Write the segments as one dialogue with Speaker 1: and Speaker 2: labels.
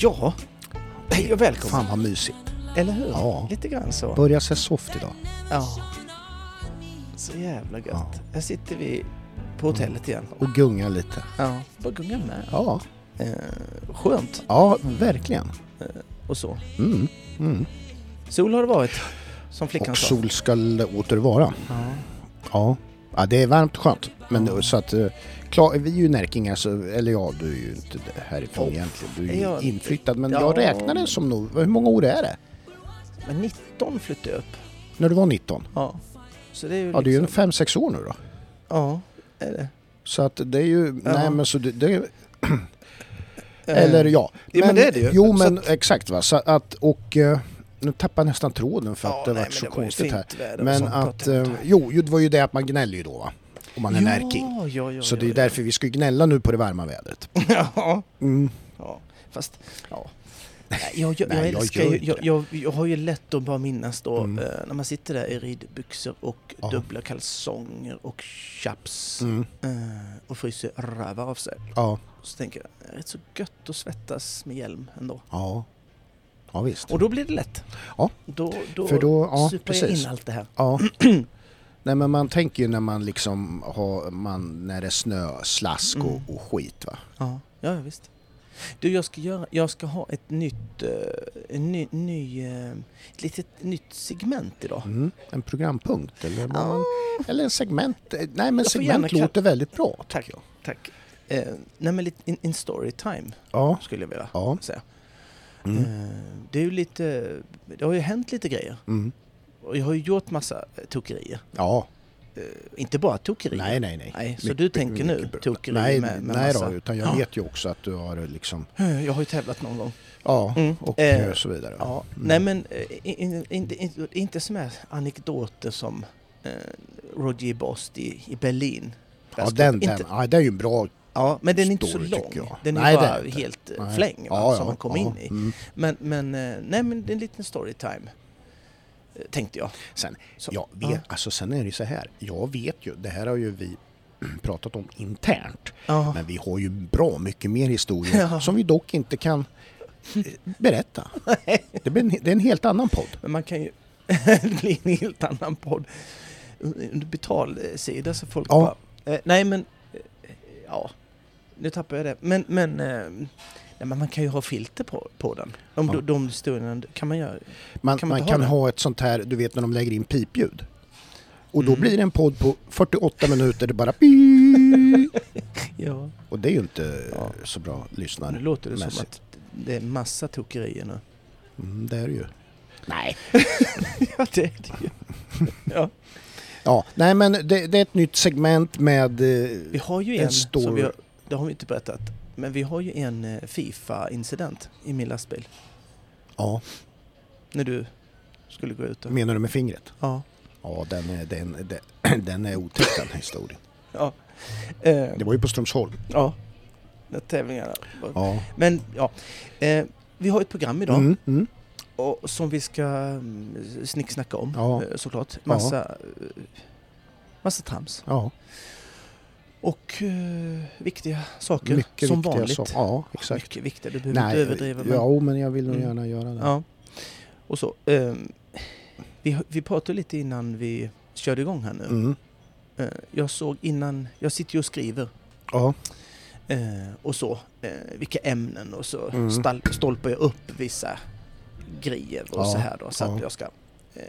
Speaker 1: Ja, hej och välkommen.
Speaker 2: Fan vad mysigt.
Speaker 1: Eller hur?
Speaker 2: Ja.
Speaker 1: Lite grann så.
Speaker 2: Börjar se soft idag.
Speaker 1: Ja. Så jävla gött.
Speaker 2: Ja.
Speaker 1: Här sitter vi på hotellet igen.
Speaker 2: Och gunga lite.
Speaker 1: Ja, på gungan med.
Speaker 2: Ja,
Speaker 1: Eh, skönt
Speaker 2: ja verkligen.
Speaker 1: och så.
Speaker 2: Mm. Mm.
Speaker 1: Sol har det varit, som flickan
Speaker 2: Och
Speaker 1: sa.
Speaker 2: sol ska åter vara.
Speaker 1: Ja.
Speaker 2: Ja. ja, det är varmt och skönt. Men då, så att, eh, klar, vi är ju närkingar, så, eller ja, du är ju inte härifrån
Speaker 1: Oh.
Speaker 2: egentligen. Du är ju
Speaker 1: Är jag-
Speaker 2: inflyttad, men
Speaker 1: Ja.
Speaker 2: jag räknar det som nog, hur många år är det?
Speaker 1: Men 19 flyttade jag upp.
Speaker 2: När du var 19?
Speaker 1: Ja. Så det är ju
Speaker 2: Ja, det är ju en
Speaker 1: liksom...
Speaker 2: 5-6 år nu då.
Speaker 1: Ja, är det.
Speaker 2: Så att det är ju, nej men så det, det
Speaker 1: Eh,
Speaker 2: Eller ja.
Speaker 1: jo, men det är det ju.
Speaker 2: Jo
Speaker 1: Så
Speaker 2: men exakt va. Så att, och eh, nu tappar jag nästan tråden för
Speaker 1: ja,
Speaker 2: att det
Speaker 1: nej,
Speaker 2: var
Speaker 1: men
Speaker 2: så
Speaker 1: ju
Speaker 2: konstigt
Speaker 1: fint
Speaker 2: här.
Speaker 1: väder och
Speaker 2: Men
Speaker 1: sånt,
Speaker 2: att,
Speaker 1: pratar jag
Speaker 2: eh,
Speaker 1: om.
Speaker 2: jo ju, det var ju det att man gnäller ju då va. Om man är närking.
Speaker 1: Ja, ja, ja,
Speaker 2: Så
Speaker 1: ja,
Speaker 2: det är
Speaker 1: ja.
Speaker 2: därför vi ska ju gnälla nu på det varma vädret.
Speaker 1: ja.
Speaker 2: Mm.
Speaker 1: ja, fast...
Speaker 2: Ja.
Speaker 1: Nej, jag, jag,
Speaker 2: Nej,
Speaker 1: jag,
Speaker 2: jag
Speaker 1: älskar
Speaker 2: gör
Speaker 1: ju,
Speaker 2: inte
Speaker 1: jag,
Speaker 2: det.
Speaker 1: jag, jag har ju lätt att bara minnas då
Speaker 2: Mm.
Speaker 1: eh, när man sitter där i ridbyxor och
Speaker 2: Ja.
Speaker 1: dubbla kalsonger och chaps
Speaker 2: Mm.
Speaker 1: eh, och fryser röva av sig.
Speaker 2: Ja.
Speaker 1: Så tänker jag, det är rätt så gött att svettas med hjälm ändå.
Speaker 2: Ja. Ja visst.
Speaker 1: Och då blir det lätt.
Speaker 2: Mm. Ja.
Speaker 1: Då, då,
Speaker 2: För då, ja
Speaker 1: super jag
Speaker 2: precis.
Speaker 1: in allt det här.
Speaker 2: Ja. Nej men man tänker ju när man liksom har, man, när det är snö, slask och,
Speaker 1: Mm.
Speaker 2: och skit va.
Speaker 1: Ja, ja ja, visst. Du, jag ska, göra, jag ska ha ett nytt, eh, en ny, ny, eh, ett litet nytt segment idag.
Speaker 2: Mm. En programpunkt eller, vad man,
Speaker 1: Ah.
Speaker 2: eller en segment. Eh, Nej men
Speaker 1: Jag får gärna
Speaker 2: segment låter väldigt bra tycker
Speaker 1: Tack.
Speaker 2: jag.
Speaker 1: Tack. Eh, nej men lite in, in storytime
Speaker 2: Ja.
Speaker 1: skulle jag vilja
Speaker 2: Ja.
Speaker 1: säga.
Speaker 2: Mm.
Speaker 1: Eh, det är ju lite, det har ju hänt lite grejer.
Speaker 2: Mm.
Speaker 1: Och jag har ju gjort massa eh, tokerier.
Speaker 2: Ja,
Speaker 1: Eh, inte bara tokerier.
Speaker 2: nej nej nej.
Speaker 1: Nej, så
Speaker 2: Mycket-
Speaker 1: du tänker nu
Speaker 2: mycket bra.
Speaker 1: tokerier
Speaker 2: nej,
Speaker 1: med- med
Speaker 2: Nej
Speaker 1: massa-
Speaker 2: då, utan jag
Speaker 1: Ja.
Speaker 2: vet ju också att du har liksom,
Speaker 1: Eh, Jag har ju tävlat någon gång.
Speaker 2: ja,
Speaker 1: Mm.
Speaker 2: och
Speaker 1: Eh,
Speaker 2: så vidare.
Speaker 1: Ja,
Speaker 2: Mm.
Speaker 1: nej men eh, in- in- in- inte som är anekdoter som eh, Roger Bost i, i Berlin.
Speaker 2: ja
Speaker 1: Jag ska
Speaker 2: den,
Speaker 1: inte-
Speaker 2: den, ja, det är ju en bra
Speaker 1: Ja, men den är inte så
Speaker 2: Story,
Speaker 1: lång.
Speaker 2: tycker jag.
Speaker 1: Den är
Speaker 2: Nej, det
Speaker 1: bara
Speaker 2: är inte.
Speaker 1: helt eh,
Speaker 2: nej.
Speaker 1: fläng va,
Speaker 2: Ja,
Speaker 1: som
Speaker 2: ja,
Speaker 1: man kommer
Speaker 2: ja,
Speaker 1: in i.
Speaker 2: Mm.
Speaker 1: Men, men, eh, nej, men det är en liten storytime. eh, Tänkte jag.
Speaker 2: Sen,
Speaker 1: Så-
Speaker 2: jag vet,
Speaker 1: ja.
Speaker 2: alltså, sen är det ju så här, jag vet ju, det här har ju vi pratat om internt,
Speaker 1: Ja.
Speaker 2: men vi har ju bra mycket mer historier
Speaker 1: Ja.
Speaker 2: som vi dock inte kan eh, berätta. Det, blir en, det är en helt annan podd.
Speaker 1: Men man kan ju... det blir en helt annan podd. Under betalsida så folk
Speaker 2: Ja.
Speaker 1: bara... Eh, nej men... Eh, ja. Nu tappar jag det. Men... men eh, Nej, men man kan ju ha filter på, på den. Om
Speaker 2: Ja.
Speaker 1: de, de stunderna kan man göra.
Speaker 2: Man
Speaker 1: Kan man
Speaker 2: kan, man
Speaker 1: inte ha
Speaker 2: kan
Speaker 1: det?
Speaker 2: ha ett sånt här, du vet när de lägger in pipljud. Och då
Speaker 1: Mm.
Speaker 2: blir det en podd på 48 minuter, det bara pip.
Speaker 1: Ja.
Speaker 2: Och det är ju inte
Speaker 1: Ja.
Speaker 2: så bra
Speaker 1: Nu
Speaker 2: lyssnare.
Speaker 1: låter det som
Speaker 2: Mässigt.
Speaker 1: att det är massa tokerier nu.
Speaker 2: Mm, det är det ju. Nej.
Speaker 1: Ja, det är det ju. Ja.
Speaker 2: Ja, nej men det, det är ett nytt segment med...
Speaker 1: Vi
Speaker 2: eh,
Speaker 1: har ju
Speaker 2: En
Speaker 1: en, som
Speaker 2: stor-
Speaker 1: vi har, det har vi inte berättat, men vi har ju en eh, Fifa-incident i min lastbil.
Speaker 2: Ja,
Speaker 1: När du skulle gå ut och...
Speaker 2: menar du med fingret?
Speaker 1: Ja.
Speaker 2: Ja, den är, den, den, den är otäck den här historien.
Speaker 1: Ja. Eh,
Speaker 2: Det var ju på Strömsholm.
Speaker 1: ja. När tävlingarna var.
Speaker 2: Ja.
Speaker 1: Men ja. Eh, vi har ett program idag
Speaker 2: Mm, mm.
Speaker 1: och, som vi ska mm, snicksnacka om
Speaker 2: Ja.
Speaker 1: eh, såklart. Massa, eh, massa trams.
Speaker 2: Ja,
Speaker 1: Och eh, viktiga saker
Speaker 2: mycket
Speaker 1: som
Speaker 2: viktiga
Speaker 1: vanligt.
Speaker 2: saker. Ja, exakt.
Speaker 1: Mycket viktiga, du behöver inte överdriva. men-
Speaker 2: ja, men jag vill nog
Speaker 1: Mm.
Speaker 2: gärna göra det.
Speaker 1: Ja. Och så. ehm, vi, vi pratade lite innan vi körde igång här nu.
Speaker 2: Mm.
Speaker 1: Eh, jag såg innan, jag sitter ju och skriver
Speaker 2: Ja.
Speaker 1: eh, och så, eh, vilka ämnen och så
Speaker 2: Mm.
Speaker 1: stall, stolpar jag upp vissa grejer och
Speaker 2: Ja,
Speaker 1: så här då. Så att
Speaker 2: ja.
Speaker 1: jag ska eh,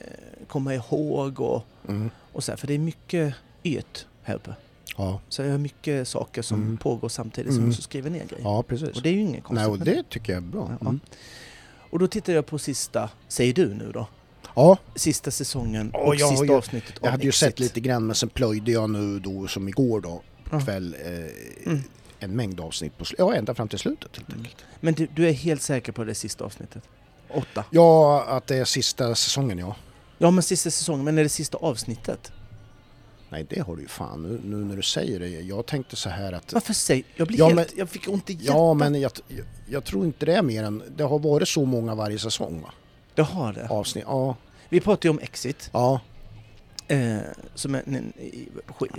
Speaker 1: komma ihåg och,
Speaker 2: Mm.
Speaker 1: och så här, för det är mycket yt här uppe.
Speaker 2: Ja.
Speaker 1: Så jag har mycket saker som
Speaker 2: Mm.
Speaker 1: pågår samtidigt som
Speaker 2: Mm.
Speaker 1: jag också skriver ner grejer.
Speaker 2: ja, precis.
Speaker 1: Och det är ju inget konstigt.
Speaker 2: Nej, och
Speaker 1: med
Speaker 2: det tycker jag är bra.
Speaker 1: Ja.
Speaker 2: Mm.
Speaker 1: och då tittar jag på sista, säger du nu då?
Speaker 2: Ja,
Speaker 1: sista säsongen
Speaker 2: Ja,
Speaker 1: och
Speaker 2: jag har
Speaker 1: sista
Speaker 2: ju-
Speaker 1: avsnittet av
Speaker 2: jag hade ju
Speaker 1: Exit.
Speaker 2: sett lite grann men sen plöjde jag nu då som igår då
Speaker 1: Ja.
Speaker 2: kväll eh,
Speaker 1: Mm.
Speaker 2: en mängd avsnitt på sl- ja ända fram till slutet helt
Speaker 1: Mm.
Speaker 2: enkelt.
Speaker 1: Men du, du är helt säker på det sista avsnittet? Åtta?
Speaker 2: Ja, att det är sista säsongen ja.
Speaker 1: Ja men sista säsongen, men är det sista avsnittet?
Speaker 2: Nej det har du ju fan nu, nu när du säger det. Jag tänkte så här att
Speaker 1: Varför säger... Jag blir
Speaker 2: Ja,
Speaker 1: helt... Jag fick ont i hjärtat.
Speaker 2: Ja men jag, jag, jag tror inte det är mer än, det har varit så många varje säsong va?
Speaker 1: Det har det.
Speaker 2: Avsnitt, ja.
Speaker 1: Vi pratade ju om Exit
Speaker 2: Ja,
Speaker 1: Eh, som en, en,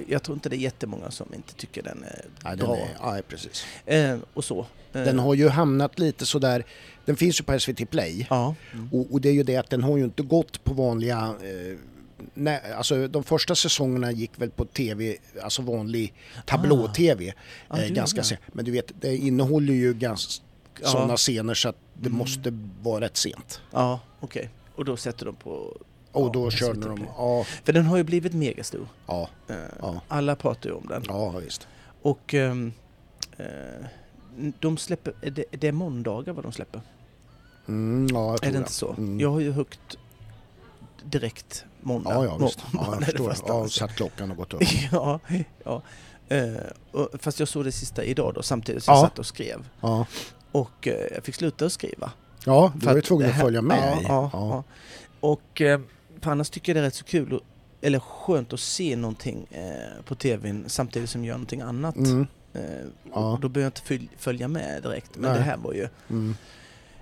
Speaker 1: jag tror inte det är jättemånga som inte tycker den är
Speaker 2: Ja, den
Speaker 1: bra.
Speaker 2: är, ja, precis.
Speaker 1: Eh, och så. Eh,
Speaker 2: Den har ju hamnat lite sådär, den finns ju på SVT Play
Speaker 1: Ja. Mm.
Speaker 2: och, och det är ju det att den har ju inte gått på vanliga eh, Nej, alltså de första säsongerna gick väl på tv, alltså vanlig tablå-tv
Speaker 1: Ah,
Speaker 2: eh,
Speaker 1: du
Speaker 2: ganska
Speaker 1: menar.
Speaker 2: sent. Men du vet, det innehåller ju ganska
Speaker 1: Ja.
Speaker 2: sådana scener så att det
Speaker 1: Mm.
Speaker 2: måste vara rätt sent.
Speaker 1: Ja, okej. Och då sätter de på...
Speaker 2: Och
Speaker 1: Ja,
Speaker 2: då
Speaker 1: SVT
Speaker 2: körde de,
Speaker 1: Play.
Speaker 2: ja,
Speaker 1: För den har ju blivit megastor.
Speaker 2: ja,
Speaker 1: Eh,
Speaker 2: Ja.
Speaker 1: Alla pratar ju om den.
Speaker 2: ja visst.
Speaker 1: Och ehm, eh, de släpper... är Det, det är måndagar vad de släpper.
Speaker 2: Mm, ja, jag tror
Speaker 1: Är det inte så?
Speaker 2: Mm.
Speaker 1: Jag har ju högt direkt måndag.
Speaker 2: Ja, ja,
Speaker 1: Må-
Speaker 2: visst. Ja,
Speaker 1: måndag är
Speaker 2: jag
Speaker 1: det
Speaker 2: förstår.
Speaker 1: första man
Speaker 2: Ja,
Speaker 1: ser.
Speaker 2: satt klockan och gått upp.
Speaker 1: Ja, ja. Eh, och, fast jag såg det sista idag då, samtidigt som
Speaker 2: Ja.
Speaker 1: jag satt och skrev.
Speaker 2: Ja,
Speaker 1: Och eh, jag fick sluta att skriva.
Speaker 2: ja du
Speaker 1: För
Speaker 2: var ju
Speaker 1: att
Speaker 2: tvungen
Speaker 1: det
Speaker 2: att
Speaker 1: här-
Speaker 2: följa med.
Speaker 1: Ja,
Speaker 2: i.
Speaker 1: ja, ja. Och eh, för annars tycker jag det är rätt så kul, och, eller skönt att se någonting eh, på tvn samtidigt som jag gör någonting annat.
Speaker 2: Mm,
Speaker 1: Eh,
Speaker 2: Ja.
Speaker 1: och Då behöver jag inte följ, följa med direkt. Men
Speaker 2: Nej.
Speaker 1: det här var ju...
Speaker 2: mm.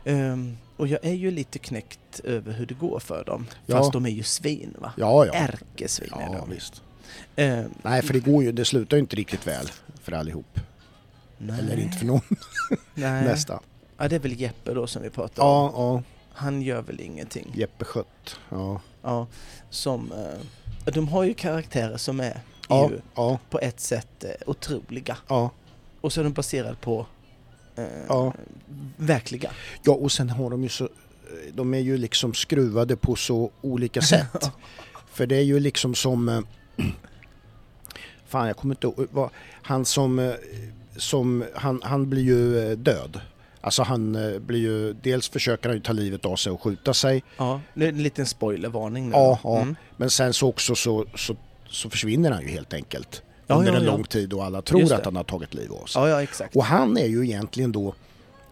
Speaker 1: ehm, och jag är ju lite knäckt över hur det går för dem.
Speaker 2: Ja.
Speaker 1: Fast de är ju svin va?
Speaker 2: ja, ja.
Speaker 1: Ärkesvin är
Speaker 2: ja
Speaker 1: de.
Speaker 2: visst.
Speaker 1: Eh,
Speaker 2: Nej, för det går ju, det slutar ju inte riktigt väl för allihop.
Speaker 1: nej,
Speaker 2: Eller inte för någon
Speaker 1: nej.
Speaker 2: nästa.
Speaker 1: Ja, det är väl Jeppe då som vi pratar om.
Speaker 2: Ja, ja.
Speaker 1: Han gör väl ingenting.
Speaker 2: Jeppe Schött. Ja,
Speaker 1: Ja, som, eh, de har ju karaktärer som är
Speaker 2: ja,
Speaker 1: ju
Speaker 2: ja.
Speaker 1: på ett sätt eh, otroliga.
Speaker 2: ja.
Speaker 1: Och så är de baserade på eh,
Speaker 2: Ja.
Speaker 1: verkliga.
Speaker 2: Ja, och sen har de ju så... De är ju liksom skruvade på så olika sätt. För det är ju liksom som... eh, Fan, jag kommer inte ihåg. vad- Han som... eh, som han, han blir ju eh, död. Alltså han eh, blir ju... Dels försöker han ju ta livet av sig och skjuta sig.
Speaker 1: Ja, det är en liten spoilervarning nu.
Speaker 2: Ja, ja.
Speaker 1: Mm.
Speaker 2: Men sen så också så, så, så försvinner han ju helt enkelt.
Speaker 1: Ja,
Speaker 2: under
Speaker 1: ja,
Speaker 2: en
Speaker 1: ja.
Speaker 2: lång tid och alla tror
Speaker 1: Just
Speaker 2: att
Speaker 1: det.
Speaker 2: han har tagit livet av sig.
Speaker 1: ja, ja exakt.
Speaker 2: Och han är ju egentligen då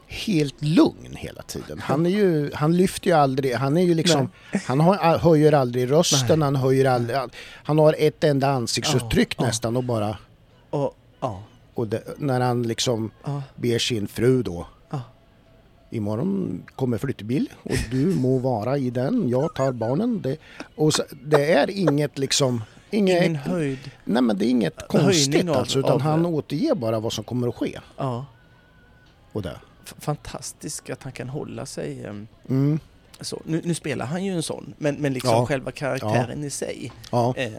Speaker 2: helt lugn hela tiden. Han, är ju, han lyfter ju aldrig, han är ju liksom, han har, höjer aldrig rösten, han höjer aldrig, han har ett enda ansiktsuttryck
Speaker 1: Ja, ja.
Speaker 2: nästan och bara,
Speaker 1: Och, ja,
Speaker 2: och det, när han liksom
Speaker 1: ja,
Speaker 2: ber sin fru då,
Speaker 1: ja.
Speaker 2: imorgon kommer flyttbil och du må vara i den, jag tar barnen. Det, och så, det är inget liksom, inget,
Speaker 1: Ingen höjd.
Speaker 2: nej men det är inget
Speaker 1: Höjning
Speaker 2: konstigt
Speaker 1: av-
Speaker 2: alltså, utan
Speaker 1: av-
Speaker 2: han återger bara vad som kommer att ske.
Speaker 1: Ja.
Speaker 2: Och det.
Speaker 1: F- Fantastiskt att han kan hålla sig eh,
Speaker 2: Mm,
Speaker 1: så. Nu, nu spelar han ju en sån, men, men liksom
Speaker 2: Ja.
Speaker 1: själva karaktären i sig.
Speaker 2: ja.
Speaker 1: Eh,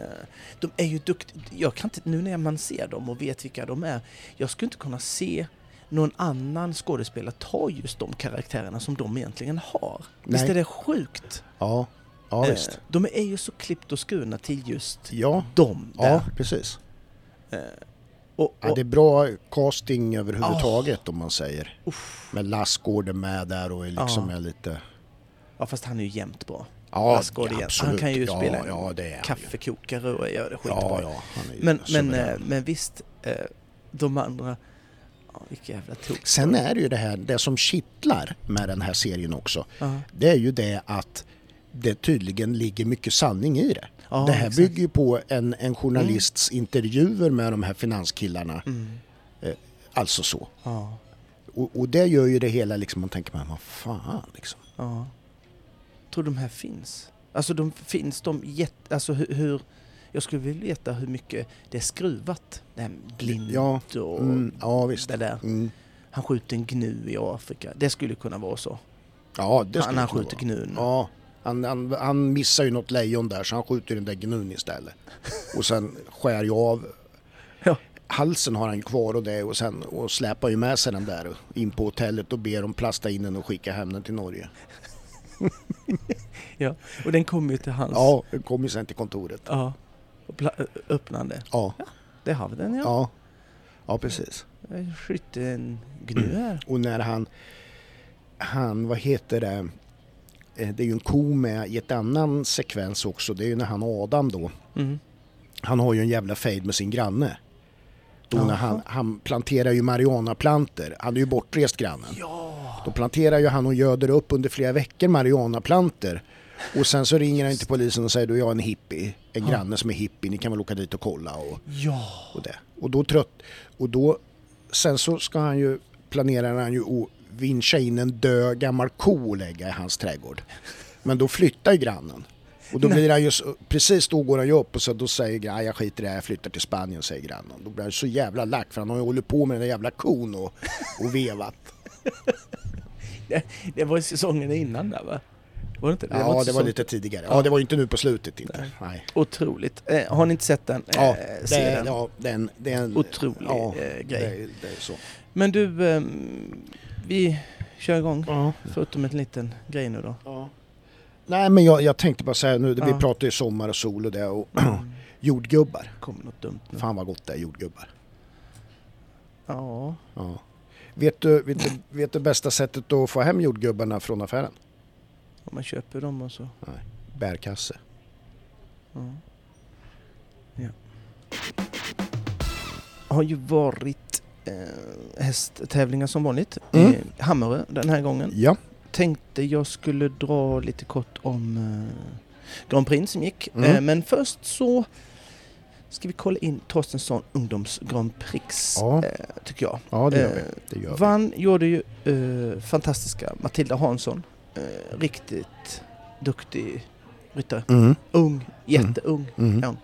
Speaker 1: de är ju duktiga. Jag kan inte, nu när man ser dem och vet vilka de är, jag skulle inte kunna se någon annan skådespelare ta just de karaktärerna som de egentligen har. Visst är det sjukt?
Speaker 2: Ja, ja
Speaker 1: Eh,
Speaker 2: visst.
Speaker 1: de är ju så klippt och skurna till just
Speaker 2: Ja,
Speaker 1: dem där.
Speaker 2: ja precis.
Speaker 1: Och,
Speaker 2: Ja,
Speaker 1: och,
Speaker 2: det är bra casting överhuvudtaget om man säger. Med Lassgård är med där och är liksom
Speaker 1: Ja.
Speaker 2: är lite...
Speaker 1: ja, fast han är ju jämt bra.
Speaker 2: Ja,
Speaker 1: Lassgård igen. Han kan ju
Speaker 2: ja,
Speaker 1: spela en
Speaker 2: ja, det är han ju.
Speaker 1: Kaffekokare och gör det skitbra.
Speaker 2: Ja, ja, han är ju
Speaker 1: men, men,
Speaker 2: suverän.
Speaker 1: eh, men visst, eh, de andra... Ja, vilka jävla tok.
Speaker 2: Sen är det ju det här, det som kittlar med den här serien också.
Speaker 1: Ja.
Speaker 2: Det är ju det att det tydligen ligger mycket sanning i det.
Speaker 1: Ja,
Speaker 2: det här
Speaker 1: exakt. Mm.
Speaker 2: bygger ju på en, en journalists intervjuer med de här finanskillarna. Eh, alltså så.
Speaker 1: Mm. Ja,
Speaker 2: Och, och det gör ju det hela liksom, man tänker man vad fan liksom.
Speaker 1: ja. Tror de här finns? Alltså de finns de jätte... Alltså hur... hur jag skulle vilja veta hur mycket det är skruvat. Det här med blind
Speaker 2: Ja,
Speaker 1: och
Speaker 2: Mm, ja visst.
Speaker 1: det där.
Speaker 2: Mm.
Speaker 1: Han skjuter en gnu i Afrika. Det skulle kunna vara så.
Speaker 2: Ja, det
Speaker 1: han
Speaker 2: skulle
Speaker 1: han
Speaker 2: kunna
Speaker 1: skjuter
Speaker 2: vara.
Speaker 1: gnun.
Speaker 2: Ja, han, han, han missar ju något lejon där så han skjuter den där gnun istället. Och sen skär jag av.
Speaker 1: Ja.
Speaker 2: Halsen har han kvar och det och sen och släpar ju med sig den där in på hotellet och ber dem plasta in den och skicka hem den till Norge.
Speaker 1: Ja. Och den kommer ju till hans...
Speaker 2: Ja, den kom ju sen till kontoret.
Speaker 1: ja. Och pla- öppnande.
Speaker 2: Ja,
Speaker 1: Det har vi den ja.
Speaker 2: ja. Ja, Mm. precis.
Speaker 1: Jag skjuter en gnu här.
Speaker 2: Och när han, han, vad heter det, Eh, det är ju en ko med i ett annan sekvens också, det är ju när han Adam då,
Speaker 1: Mm.
Speaker 2: han har ju en jävla fejd med sin granne. Då när
Speaker 1: Jaha.
Speaker 2: han, han planterar ju marijuanaplanter, han är ju bortrest grannen.
Speaker 1: Ja!
Speaker 2: Då planterar ju han och göder upp under flera veckor marijuanaplanter. Och sen så ringer han till polisen och säger du jag har en hippie, en granne som är hippie, ni kan väl åka dit och kolla och,
Speaker 1: Ja!
Speaker 2: och det. Och då trött, och då, sen så ska han ju, planerar han ju att vincha in en död gammal ko och lägga i hans trädgård. Men då flyttar ju grannen. Och då blir han ju, så- precis då går han ju upp och så då säger grannen, jag skiter i det här, jag flyttar till Spanien, säger grannen. Då blir han så jävla lack för han har ju hållit på med den där jävla kon och, och vevat.
Speaker 1: Det, det var ju säsongen innan där va? Var det inte?
Speaker 2: Ja,
Speaker 1: inte
Speaker 2: det var
Speaker 1: säsong-
Speaker 2: lite tidigare. Ja, det var ju inte nu på slutet inte. Nej.
Speaker 1: Otroligt. Eh, har ni inte sett den?
Speaker 2: Ja,
Speaker 1: eh,
Speaker 2: det
Speaker 1: se
Speaker 2: är,
Speaker 1: den.
Speaker 2: ja, det är en... Det är en
Speaker 1: Otrolig,
Speaker 2: ja,
Speaker 1: eh, grej.
Speaker 2: Det är, det är så.
Speaker 1: Men du, ehm, vi kör igång. Förutom en liten grej nu då.
Speaker 2: Ja. Nej, men jag, jag tänkte bara säga nu, vi
Speaker 1: Ja.
Speaker 2: pratar ju sommar och sol och det och jordgubbar.
Speaker 1: Kommer något dumt nu?
Speaker 2: Fan vad gott det är jordgubbar.
Speaker 1: Ja.
Speaker 2: Ja. Vet, du, vet, du, vet du bästa sättet att få hem jordgubbarna från affären?
Speaker 1: Om man köper dem och så.
Speaker 2: Bärkasse.
Speaker 1: Ja. ja. Har ju varit eh, hästtävlingar som vanligt.
Speaker 2: Mm.
Speaker 1: I Hammarö den här gången.
Speaker 2: Ja.
Speaker 1: tänkte jag skulle dra lite kort om eh, Grand Prix som gick.
Speaker 2: Mm.
Speaker 1: Eh, men först så ska vi kolla in Torstensson Ungdoms Grand Prix,
Speaker 2: Ja.
Speaker 1: eh, tycker jag.
Speaker 2: ja, det gör vi.
Speaker 1: Eh,
Speaker 2: Det gör vi.
Speaker 1: Vann gjorde ju eh, fantastiska Matilda Hansson. Eh, riktigt duktig ryttare.
Speaker 2: Mm,
Speaker 1: Ung, jätteung.
Speaker 2: mm.
Speaker 1: Ja.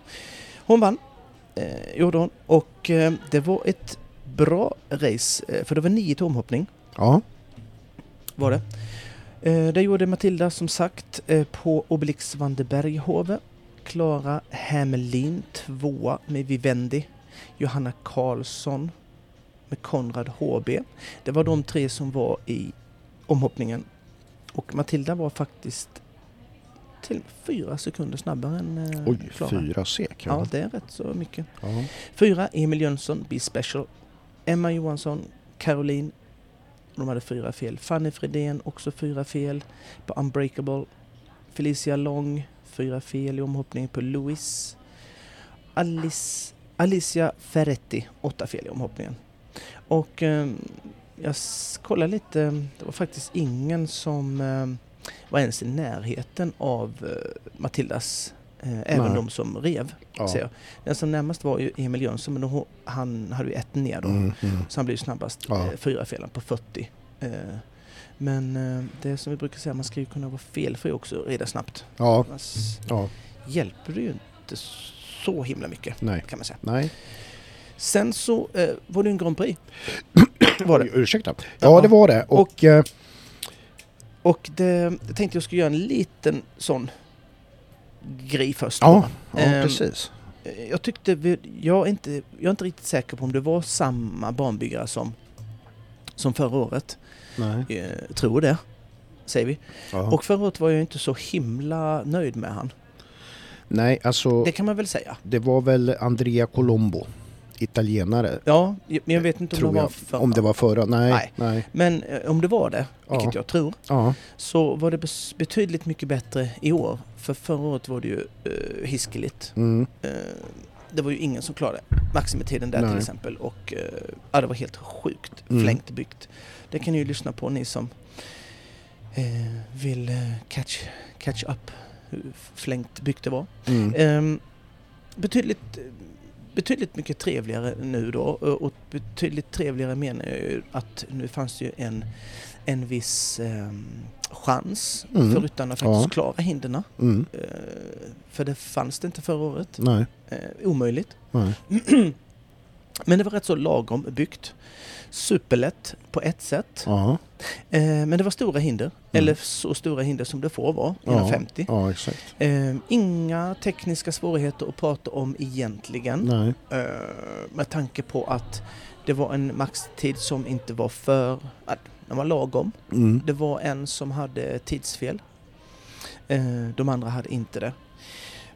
Speaker 1: Hon vann, eh, gjorde hon. Och eh, det var ett bra race, eh, för det var nio till omhoppning
Speaker 2: Ja.
Speaker 1: var det. Eh, det gjorde Matilda som sagt eh, på Obelix van der Berghove. Klara Hamelin tvåa med Vivendi. Johanna Karlsson med Konrad HB. Det var de tre som var i omhoppningen. Och Matilda var faktiskt till fyra sekunder snabbare än eh,
Speaker 2: Oj,
Speaker 1: Klara.
Speaker 2: fyra sek.
Speaker 1: Ja,
Speaker 2: Ja.
Speaker 1: det är rätt så mycket.
Speaker 2: Ja.
Speaker 1: Fyra, Emil Jönsson, Be Special. Emma Johansson, Caroline. De hade fyra fel. Fanny Fredén, också fyra fel. På Unbreakable. Felicia Long, fyra fel i omhoppningen på Louis. Alice, Alicia Ferretti, åtta fel i omhoppningen. Och eh, jag s- kollade lite. Det var faktiskt ingen som eh, var ens i närheten av eh, Matildas. Eh, även
Speaker 2: Nej.
Speaker 1: de som rev säger
Speaker 2: Ja.
Speaker 1: jag. Den som närmast var ju Emil Jönsson, men då, han hade ju ett ner då.
Speaker 2: Mm, mm.
Speaker 1: Så han blev ju snabbast.
Speaker 2: Ja.
Speaker 1: Eh, fyra fel på 40. Eh, men eh, det som vi brukar säga, man ska ju kunna vara felfri också reda snabbt.
Speaker 2: ja.
Speaker 1: Annars
Speaker 2: Ja.
Speaker 1: hjälper det ju inte så himla mycket
Speaker 2: Nej.
Speaker 1: kan man säga.
Speaker 2: Nej.
Speaker 1: Sen så eh, var det ju en Grand Prix. Var det.
Speaker 2: Oj, ursäkta.
Speaker 1: Ja.
Speaker 2: Ja, det var det. Och, eh,
Speaker 1: Och det, jag tänkte jag skulle göra en liten sån grej först. då, va?
Speaker 2: ja, ja,
Speaker 1: Ehm,
Speaker 2: precis.
Speaker 1: Eh, Jag tyckte, vi- jag är, inte, jag är inte riktigt säker på om det var samma banbyggare som, som förra året.
Speaker 2: Nej.
Speaker 1: Eh, tror det, säger vi.
Speaker 2: Ja.
Speaker 1: Och förra året var jag inte så himla nöjd med han.
Speaker 2: Nej, alltså
Speaker 1: Det kan man väl säga.
Speaker 2: det var väl Andrea Colombo, italienare,
Speaker 1: Ja, j- men jag vet inte om
Speaker 2: tror
Speaker 1: det var
Speaker 2: jag.
Speaker 1: förra.
Speaker 2: Om det var förra? Nej.
Speaker 1: Nej.
Speaker 2: Nej.
Speaker 1: Men eh, om det var det, vilket
Speaker 2: Ja.
Speaker 1: jag tror,
Speaker 2: Ja.
Speaker 1: så var det bes- betydligt mycket bättre i år. För förra året var det ju eh, hiskeligt.
Speaker 2: Mm.
Speaker 1: Eh, det var ju ingen som klarade maximitiden där till
Speaker 2: Nej.
Speaker 1: exempel. Och eh, ja, det var helt sjukt
Speaker 2: Mm.
Speaker 1: flängt byggt. Det kan ni ju lyssna på ni som eh, vill eh, catch, catch up hur flängt byggt det var.
Speaker 2: Mm.
Speaker 1: Ehm, betydligt, betydligt mycket trevligare nu då. Och betydligt trevligare menar jag ju att nu fanns det ju en, en viss ehm, chans
Speaker 2: Mm.
Speaker 1: för ryttarna att faktiskt
Speaker 2: Ja.
Speaker 1: klara hinderna.
Speaker 2: Mm.
Speaker 1: Eh, för det fanns det inte förra året.
Speaker 2: Nej.
Speaker 1: Eh, omöjligt.
Speaker 2: Nej.
Speaker 1: Men det var rätt så lagom byggt. Superlätt på ett sätt.
Speaker 2: Ja. Mm.
Speaker 1: Eh, men det var stora hinder. Eller så stora hinder som det får vara inom
Speaker 2: Ja.
Speaker 1: 50.
Speaker 2: Ja, exakt.
Speaker 1: Eh, inga tekniska svårigheter att prata om egentligen.
Speaker 2: Nej.
Speaker 1: Eh, med tanke på att det var en maxtid som inte var för... att Den var lagom.
Speaker 2: Mm.
Speaker 1: Det var en som hade tidsfel. Eh, De andra hade inte det.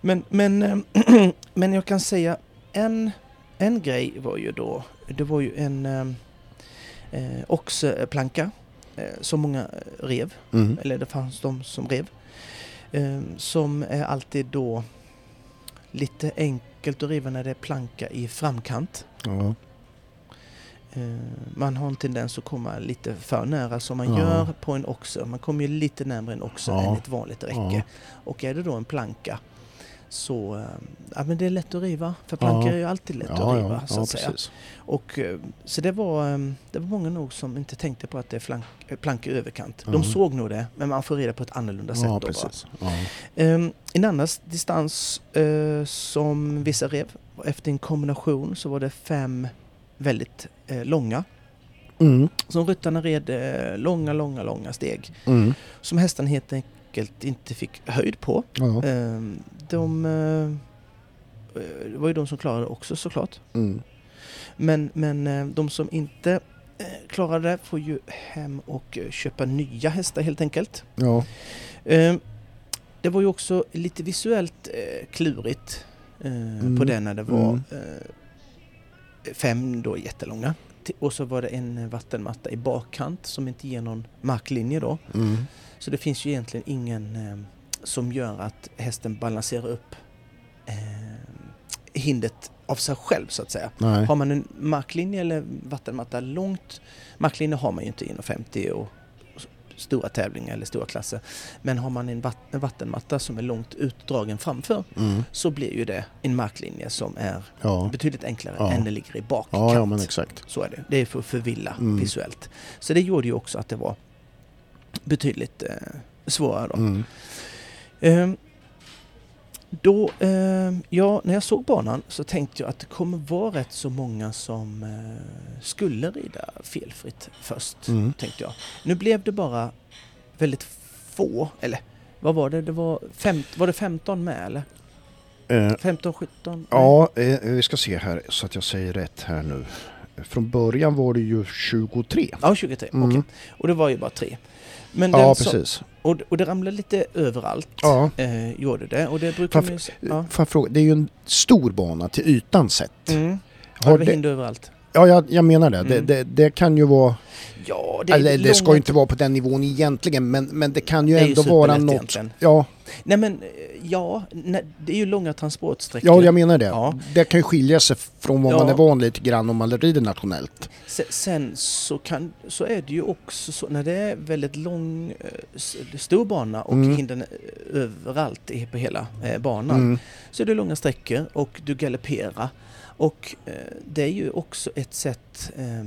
Speaker 1: Men, men, eh, men jag kan säga en, en grej var ju då, det var ju en eh, eh, oxplanka eh, som många eh, rev,
Speaker 2: Mm.
Speaker 1: eller det fanns de som rev, eh, som är alltid då lite enkelt att riva när det är planka i framkant.
Speaker 2: Ja.
Speaker 1: Eh, Man har en tendens att komma lite för nära som man
Speaker 2: Ja.
Speaker 1: gör på en oxer. Man kommer ju lite närmare en oxer
Speaker 2: Ja.
Speaker 1: än ett vanligt räcke.
Speaker 2: Ja.
Speaker 1: Och är det då en planka Så eh, ja, men det är lätt att riva. Förplankor
Speaker 2: Ja.
Speaker 1: är ju alltid lätt
Speaker 2: ja,
Speaker 1: att riva.
Speaker 2: ja,
Speaker 1: så
Speaker 2: ja,
Speaker 1: att säga.
Speaker 2: precis.
Speaker 1: Och, eh, så det var, eh, det var många nog som inte tänkte på att det är flank, eh, plankor i överkant.
Speaker 2: Mm.
Speaker 1: De såg nog det, men man får rida på ett annorlunda sätt.
Speaker 2: Ja,
Speaker 1: då, va?
Speaker 2: precis. Ja.
Speaker 1: Ehm, En annan s- distans eh, som vissa rev, och efter en kombination så var det fem väldigt eh, långa.
Speaker 2: Mm,
Speaker 1: Som ryttarna red eh, långa, långa, långa steg.
Speaker 2: mm,
Speaker 1: Som hästen helt enkelt inte fick höjd på.
Speaker 2: ja.
Speaker 1: Ehm, De, eh, eh, det var ju de som klarade också såklart.
Speaker 2: Mm.
Speaker 1: Men, men eh, de som inte eh, klarade det får ju hem och eh, köpa nya hästar helt enkelt.
Speaker 2: Ja.
Speaker 1: Eh, Det var ju också lite visuellt eh, klurigt eh, på den när det var
Speaker 2: Mm.
Speaker 1: eh, fem då jättelånga. Ti- Och så var det en eh, vattenmatta i bakkant som inte ger någon marklinje då.
Speaker 2: Mm.
Speaker 1: Så det finns ju egentligen ingen eh, som gör att hästen balanserar upp eh, hindret av sig själv så att säga.
Speaker 2: Nej.
Speaker 1: Har man en marklinje eller vattenmatta långt, marklinje har man ju inte inom 50 och s- stora tävlingar eller stora klasser. Men har man en, vat- en vattenmatta som är långt utdragen framför
Speaker 2: Mm.
Speaker 1: så blir ju det en marklinje som är
Speaker 2: Ja.
Speaker 1: betydligt enklare
Speaker 2: Ja.
Speaker 1: än det ligger i bakkant.
Speaker 2: Ja, ja, men exakt.
Speaker 1: Så är det. Det är för att förvilla
Speaker 2: Mm.
Speaker 1: visuellt. Så det gjorde ju också att det var betydligt eh, svårare då.
Speaker 2: Mm.
Speaker 1: Ehm, då ehm, ja, när jag såg banan så tänkte jag att det kommer vara rätt så många som eh, skulle rida felfritt först.
Speaker 2: Mm.
Speaker 1: Tänkte jag. Nu blev det bara väldigt få, eller vad var det? det var, fem, var det 15 med eller?
Speaker 2: Eh,
Speaker 1: 15, 17?
Speaker 2: Ja, eh, vi ska se här så att jag säger rätt här nu. Från början var det ju 23.
Speaker 1: Ja, 23.
Speaker 2: Mm.
Speaker 1: Okej. Och det var ju bara tre. Men
Speaker 2: Ja,
Speaker 1: den som-
Speaker 2: precis.
Speaker 1: och, och det ramlade lite överallt.
Speaker 2: Ja.
Speaker 1: Eh, gjorde det. Och det brukar man ju... se- Ja.
Speaker 2: Får jag fråga, det är ju en stor bana till ytan sett.
Speaker 1: Mm.
Speaker 2: Har
Speaker 1: Har det
Speaker 2: det-
Speaker 1: var hinder överallt.
Speaker 2: Ja, jag, jag menar det. Det,
Speaker 1: Mm.
Speaker 2: det. det kan ju vara...
Speaker 1: Ja, det,
Speaker 2: Det,
Speaker 1: är
Speaker 2: eller Alltså, det ska
Speaker 1: långa-
Speaker 2: ju inte vara på den nivån egentligen, men, men det kan ju
Speaker 1: Det är ju
Speaker 2: ändå vara
Speaker 1: superlätt
Speaker 2: något...
Speaker 1: egentligen.
Speaker 2: Ja,
Speaker 1: Nej men, eh, ja, nej, det är ju långa transportsträckor.
Speaker 2: ja, jag menar det.
Speaker 1: Ja.
Speaker 2: Det kan ju skilja sig från vad
Speaker 1: Ja.
Speaker 2: man är van lite grann om man rider nationellt.
Speaker 1: Se- Sen så, kan, så är det ju också så, när det är väldigt lång, eh, s- stor bana och
Speaker 2: Mm.
Speaker 1: hindren eh, överallt i- på hela eh, banan,
Speaker 2: Mm.
Speaker 1: så är det långa sträckor och du galopperar. Och eh, det är ju också ett sätt, eh,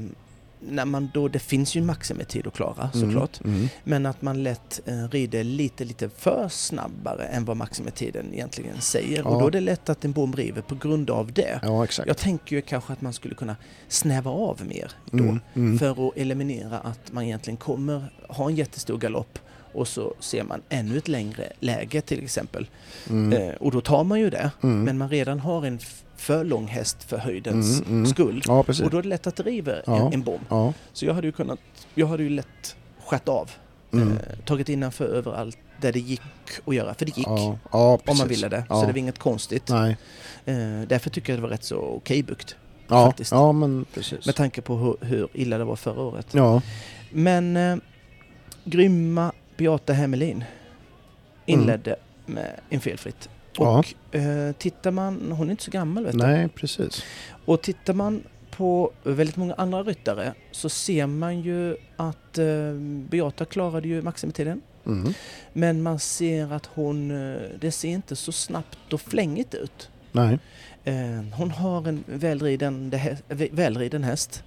Speaker 1: när man då, det finns ju en maximitid att klara såklart,
Speaker 2: Mm. Mm.
Speaker 1: men att man lätt eh, rider lite, lite för snabbare än vad maximitiden egentligen säger.
Speaker 2: Ja.
Speaker 1: Och då är det lätt att en bom river på grund av det.
Speaker 2: Ja, exakt.
Speaker 1: Jag tänker ju kanske att man skulle kunna snäva av mer då
Speaker 2: Mm. Mm.
Speaker 1: för att eliminera att man egentligen kommer ha en jättestor galopp och så ser man ännu ett längre läge till exempel.
Speaker 2: Mm.
Speaker 1: Eh, och då tar man ju det,
Speaker 2: Mm.
Speaker 1: men man redan har en f- för lång häst för höjdens
Speaker 2: Mm, mm.
Speaker 1: skull.
Speaker 2: Ja, precis.
Speaker 1: Och då är det lätt att driva
Speaker 2: Ja.
Speaker 1: en, en bom.
Speaker 2: Ja.
Speaker 1: Så jag hade ju kunnat, jag hade ju lätt skett av,
Speaker 2: Mm.
Speaker 1: eh, tagit innanför överallt där det gick att göra, för det gick.
Speaker 2: Ja, ja, precis.
Speaker 1: Om man ville det,
Speaker 2: Ja.
Speaker 1: så det var inget konstigt.
Speaker 2: Nej.
Speaker 1: Eh, därför tycker jag det var rätt så okej byggt.
Speaker 2: Ja,
Speaker 1: faktiskt.
Speaker 2: ja men precis.
Speaker 1: Med tanke på hur, hur illa det var förra året.
Speaker 2: ja.
Speaker 1: Men eh, grymma Beata Hemmelin inledde med en felfritt.
Speaker 2: Mm. Ja.
Speaker 1: Och eh, tittar man, hon är inte så gammal vet du.
Speaker 2: Nej, precis.
Speaker 1: Och tittar man på väldigt många andra ryttare så ser man ju att eh, Beata klarade ju maximitiden.
Speaker 2: Mm.
Speaker 1: Men man ser att hon, eh, det ser inte så snabbt och flängigt ut.
Speaker 2: Nej.
Speaker 1: Eh, hon har en välriden, det hä- vä- välriden häst.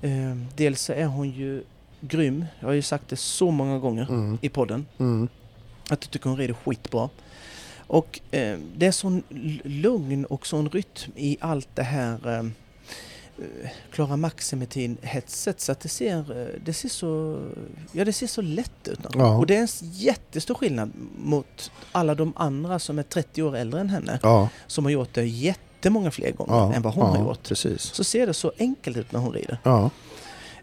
Speaker 1: Eh, dels så är hon ju grym. Jag har ju sagt det så många gånger
Speaker 2: Mm.
Speaker 1: i podden.
Speaker 2: Mm.
Speaker 1: Att jag tycker hon rider skitbra. Och eh, det är sån l- lugn och sån rytm i allt det här eh, eh, Klara Maximitid-hetset så att det ser, eh, det ser så, ja det ser så lätt ut.
Speaker 2: Ja.
Speaker 1: Och det är en s- jättestor skillnad mot alla de andra som är 30 år äldre än henne
Speaker 2: Ja.
Speaker 1: som har gjort det jättemånga fler gånger
Speaker 2: ja.
Speaker 1: än vad hon
Speaker 2: ja,
Speaker 1: har gjort.
Speaker 2: Precis.
Speaker 1: Så ser det så enkelt ut när hon rider.
Speaker 2: Ja.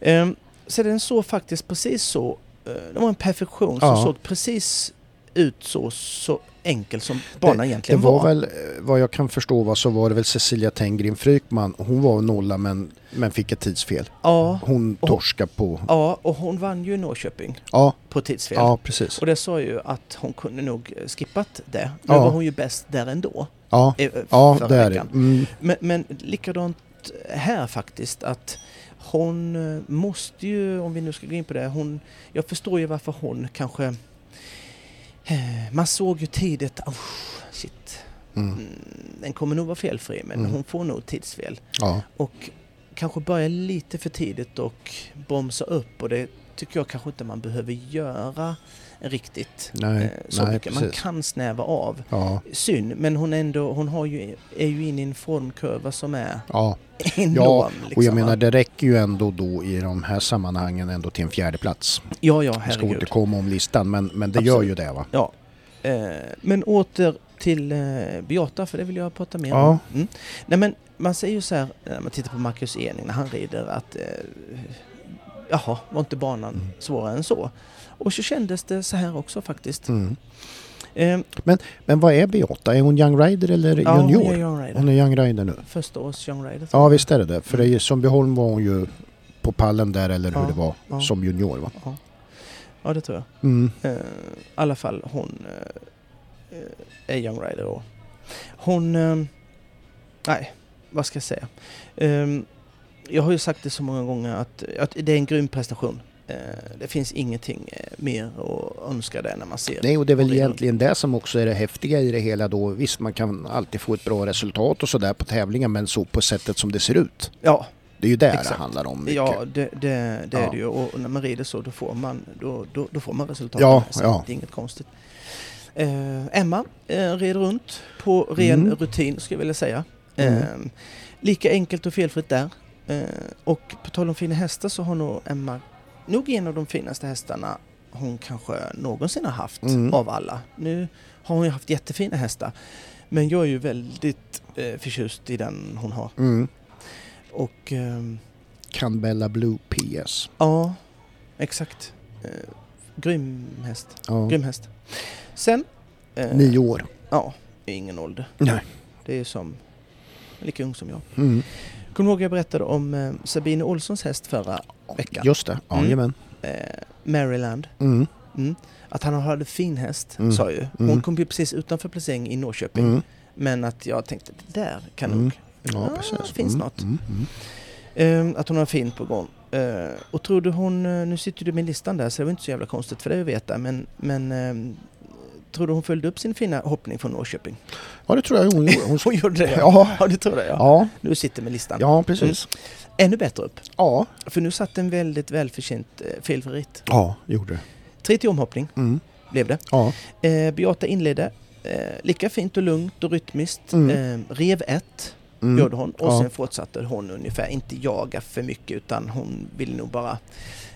Speaker 1: Ehm, så den såg faktiskt precis så, eh, det var en perfektion som
Speaker 2: Ja.
Speaker 1: såg precis ut så, så enkel som banan
Speaker 2: Det
Speaker 1: egentligen
Speaker 2: var väl, eh, vad jag kan förstå var så var det väl Cecilia Tengren Frykman. Hon var nolla men, men fick ett tidsfel.
Speaker 1: Ja,
Speaker 2: Hon
Speaker 1: Och-
Speaker 2: torska på...
Speaker 1: ja, och hon vann ju i Norrköping
Speaker 2: Ja,
Speaker 1: på tidsfel.
Speaker 2: ja precis.
Speaker 1: Och det sa ju att hon kunde nog eh, skippat det. Nu
Speaker 2: Ja.
Speaker 1: var hon ju bäst där ändå.
Speaker 2: Ja,
Speaker 1: eh, eh,
Speaker 2: ja
Speaker 1: förra
Speaker 2: det är det.
Speaker 1: veckan.
Speaker 2: Mm.
Speaker 1: Men, men likadant här faktiskt att hon eh, måste ju, om vi nu ska gå in på det, hon, jag förstår ju varför hon kanske... eh, Man såg ju tidigt, oh, shit,
Speaker 2: Mm.
Speaker 1: Mm, den kommer nog vara felfri, men
Speaker 2: Mm.
Speaker 1: hon får nog tidsfel.
Speaker 2: Ja.
Speaker 1: Och kanske börja lite för tidigt och bromsa upp och det tycker jag kanske inte man behöver göra riktigt.
Speaker 2: Nej,
Speaker 1: eh, så
Speaker 2: nej,
Speaker 1: mycket. Man
Speaker 2: precis.
Speaker 1: kan snäva av.
Speaker 2: Ja.
Speaker 1: Synd, men hon, ändå, hon har ju, är ju inne i en formkurva som är
Speaker 2: Ja,
Speaker 1: enorm.
Speaker 2: Ja, och jag
Speaker 1: liksom, va?
Speaker 2: menar det räcker ju ändå då i de här sammanhangen ändå till en fjärde plats.
Speaker 1: ja, ja,
Speaker 2: Jag ska
Speaker 1: herregud.
Speaker 2: återkomma om listan men, men det gör ju det va?
Speaker 1: Eh, men åter till eh, Beata, för det vill jag prata mer
Speaker 2: Ja.
Speaker 1: om. Mm. Nej, men man säger ju så här, när man tittar på Marcus Ening när han rider, att eh, jaha, var inte banan
Speaker 2: Mm.
Speaker 1: svårare än så? Och så kändes det så här också faktiskt.
Speaker 2: Mm.
Speaker 1: Eh,
Speaker 2: Men vad är Beata? Är hon Young Rider eller
Speaker 1: ja, hon
Speaker 2: junior?
Speaker 1: är Young Rider.
Speaker 2: Hon är Young Rider nu.
Speaker 1: Första års Young Rider. tror
Speaker 2: Ja
Speaker 1: jag.
Speaker 2: visst är det det. För det är, ju- som Beholm var hon ju på pallen där eller hur
Speaker 1: Ja,
Speaker 2: det var
Speaker 1: ja.
Speaker 2: som junior va?
Speaker 1: Ja, det tror jag.
Speaker 2: Mm.
Speaker 1: Eh, I alla fall hon eh, eh, är Young Rider och hon... Eh, nej, vad ska jag säga? Ehm, jag har ju sagt det så många gånger att, att det är en grym prestation. Eh, det finns ingenting eh, mer att önska där när man ser
Speaker 2: Nej och det är väl
Speaker 1: Hon är-
Speaker 2: egentligen det som också är det häftiga i det hela då. Visst man kan alltid få ett bra resultat och sådär på tävlingar men så på sättet som det ser ut.
Speaker 1: Ja,
Speaker 2: Det är ju där det
Speaker 1: Exakt.
Speaker 2: handlar om mycket.
Speaker 1: ja det, det, det
Speaker 2: Ja.
Speaker 1: är det ju. Och när man rider så då får man, då, då, då får man resultat.
Speaker 2: Ja,
Speaker 1: Så
Speaker 2: ja.
Speaker 1: Det är inget konstigt. Eh, Emma eh, red runt på ren
Speaker 2: Mm.
Speaker 1: rutin skulle jag vilja säga.
Speaker 2: Mm.
Speaker 1: Eh, lika enkelt och felfritt där. Eh, och på tal om fina hästar så har nog Emma nog en av de finaste hästarna hon kanske någonsin har haft
Speaker 2: Mm.
Speaker 1: av alla. Nu har hon ju haft jättefina hästar. Men jag är ju väldigt eh, förtjust i den hon har.
Speaker 2: Mm.
Speaker 1: Och ehm,
Speaker 2: Canbella Blue PS.
Speaker 1: Ja, exakt. Eh, grym häst.
Speaker 2: Ja.
Speaker 1: Grym häst. Sen... Eh,
Speaker 2: Mm. Nio år.
Speaker 1: Ja, det är ingen ålder.
Speaker 2: Nej.
Speaker 1: Det är som... Lika ung som jag.
Speaker 2: Mm.
Speaker 1: Kommer du ihåg jag berättade om eh, Sabine Olssons häst förra veckan?
Speaker 2: Just det,
Speaker 1: Mm.
Speaker 2: jajamän.
Speaker 1: Eh, Maryland.
Speaker 2: Mm.
Speaker 1: Mm. Att han hade fin häst,
Speaker 2: Mm.
Speaker 1: sa jag ju. Hon
Speaker 2: Mm.
Speaker 1: kom ju precis utanför placering i Norrköping.
Speaker 2: Mm.
Speaker 1: Men att jag tänkte, det där kan
Speaker 2: Mm.
Speaker 1: nog...
Speaker 2: Ja,
Speaker 1: Ah,
Speaker 2: precis.
Speaker 1: finns
Speaker 2: mm.
Speaker 1: något.
Speaker 2: Mm. Mm.
Speaker 1: Eh, att hon har fint på gång. Eh, och tror du hon, eh, nu sitter du med listan där så det var inte så jävla konstigt för dig att veta, men, men eh, tror du hon följde upp sin fina hoppning från Norrköping?
Speaker 2: Ja, det tror jag hon gjorde. Hon...
Speaker 1: Hon gjorde det?
Speaker 2: Ja.
Speaker 1: ja det tror jag. Ja.
Speaker 2: Ja,
Speaker 1: Nu sitter med listan.
Speaker 2: ja, precis.
Speaker 1: Ännu bättre upp,
Speaker 2: Ja,
Speaker 1: för nu satt en väldigt välförtjänt eh, felfritt.
Speaker 2: ja, gjorde det.
Speaker 1: Tre till omhoppning
Speaker 2: Mm.
Speaker 1: blev det.
Speaker 2: Ja,
Speaker 1: Eh, Beata inledde, eh, lika fint och lugnt och rytmiskt.
Speaker 2: Mm.
Speaker 1: Eh, rev ett,
Speaker 2: mm.
Speaker 1: gjorde hon, och
Speaker 2: Ja.
Speaker 1: sen fortsatte hon ungefär, inte jaga för mycket utan hon ville nog bara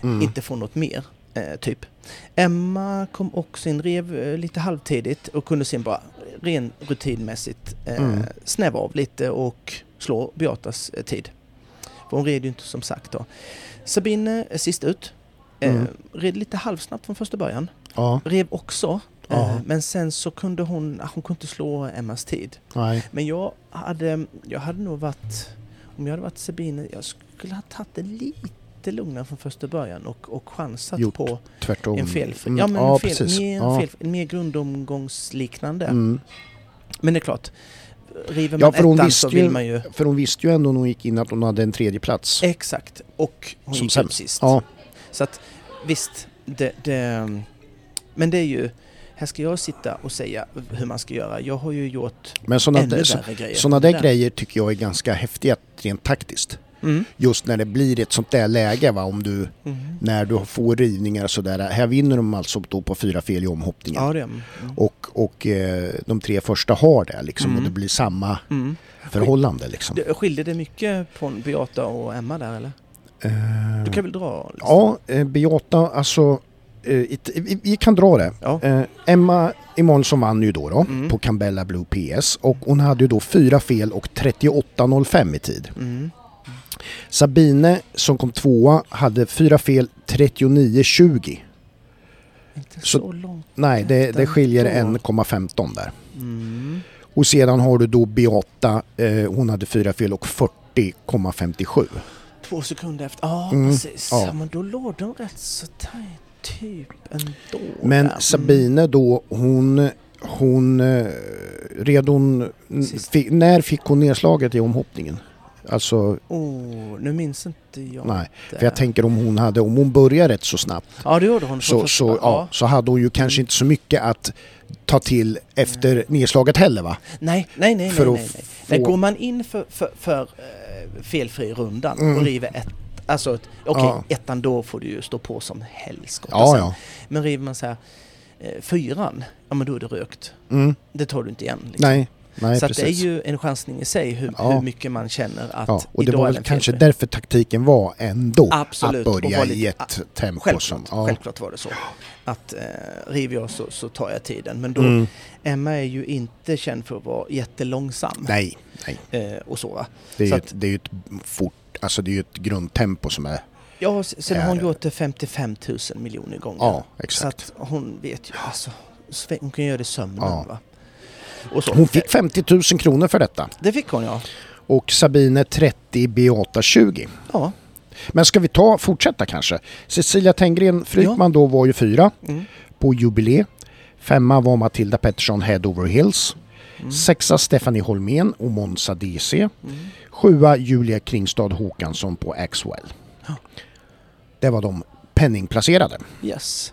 Speaker 2: Mm.
Speaker 1: inte få något mer. Eh, typ. Emma kom också in, rev eh, lite halvtidigt och kunde sen bara ren rutinmässigt eh,
Speaker 2: Mm.
Speaker 1: snäva av lite och slå Beatas eh, tid. För hon red ju inte som sagt då. Sabine är sist ut. Eh,
Speaker 2: Mm.
Speaker 1: Red lite halvsnabbt från första början.
Speaker 2: Ja,
Speaker 1: Rev också. Eh,
Speaker 2: Ja.
Speaker 1: men sen så kunde hon, ah, hon kunde inte slå Emmas tid.
Speaker 2: nej.
Speaker 1: Men jag hade, jag hade nog varit, om jag hade varit Sabine, jag skulle ha tagit det lite lugnare från första början och, och chansat
Speaker 2: Gjort
Speaker 1: på
Speaker 2: Tvärtom.
Speaker 1: en felfri,
Speaker 2: Mm.
Speaker 1: ja men
Speaker 2: ja,
Speaker 1: en fel,
Speaker 2: precis.
Speaker 1: mer,
Speaker 2: ja.
Speaker 1: fel, en mer grundomgångsliknande.
Speaker 2: Mm.
Speaker 1: Men det är klart, river
Speaker 2: Ja,
Speaker 1: man
Speaker 2: för hon
Speaker 1: ettan
Speaker 2: visste
Speaker 1: så vill
Speaker 2: ju-
Speaker 1: man ju,
Speaker 2: För hon visste ju ändå när hon gick in att hon hade en tredje plats.
Speaker 1: exakt, och hon
Speaker 2: Som
Speaker 1: gick upp
Speaker 2: sämst.
Speaker 1: sist.
Speaker 2: Ja,
Speaker 1: Så att visst, det, det, men det är ju, här ska jag sitta och säga hur man ska göra. Jag har ju gjort
Speaker 2: men sådana
Speaker 1: ännu
Speaker 2: där, så,
Speaker 1: värre grejer.
Speaker 2: såna där
Speaker 1: Där.
Speaker 2: grejer tycker jag är ganska häftiga rent taktiskt.
Speaker 1: Mm.
Speaker 2: Just när det blir ett sånt där läge va, om du,
Speaker 1: Mhm.
Speaker 2: när du får rivningar och sådär. Här vinner de alltså då på fyra fel i omhoppningen.
Speaker 1: Ja, det är... Mm.
Speaker 2: Och, och eh, de tre första har det liksom
Speaker 1: Mm.
Speaker 2: och det blir samma
Speaker 1: Mm.
Speaker 2: förhållande liksom.
Speaker 1: Det- Skilde det mycket på Beata och Emma där eller?
Speaker 2: Eh,
Speaker 1: Du kan väl dra? liksom?
Speaker 2: Ja, eh, Beata alltså, eh, it- vi, vi kan dra det.
Speaker 1: Ja.
Speaker 2: Eh, Emma Emanuelsson vann ju då, då
Speaker 1: Mm.
Speaker 2: på Cambella Blue PS och hon hade ju då fyra fel och 38.05 i tid.
Speaker 1: Mm.
Speaker 2: Sabine som kom tvåa hade fyra fel 39.20.
Speaker 1: Inte så,
Speaker 2: Så-
Speaker 1: långt.
Speaker 2: Nej, det, det skiljer
Speaker 1: Tretton.
Speaker 2: 1,15 där.
Speaker 1: Mm.
Speaker 2: Och sedan har du då Beata, eh, hon hade fyra fel och 40,57.
Speaker 1: Två sekunder efter. Ja,
Speaker 2: Mm,
Speaker 1: precis.
Speaker 2: ja.
Speaker 1: Ja. Men då låg de rätt så tajt. Typ ändå.
Speaker 2: Men
Speaker 1: där. Mm.
Speaker 2: Sabine då, hon, hon eh, red hon,
Speaker 1: Sist.
Speaker 2: fi, när fick hon nedslaget i omhoppningen? Alltså,
Speaker 1: Oh, nu minns inte jag
Speaker 2: nej.
Speaker 1: det.
Speaker 2: För jag tänker om hon hade, om hon börjar rätt så snabbt
Speaker 1: Ja, det gjorde hon.
Speaker 2: så,
Speaker 1: Först-
Speaker 2: så, ja, så hade hon ju kanske
Speaker 1: Mm.
Speaker 2: inte så mycket att ta till efter nedslaget heller va?
Speaker 1: Nej, nej, nej.
Speaker 2: För
Speaker 1: nej,
Speaker 2: att
Speaker 1: nej, nej. nej
Speaker 2: få-
Speaker 1: går man in för, för, för eh, felfri rundan
Speaker 2: Mm.
Speaker 1: och river ett Alltså, ett- okej,
Speaker 2: Ja.
Speaker 1: ettan då får du ju stå på som helskotta
Speaker 2: Ja,
Speaker 1: sen.
Speaker 2: ja.
Speaker 1: Men river man så här, eh, fyran, ja men då är det rökt.
Speaker 2: Mm.
Speaker 1: Det tar du inte igen. Liksom.
Speaker 2: Nej, nej
Speaker 1: så att
Speaker 2: precis.
Speaker 1: det är ju en chansning i sig hur,
Speaker 2: Ja.
Speaker 1: hur mycket man känner att
Speaker 2: ja, och det
Speaker 1: idag
Speaker 2: var
Speaker 1: är
Speaker 2: väl
Speaker 1: den
Speaker 2: kanske
Speaker 1: felfri.
Speaker 2: därför taktiken var ändå
Speaker 1: Absolut,
Speaker 2: att
Speaker 1: och
Speaker 2: börja
Speaker 1: var lite-
Speaker 2: i ett tempo som...
Speaker 1: Självklart,
Speaker 2: Ja.
Speaker 1: självklart var det så. Att eh, river jag så, så tar jag tiden. Men då,
Speaker 2: Mm.
Speaker 1: Emma är ju inte känd för att vara jättelångsam.
Speaker 2: Nej, nej.
Speaker 1: Eh, och så va.
Speaker 2: Det är,
Speaker 1: Så
Speaker 2: ju ett, det är ju ett fort, alltså det är ju ett grundtempo som är...
Speaker 1: Ja, s- sen har hon
Speaker 2: Är-
Speaker 1: gjort det 55 000 miljoner gånger.
Speaker 2: Ja,
Speaker 1: så
Speaker 2: exakt.
Speaker 1: att hon vet ju, alltså, sve- hon kan göra det i sömnen
Speaker 2: Ja.
Speaker 1: va. Och så.
Speaker 2: Hon fick 50 000 kronor för detta.
Speaker 1: Det fick hon ja.
Speaker 2: Och Sabine 30, Beata 20.
Speaker 1: Ja,
Speaker 2: Men ska vi ta, fortsätta kanske? Cecilia Tenggren Frykman då var ju fyra
Speaker 1: mm.
Speaker 2: på jubileet. Femma var Matilda Pettersson Head Over Hills. Sexa Stephanie Holmén och Monza DC.
Speaker 1: Mm.
Speaker 2: Sjua Julia Kringstad Håkansson på Axwell.
Speaker 1: Ja.
Speaker 2: Det var de penningplacerade.
Speaker 1: yes.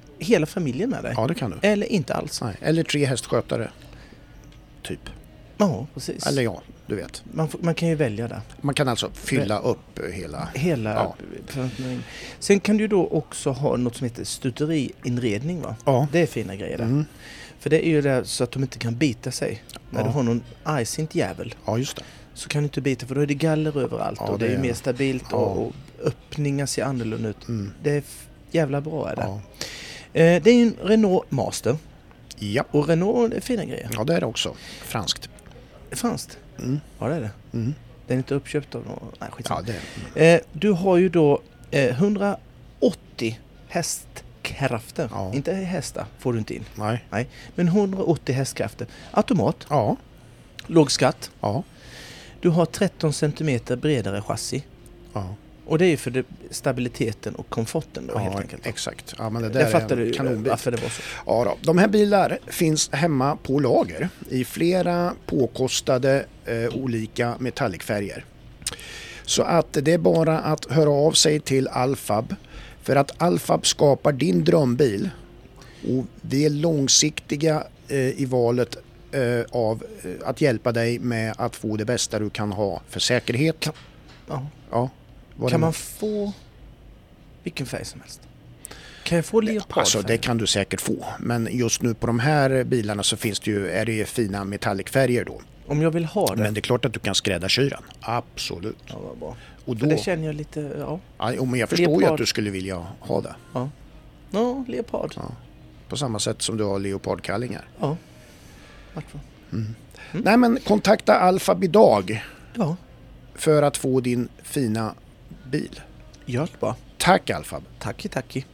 Speaker 1: hela familjen med dig.
Speaker 2: ja, det kan du.
Speaker 1: Eller inte alls.
Speaker 2: Nej. Eller tre hästskötare, typ.
Speaker 1: Ja, precis.
Speaker 2: Eller ja, du vet.
Speaker 1: Man, får, man kan ju välja där.
Speaker 2: Man kan alltså fylla upp eh, hela...
Speaker 1: Hela
Speaker 2: Ja.
Speaker 1: förvaltningen. Sen kan du ju då också ha något som heter stuteriinredning. Va?
Speaker 2: Ja.
Speaker 1: Det är fina grejer där.
Speaker 2: Mm.
Speaker 1: För det är ju där så att de inte kan bita sig. När
Speaker 2: Ja.
Speaker 1: du har någon argsint jävel
Speaker 2: ja, just det.
Speaker 1: så kan du inte bita för då är det galler överallt
Speaker 2: Ja,
Speaker 1: och det är
Speaker 2: det
Speaker 1: ju
Speaker 2: är-
Speaker 1: mer stabilt
Speaker 2: Ja.
Speaker 1: och, och öppningar ser annorlunda ut.
Speaker 2: Mm.
Speaker 1: Det är f- jävla bra är det.
Speaker 2: Ja.
Speaker 1: Eh, det är ju en Renault Master
Speaker 2: Ja.
Speaker 1: och Renault är fina grejer.
Speaker 2: ja, det är det också. Franskt.
Speaker 1: Franskt?
Speaker 2: Mm.
Speaker 1: Ja det är det.
Speaker 2: Mm.
Speaker 1: Den är inte uppköpt av någon. Nej, skitsamma.
Speaker 2: Ja, det är det.
Speaker 1: Eh, du har ju då eh, 180 hästkrafter.
Speaker 2: Ja.
Speaker 1: Inte hästar får du inte in.
Speaker 2: Nej.
Speaker 1: Nej, men 180 hästkrafter. Automat,
Speaker 2: Ja,
Speaker 1: låg skatt.
Speaker 2: ja,
Speaker 1: Du har 13 centimeter bredare chassi.
Speaker 2: ja.
Speaker 1: Och det är ju för det, stabiliteten och komforten då
Speaker 2: ja
Speaker 1: helt enkelt.
Speaker 2: Exakt. Ja, men det där
Speaker 1: Där
Speaker 2: är
Speaker 1: fattar
Speaker 2: en
Speaker 1: du ju
Speaker 2: kanonbit.
Speaker 1: varför det var så.
Speaker 2: Ja, då. De här bilar finns hemma på lager i flera påkostade eh, olika metallicfärger. Så att det är bara att höra av sig till Alfab för att Alfab skapar din drömbil och vi är långsiktiga eh, i valet eh, av eh, att hjälpa dig med att få det bästa du kan ha för säkerhet.
Speaker 1: Ja.
Speaker 2: ja, vad
Speaker 1: Kan
Speaker 2: det-
Speaker 1: man få vilken färg som helst? Kan jag få leopardfärg?
Speaker 2: Alltså det kan du säkert få, men just nu på de här bilarna så finns det ju, är det ju fina metallicfärger då.
Speaker 1: Om jag vill ha det?
Speaker 2: Men det är klart att du kan skräddarsy den. Absolut.
Speaker 1: Ja, vad bra.
Speaker 2: Och då,
Speaker 1: För det känner jag lite, ja.
Speaker 2: ja, jo, men jag förstår ju
Speaker 1: Leopard.
Speaker 2: att du skulle vilja ha det.
Speaker 1: Ja, leopard.
Speaker 2: Ja. På samma sätt som du har leopardkallingar.
Speaker 1: Ja. Vart var-
Speaker 2: Nej men kontakta Alfab idag
Speaker 1: Ja,
Speaker 2: för att få din fina bil.
Speaker 1: gör det bara.
Speaker 2: Tack Alfab!
Speaker 1: Tacki, tacki.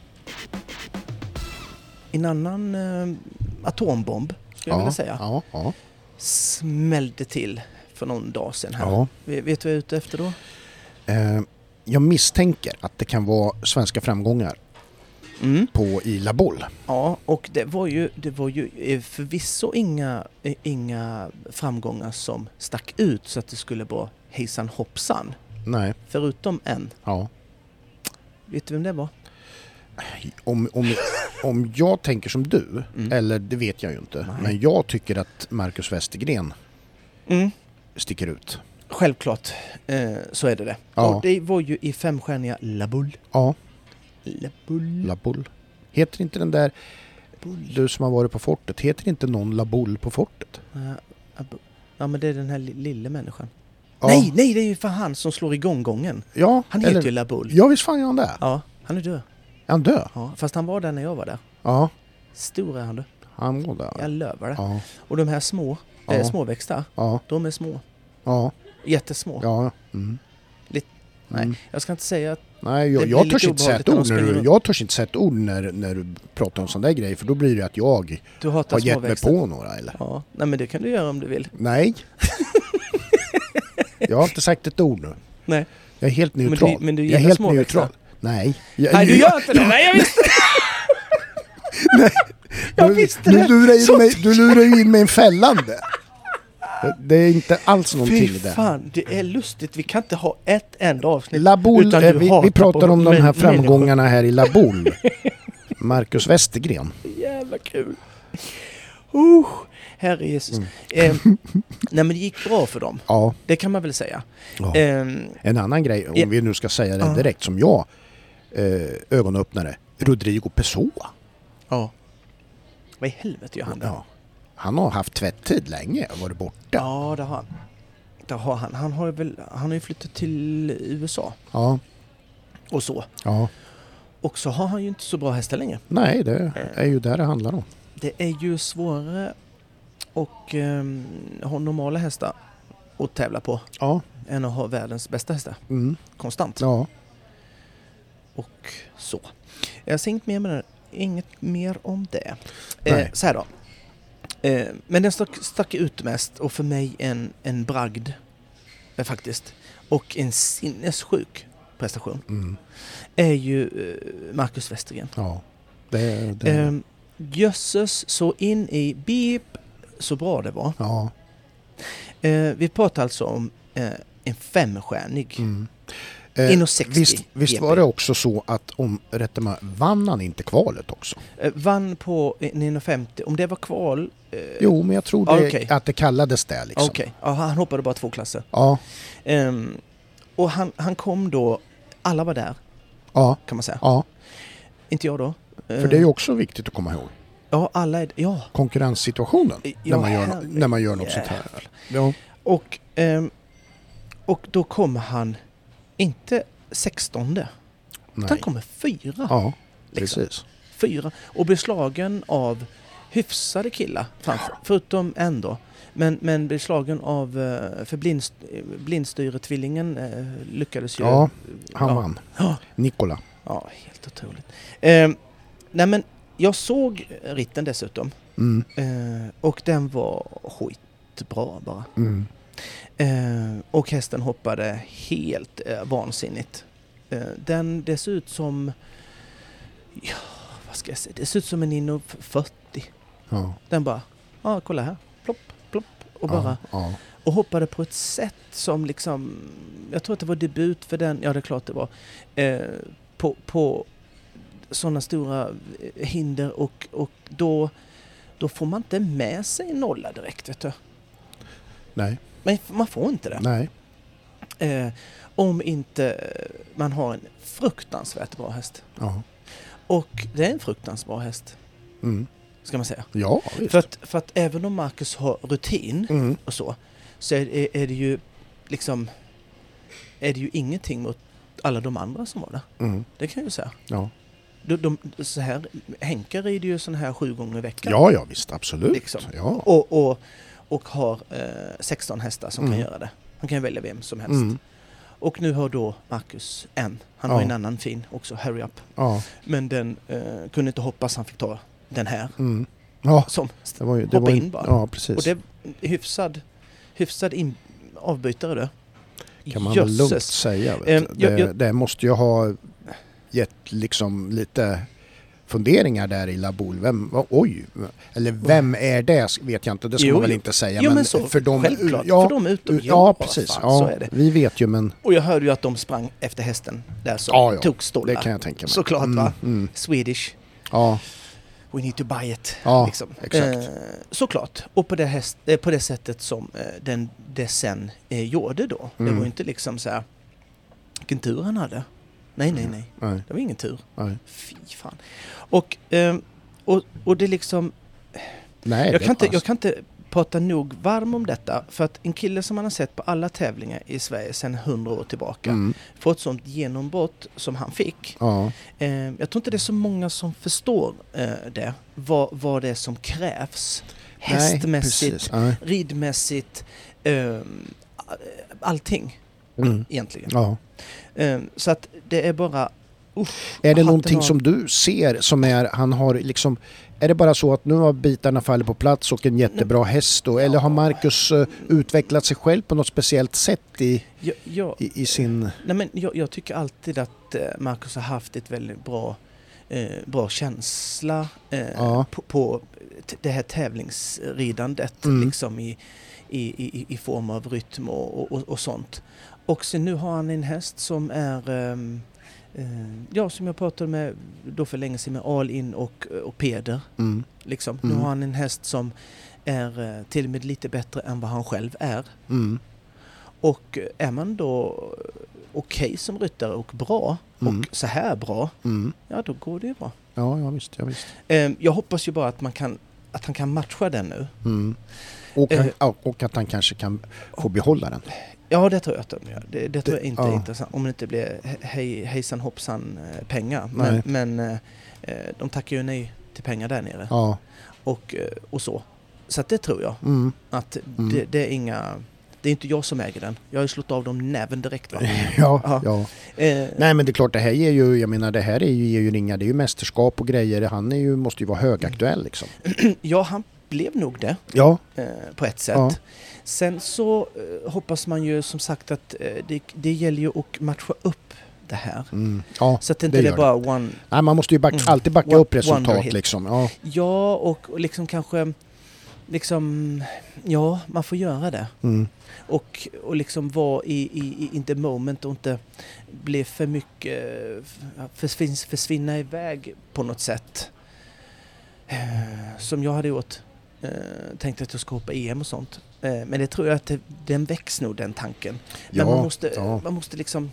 Speaker 1: En annan eh, atombomb, skulle jag vilja säga,
Speaker 2: Ja, ja.
Speaker 1: smällde till för någon dag sedan här.
Speaker 2: Ja.
Speaker 1: Ve- Vet du vad jag är ute efter då?
Speaker 2: Eh, jag misstänker att det kan vara svenska framgångar
Speaker 1: Mm.
Speaker 2: på Ila Boll.
Speaker 1: Ja, och det var ju, det var ju eh, förvisso inga, eh, inga framgångar som stack ut så att det skulle vara hejsan hoppsan.
Speaker 2: Nej,
Speaker 1: Förutom en.
Speaker 2: ja.
Speaker 1: Vet du vem det var?
Speaker 2: Om, om, om jag tänker som du,
Speaker 1: Mm.
Speaker 2: eller det vet jag ju inte,
Speaker 1: Nej.
Speaker 2: men jag tycker att Marcus Westergren
Speaker 1: Mm.
Speaker 2: sticker ut.
Speaker 1: Självklart eh, så är det det.
Speaker 2: Ja.
Speaker 1: Och det var ju i femstjärniga La Boule.
Speaker 2: Ja,
Speaker 1: La Boule.
Speaker 2: Laboul. Heter inte den där, du som har varit på fortet, heter inte någon Laboul på fortet?
Speaker 1: Eh, Ab- Ja men det är den här li- lilla människan.
Speaker 2: Ja.
Speaker 1: Nej, nej det är ju för han som slår igång gången.
Speaker 2: Ja,
Speaker 1: Han heter
Speaker 2: eller-
Speaker 1: ju La Boule.
Speaker 2: Ja, visst fan gör han det?
Speaker 1: Ja, han är död.
Speaker 2: Är han död?
Speaker 1: Ja, fast han var där när jag var där.
Speaker 2: Ja,
Speaker 1: Stor är han du.
Speaker 2: han var död.
Speaker 1: Jag lövar det.
Speaker 2: Ja,
Speaker 1: Och de här små,
Speaker 2: Ja.
Speaker 1: eh, småväxta,
Speaker 2: ja,
Speaker 1: de är små.
Speaker 2: ja,
Speaker 1: Jättesmå.
Speaker 2: ja. Mm.
Speaker 1: Nej, jag ska inte säga att...
Speaker 2: Nej, jag,
Speaker 1: Det blir
Speaker 2: jag
Speaker 1: lite
Speaker 2: törs inte säga ett ord
Speaker 1: obehagligt
Speaker 2: när
Speaker 1: när de
Speaker 2: du,
Speaker 1: springer-
Speaker 2: jag törs inte säga ett ord när, när du pratar om sån där grej för då blir det att jag
Speaker 1: Du hatar
Speaker 2: har gett mig
Speaker 1: småväxter.
Speaker 2: på några eller?
Speaker 1: Ja, nej men det kan du göra om du vill.
Speaker 2: Nej. jag har inte sagt ett ord nu.
Speaker 1: Nej.
Speaker 2: Jag är helt
Speaker 1: du-
Speaker 2: neutral.
Speaker 1: men du
Speaker 2: jag är
Speaker 1: gillar
Speaker 2: helt
Speaker 1: småväxter?
Speaker 2: neutral. Nej. Jag,
Speaker 1: Nej, du gör inte det! Nej, jag visste jag visste
Speaker 2: du,
Speaker 1: det.
Speaker 2: du, lurar ju
Speaker 1: Så
Speaker 2: mig, du lurar ju in mig i en fällande. Det är inte alls någonting i
Speaker 1: Fy
Speaker 2: det.
Speaker 1: fan, det är lustigt. Vi kan inte ha ett enda avsnitt
Speaker 2: Labol,
Speaker 1: utan
Speaker 2: eh,
Speaker 1: du
Speaker 2: vi,
Speaker 1: hatar
Speaker 2: vi pratar
Speaker 1: på
Speaker 2: om de här
Speaker 1: män- människor.
Speaker 2: framgångarna här i Labol. Marcus Westergren.
Speaker 1: Jävla kul. Uh, herre Jesus.
Speaker 2: Mm.
Speaker 1: Eh, nej men det gick bra för dem.
Speaker 2: Ja,
Speaker 1: Det kan man väl säga.
Speaker 2: ja.
Speaker 1: Ehm,
Speaker 2: En annan grej, om
Speaker 1: Ja.
Speaker 2: vi nu ska säga det
Speaker 1: Ja.
Speaker 2: direkt, som jag eh, ögonöppnare. Rodrigo Pessoa.
Speaker 1: ja. Vad i helvete gör han där?
Speaker 2: Ja. Han har haft tvättid länge och varit borta.
Speaker 1: Ja, det har han. Det har han. Han har, väl, han har ju flyttat till USA
Speaker 2: Ja.
Speaker 1: och så.
Speaker 2: ja.
Speaker 1: Och så har han ju inte så bra hästar längre.
Speaker 2: Nej, det är ju där det handlar om.
Speaker 1: Det är ju svårare att ehm, ha normala hästar att tävla på
Speaker 2: Ja.
Speaker 1: än att ha världens bästa hästar
Speaker 2: Mm.
Speaker 1: konstant.
Speaker 2: Ja.
Speaker 1: Och så. Jag ser inget mer, med det. inget mer om det. Eh,
Speaker 2: Nej.
Speaker 1: så här då. Eh, men den stack, stack ut mest och för mig en, en bragd eh, faktiskt. Och en sinnessjuk prestation
Speaker 2: Mm.
Speaker 1: är ju eh, Marcus Westergren.
Speaker 2: Ja. Det, det,
Speaker 1: Ehm, Jösses så in i beep så bra det var.
Speaker 2: ja.
Speaker 1: Eh, vi pratar alltså om eh, en femstjärnig.
Speaker 2: Mm.
Speaker 1: In
Speaker 2: Eh,
Speaker 1: och 60
Speaker 2: visst visst
Speaker 1: GP.
Speaker 2: var det också så att om rätta mig, vann han inte kvalet också?
Speaker 1: Eh, vann på en 950, om det var kval... Eh,
Speaker 2: Jo, men jag tror
Speaker 1: Ja,
Speaker 2: det,
Speaker 1: okej.
Speaker 2: att det kallades det liksom.
Speaker 1: Okej, ja, han hoppade bara två klasser.
Speaker 2: Ja,
Speaker 1: Ehm, och han, han kom då, alla var där
Speaker 2: ja,
Speaker 1: kan man säga.
Speaker 2: ja.
Speaker 1: Inte jag då. Ehm,
Speaker 2: För det
Speaker 1: Eh.
Speaker 2: är ju också viktigt att komma ihåg.
Speaker 1: Ja, alla är... Ja.
Speaker 2: Konkurrenssituationen
Speaker 1: Ja,
Speaker 2: när, man gör,
Speaker 1: herregud.
Speaker 2: när man gör något sånt här. Ja.
Speaker 1: Och, ehm, och då kommer han inte 16 utan
Speaker 2: Nej.
Speaker 1: kommer fyra.
Speaker 2: Ja,
Speaker 1: liksom.
Speaker 2: precis.
Speaker 1: fyra. Och blir slagen av hyfsade killar, framför, förutom en då. Men, men blir slagen av, eh, för blindst, eh, blindstyretvillingen eh, lyckades ju.
Speaker 2: Ja, han
Speaker 1: Ja.
Speaker 2: vann.
Speaker 1: Ja.
Speaker 2: Nikola.
Speaker 1: Ja, helt otroligt. Eh, nej men, jag såg ritten dessutom.
Speaker 2: Mm,
Speaker 1: Eh, och den var skitbra bara.
Speaker 2: mm.
Speaker 1: Eh, och hästen hoppade helt eh, vansinnigt. Eh, den, det ser ut som... Ja, vad ska jag säga? Det ser ut som en Inno 40.
Speaker 2: Ja,
Speaker 1: Den bara, ja ah, kolla här, plopp, plopp och bara
Speaker 2: Ja,
Speaker 1: och hoppade på ett sätt som liksom, jag tror att det var debut för den, ja det är klart det var, eh, på, på sådana stora eh, hinder och, och då, då får man inte med sig en nolla direkt vet du.
Speaker 2: nej,
Speaker 1: Men man får inte det.
Speaker 2: nej.
Speaker 1: Eh, om inte eh, man har en fruktansvärt bra häst.
Speaker 2: Ja,
Speaker 1: Och det är en fruktansvärt bra häst,
Speaker 2: mm.
Speaker 1: ska man säga.
Speaker 2: ja visst.
Speaker 1: För att, för att även om Marcus har rutin
Speaker 2: Mm.
Speaker 1: och så, så är, är, är det ju liksom är det ju ingenting mot alla de andra som var där.
Speaker 2: Mm.
Speaker 1: Det kan jag ju säga.
Speaker 2: Ja.
Speaker 1: De, de, så här, Henke rider ju sån här sju gånger i veckan.
Speaker 2: ja, ja, visst, absolut.
Speaker 1: Liksom.
Speaker 2: Ja.
Speaker 1: Och, och, och har eh, 16 hästar som
Speaker 2: Mm.
Speaker 1: kan göra det. Han kan välja vem som helst.
Speaker 2: Mm.
Speaker 1: Och nu har då Marcus en. Han
Speaker 2: Ja.
Speaker 1: har en annan fin också, Hurry Up.
Speaker 2: Ja.
Speaker 1: Men den eh, kunde inte hoppas han fick ta den här.
Speaker 2: Mm. ja,
Speaker 1: Som,
Speaker 2: det var ju... Det
Speaker 1: Hoppa
Speaker 2: var ju,
Speaker 1: in bara.
Speaker 2: Ja, precis.
Speaker 1: och det är hyfsad, hyfsad in, avbytare du.
Speaker 2: kan man väl lugnt
Speaker 1: Jösses.
Speaker 2: säga. Vet
Speaker 1: Ehm,
Speaker 2: du.
Speaker 1: jag-
Speaker 2: det,
Speaker 1: jag-
Speaker 2: det måste ju ha gett liksom lite funderingar där i Laboul. Vem, vad, oj, eller vem är det vet jag inte, det ska
Speaker 1: Jo,
Speaker 2: man väl
Speaker 1: jo.
Speaker 2: inte säga.
Speaker 1: Jo men så,
Speaker 2: för de,
Speaker 1: självklart.
Speaker 2: Ja,
Speaker 1: för de är utom
Speaker 2: ja, precis.
Speaker 1: Fan,
Speaker 2: ja,
Speaker 1: Så är det.
Speaker 2: Vi vet ju men
Speaker 1: Och jag hörde ju att de sprang efter hästen där som
Speaker 2: Ja, ja.
Speaker 1: tog
Speaker 2: det
Speaker 1: stollar.
Speaker 2: kan jag tänka mig.
Speaker 1: Såklart,
Speaker 2: mm,
Speaker 1: va?
Speaker 2: Mm,
Speaker 1: Swedish,
Speaker 2: ja,
Speaker 1: we need to buy it.
Speaker 2: Ja, exakt.
Speaker 1: Eh, såklart. Och på det, häst, eh, på det sättet som eh, den, det sen eh, gjorde då.
Speaker 2: Mm.
Speaker 1: Det var ju inte liksom så här, vilken tur han hade. Nej,
Speaker 2: Mm.
Speaker 1: nej, nej.
Speaker 2: nej,
Speaker 1: Det var ingen tur.
Speaker 2: nej.
Speaker 1: Fy fan. Och, ehm, och, och det liksom,
Speaker 2: nej
Speaker 1: jag
Speaker 2: det
Speaker 1: kan, inte,
Speaker 2: fanns-
Speaker 1: jag kan inte prata nog varm om detta. För att en kille som man har sett på alla tävlingar i Sverige sedan 100 år tillbaka.
Speaker 2: mm,
Speaker 1: få ett sånt genombrott som han fick.
Speaker 2: ja,
Speaker 1: Eh, jag tror inte det är så många som förstår eh, det, vad, vad det är som krävs.
Speaker 2: nej,
Speaker 1: Hästmässigt,
Speaker 2: precis, nej,
Speaker 1: ridmässigt, eh, allting.
Speaker 2: Mm.
Speaker 1: egentligen.
Speaker 2: Ja.
Speaker 1: Eh, Så att det är bara... Uff,
Speaker 2: Är det
Speaker 1: hatten
Speaker 2: någonting
Speaker 1: av.
Speaker 2: som du ser som är, han har liksom, är det bara så att nu har bitarna fallit på plats och en jättebra häst då? Eller har Marcus eh, utvecklat sig själv på något speciellt sätt i,
Speaker 1: Mm, Jag, jag,
Speaker 2: i, i sin...
Speaker 1: nej men jag, jag tycker alltid att eh, Marcus har haft ett väldigt bra, eh, bra känsla eh,
Speaker 2: Ja.
Speaker 1: på, på t- det här tävlingsridandet
Speaker 2: Mm.
Speaker 1: liksom i, i, i, i form av rytm och, och- och, och sånt. Och sen nu har han en häst som är ehm, eh, Ja, som jag pratade med då för länge sedan med Al-In och, och Peder.
Speaker 2: Mm.
Speaker 1: Liksom. Nu
Speaker 2: Mm.
Speaker 1: har han en häst som är eh, till och med lite bättre än vad han själv är.
Speaker 2: Mm.
Speaker 1: Och är man då okej som ryttare och bra
Speaker 2: Mm.
Speaker 1: och så här bra,
Speaker 2: Mm.
Speaker 1: ja då går det ju bra.
Speaker 2: Ja, ja visst. Ja, visst.
Speaker 1: Eh, Jag hoppas ju bara att, man kan, att han kan matcha den nu.
Speaker 2: Mm. Och,
Speaker 1: Eh.
Speaker 2: ja, och att han kanske kan få behålla den.
Speaker 1: Ja, det tror jag att de gör. Det, det tror
Speaker 2: Det-
Speaker 1: jag inte
Speaker 2: ja.
Speaker 1: är intressant. Om det inte blir he- hej, hejsan hoppsan eh, pengar.
Speaker 2: Nej.
Speaker 1: Men, men eh, eh, de tackar ju nej till pengar där nere.
Speaker 2: Ja.
Speaker 1: Och, eh, och så. Så att det tror jag.
Speaker 2: Mm.
Speaker 1: Att
Speaker 2: Mm.
Speaker 1: det, det är inga... Det är inte jag som äger den. Jag har ju slått av dem näven direkt. Va?
Speaker 2: Ja,
Speaker 1: Ja.
Speaker 2: ja.
Speaker 1: Eh,
Speaker 2: Nej men det är klart det här ger ju, jag menar det här är ju, ger ju ringar, det är ju mästerskap och grejer. Han är ju, måste ju vara
Speaker 1: Mm.
Speaker 2: högaktuell liksom.
Speaker 1: ja, han blev nog det.
Speaker 2: Ja.
Speaker 1: eh, på ett sätt.
Speaker 2: Ja.
Speaker 1: Sen så eh, hoppas man ju som sagt att eh, det, det gäller ju att matcha upp det här.
Speaker 2: Mm. Ja.
Speaker 1: Så att det inte
Speaker 2: det
Speaker 1: det är
Speaker 2: gör
Speaker 1: bara one...
Speaker 2: Nej, man måste ju back,
Speaker 1: Mm.
Speaker 2: alltid backa
Speaker 1: Wo-
Speaker 2: upp resultat
Speaker 1: wonderhit.
Speaker 2: liksom. Ja.
Speaker 1: Ja, och, och liksom kanske... Liksom, ja, man får göra det.
Speaker 2: Mm.
Speaker 1: Och, och liksom vara i, i, i in the moment och inte bli för mycket... eh, f- Försvinna, försvinna iväg på något sätt. Eh, Som jag hade gjort. Eh, tänkte att jag ska hoppa EM och sånt. Eh, men det tror jag att det, den väcks nog den tanken.
Speaker 2: Ja,
Speaker 1: men man måste,
Speaker 2: ja.
Speaker 1: man måste liksom...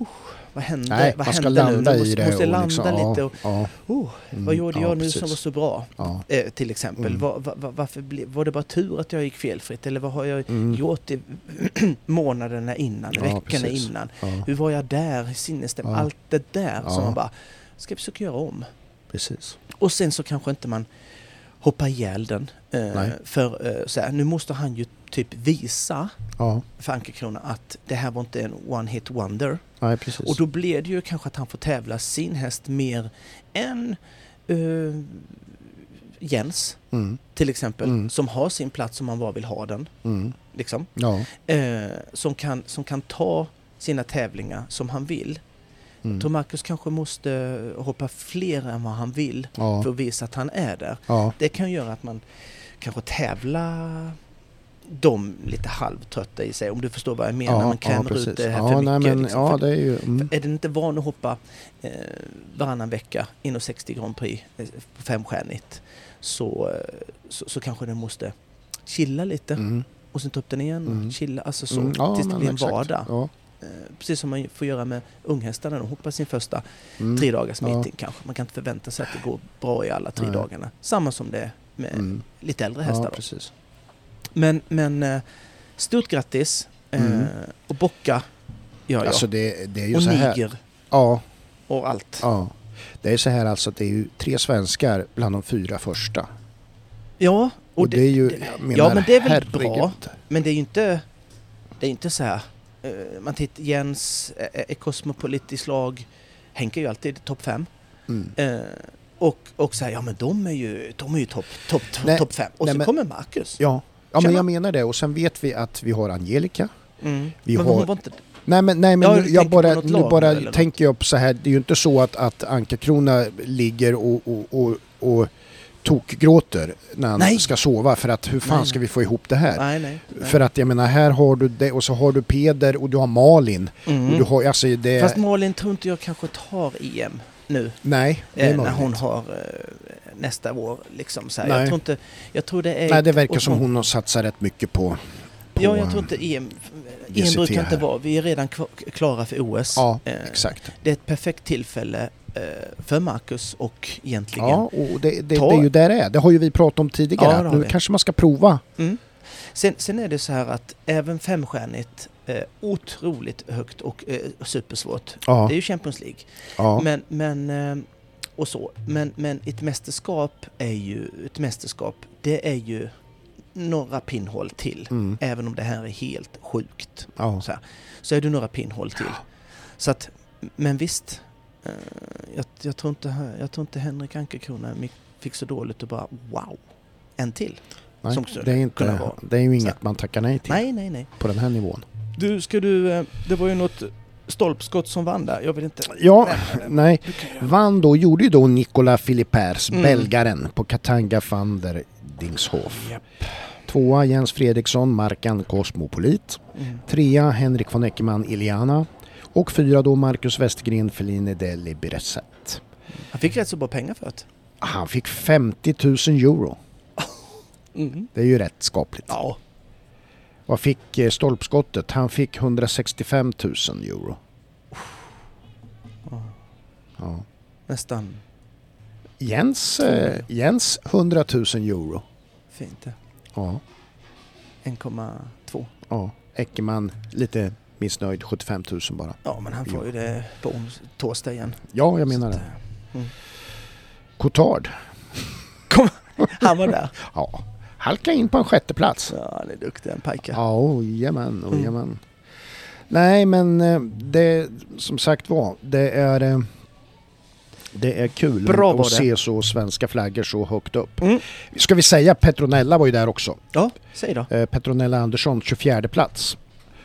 Speaker 1: usch, vad hände?
Speaker 2: Nej,
Speaker 1: vad
Speaker 2: man ska
Speaker 1: hände nu?
Speaker 2: landa
Speaker 1: Man
Speaker 2: i
Speaker 1: måste,
Speaker 2: det.
Speaker 1: måste
Speaker 2: och
Speaker 1: landa
Speaker 2: liksom, ja,
Speaker 1: lite. Och,
Speaker 2: ja,
Speaker 1: oh,
Speaker 2: mm,
Speaker 1: vad gjorde
Speaker 2: ja,
Speaker 1: jag nu
Speaker 2: precis.
Speaker 1: som var så bra?
Speaker 2: Ja.
Speaker 1: Eh, till exempel.
Speaker 2: Mm.
Speaker 1: Var, var, varför ble, var det bara tur att jag gick felfritt? Eller vad har jag
Speaker 2: Mm.
Speaker 1: gjort i månaderna innan,
Speaker 2: Ja,
Speaker 1: veckorna
Speaker 2: precis.
Speaker 1: innan?
Speaker 2: Ja,
Speaker 1: Hur var jag där? Sinnesstäm,
Speaker 2: Ja.
Speaker 1: allt det där
Speaker 2: Ja.
Speaker 1: som man bara ska försöka göra om.
Speaker 2: precis.
Speaker 1: Och sen så kanske inte man hoppar ihjäl den. Eh,
Speaker 2: Nej.
Speaker 1: för eh, så här, nu måste han ju typ visa
Speaker 2: Ja,
Speaker 1: för Ankerkrona att det här var inte en one hit wonder.
Speaker 2: nej, precis.
Speaker 1: Och då blir det ju kanske att han får tävla sin häst mer än eh, Jens
Speaker 2: mm,
Speaker 1: till exempel,
Speaker 2: Mm.
Speaker 1: som har sin plats som man bara vill ha den.
Speaker 2: mm,
Speaker 1: Liksom.
Speaker 2: ja,
Speaker 1: Eh, som, kan, som kan ta sina tävlingar som han vill.
Speaker 2: mm,
Speaker 1: Tror Marcus kanske måste hoppa fler än vad han vill
Speaker 2: ja,
Speaker 1: för att visa att han är där.
Speaker 2: ja,
Speaker 1: Det kan göra att man kanske tävla dem lite halvtrötta i sig, om du förstår vad jag menar.
Speaker 2: ja,
Speaker 1: man
Speaker 2: ja,
Speaker 1: krämer ut
Speaker 2: precis.
Speaker 1: det här
Speaker 2: Ja,
Speaker 1: för
Speaker 2: nej,
Speaker 1: mycket.
Speaker 2: men,
Speaker 1: liksom.
Speaker 2: ja,
Speaker 1: För-
Speaker 2: det är ju... Mm,
Speaker 1: är den inte van att hoppa eh, varannan vecka inom 60 Grand Prix eh, på femstjärnigt så, eh, så, så kanske den måste chilla lite
Speaker 2: mm,
Speaker 1: och sen ta upp den igen och
Speaker 2: Mm.
Speaker 1: chilla, alltså så
Speaker 2: mm, ja,
Speaker 1: tills det
Speaker 2: men
Speaker 1: blir en
Speaker 2: exakt.
Speaker 1: vardag.
Speaker 2: Ja,
Speaker 1: Eh, precis som man får göra med unghästarna, de hoppar sin första
Speaker 2: mm,
Speaker 1: tre dagars
Speaker 2: Ja.
Speaker 1: meeting kanske. Man kan inte förvänta sig att det går bra i alla tre
Speaker 2: Nej.
Speaker 1: dagarna. Samma som det är med
Speaker 2: mm,
Speaker 1: lite äldre hästar.
Speaker 2: ja,
Speaker 1: då.
Speaker 2: precis.
Speaker 1: Men, men eh, stort grattis! Eh,
Speaker 2: Mm.
Speaker 1: Och bocka gör jag.
Speaker 2: Alltså det, det är ju
Speaker 1: och
Speaker 2: så här...
Speaker 1: niger
Speaker 2: Ja,
Speaker 1: och allt.
Speaker 2: ja. Det är så här alltså att det är ju tre svenskar bland de fyra första.
Speaker 1: Ja,
Speaker 2: Och det är ju, jag menar,
Speaker 1: ja, men det är väl bra.
Speaker 2: herregud.
Speaker 1: Men det är ju inte, det är inte så här. eh, man tittar, Jens eh, är kosmopolit i slag. Henke är ju alltid topp fem.
Speaker 2: Mm.
Speaker 1: Eh, och, och så här, ja men de är ju, de är ju topp top,
Speaker 2: Nej,
Speaker 1: top fem. Och
Speaker 2: nej,
Speaker 1: så
Speaker 2: men-
Speaker 1: kommer Marcus.
Speaker 2: Ja, ja men
Speaker 1: Tjena.
Speaker 2: jag menar det. Och sen vet vi att vi har Angelica.
Speaker 1: Mm.
Speaker 2: Vi
Speaker 1: men
Speaker 2: har-
Speaker 1: hon var inte...
Speaker 2: Nej men, nej, men
Speaker 1: Ja,
Speaker 2: nu,
Speaker 1: du
Speaker 2: jag
Speaker 1: tänker på
Speaker 2: bara,
Speaker 1: något
Speaker 2: nu
Speaker 1: lag
Speaker 2: bara
Speaker 1: nu, eller?
Speaker 2: tänker jag på så här. Det är ju inte så att, att Ankarkrona ligger och, och, och, och tokgråter när han
Speaker 1: Nej.
Speaker 2: ska sova. För att hur fan
Speaker 1: Nej,
Speaker 2: ska
Speaker 1: nej.
Speaker 2: vi få ihop det här?
Speaker 1: Nej, nej. nej.
Speaker 2: För att jag menar här har du det och så har du Peder och du har Malin.
Speaker 1: Mm.
Speaker 2: Och du har, alltså det,
Speaker 1: Fast Malin tror inte jag kanske tar EM nu.
Speaker 2: nej, det är
Speaker 1: Eh, när
Speaker 2: möjligt.
Speaker 1: hon har eh, nästa år liksom så här.
Speaker 2: Nej.
Speaker 1: Jag tror inte, jag tror det är...
Speaker 2: nej, det verkar
Speaker 1: och
Speaker 2: som hon har satsat rätt mycket på... på
Speaker 1: Ja, jag tror inte EM... EM
Speaker 2: GCT
Speaker 1: brukar inte
Speaker 2: här.
Speaker 1: vara... Vi är redan kva- klara för OS.
Speaker 2: Ja,
Speaker 1: Eh,
Speaker 2: exakt.
Speaker 1: Det är ett perfekt tillfälle eh, för Marcus och egentligen...
Speaker 2: Ja, och det, det,
Speaker 1: Ta-
Speaker 2: det är ju där det är. Det har ju vi pratat om
Speaker 1: Ja, det
Speaker 2: tidigare. att
Speaker 1: har
Speaker 2: nu
Speaker 1: vi.
Speaker 2: kanske man ska prova.
Speaker 1: Mm. Sen, sen är det så här att även femstjärnigt, eh, otroligt högt och eh, supersvårt.
Speaker 2: Ja,
Speaker 1: Det är ju Champions League.
Speaker 2: ja.
Speaker 1: Men, men, eh, och så. Men, men ett mästerskap är ju... Ett mästerskap, det är ju några pinnhål till,
Speaker 2: Mm.
Speaker 1: även om det här är helt sjukt,
Speaker 2: Ja.
Speaker 1: så, här, så är det några pinnhål till. Så att, men visst, eh, jag, jag, tror inte, här- jag tror inte Henrik Ankerkrona mi- fick så dåligt och bara wow, en till.
Speaker 2: Nej,
Speaker 1: som skulle
Speaker 2: det, är
Speaker 1: kunna
Speaker 2: inte,
Speaker 1: vara-
Speaker 2: det är ju
Speaker 1: så
Speaker 2: inget man tackar nej till
Speaker 1: Nej, nej, nej.
Speaker 2: på den här nivån.
Speaker 1: Du, ska du, eh, det var ju något stolpskott som vann där, jag vill inte...
Speaker 2: Ja, nej.
Speaker 1: Du kan ju-
Speaker 2: Vann då, gjorde ju då Nicolas Philippers,
Speaker 1: Mm.
Speaker 2: belgaren, på Katanga van der Dingshof.
Speaker 1: Japp.
Speaker 2: Tvåa Jens Fredriksson, Markan Cosmopolit.
Speaker 1: Mm.
Speaker 2: Trea Henrik von Eckermann, Iliana. Och fyra då Marcus Westergren, Feline Deli Bireset.
Speaker 1: Han fick rätt så bra pengar för det.
Speaker 2: Han fick 50 000 euro.
Speaker 1: Mm.
Speaker 2: Det är ju rätt skapligt.
Speaker 1: Ja.
Speaker 2: Vad fick eh, stolpskottet? Han fick 165 000 euro.
Speaker 1: Ja.
Speaker 2: Ja.
Speaker 1: Nästan
Speaker 2: Jens, eh, Jens 100 000 euro.
Speaker 1: fint det.
Speaker 2: Ja.
Speaker 1: 1,2.
Speaker 2: Ja, Eckerman lite missnöjd, 75 000 bara.
Speaker 1: Ja, men han får ju det på ons- torsdag igen.
Speaker 2: Ja, jag menar
Speaker 1: Så att,
Speaker 2: det. Cotard,
Speaker 1: eh, Han var där.
Speaker 2: ja, halka in på en sjätte plats.
Speaker 1: Ja, han är duktig, han pajkar.
Speaker 2: Ja, ojämän,
Speaker 1: Mm.
Speaker 2: ojämän. Nej, men eh, det som sagt var, det är eh, det är kul
Speaker 1: Bra var
Speaker 2: att
Speaker 1: det.
Speaker 2: se så svenska flaggor så högt upp.
Speaker 1: Mm.
Speaker 2: Ska vi säga Petronella var ju där också.
Speaker 1: Ja, säg då.
Speaker 2: Eh, Petronella Andersson 24 plats.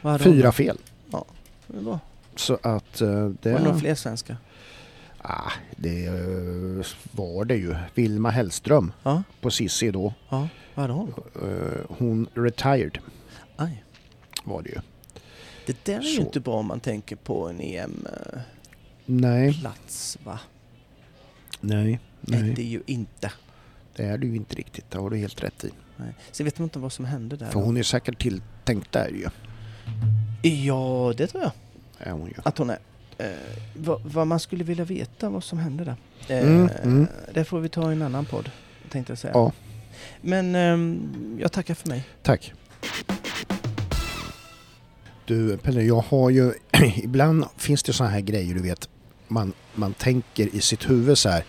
Speaker 1: Vad hade
Speaker 2: Fyra fel.
Speaker 1: hon? Det var,
Speaker 2: Så att eh, det...
Speaker 1: var det några fler svenskar?
Speaker 2: Ah, det eh, var det ju. Vilma Hellström
Speaker 1: Ja,
Speaker 2: på Sissi då.
Speaker 1: ja. Vad hade hon?
Speaker 2: Eh, hon retired
Speaker 1: Aj.
Speaker 2: var det ju.
Speaker 1: Det där är ju
Speaker 2: Så.
Speaker 1: inte bra om man tänker på en EM-plats,
Speaker 2: Nej,
Speaker 1: va?
Speaker 2: nej,
Speaker 1: Nej. Det
Speaker 2: nej.
Speaker 1: är ju inte.
Speaker 2: Det är du ju inte riktigt. Det har du helt rätt i.
Speaker 1: Nej. Sen vet man inte vad som hände där.
Speaker 2: För
Speaker 1: då.
Speaker 2: hon är säkert tilltänkt där ju.
Speaker 1: Ja, det tror jag
Speaker 2: Är hon ju.
Speaker 1: att hon är. Eh, vad, vad man skulle vilja veta vad som hände där. Eh,
Speaker 2: Mm, mm.
Speaker 1: Det får vi ta i en annan podd, tänkte jag säga.
Speaker 2: Ja.
Speaker 1: Men ehm, jag tackar för mig.
Speaker 2: Tack. Du Pelle, jag har ju... ibland finns det såna här grejer du vet. Man, man tänker i sitt huvud så här.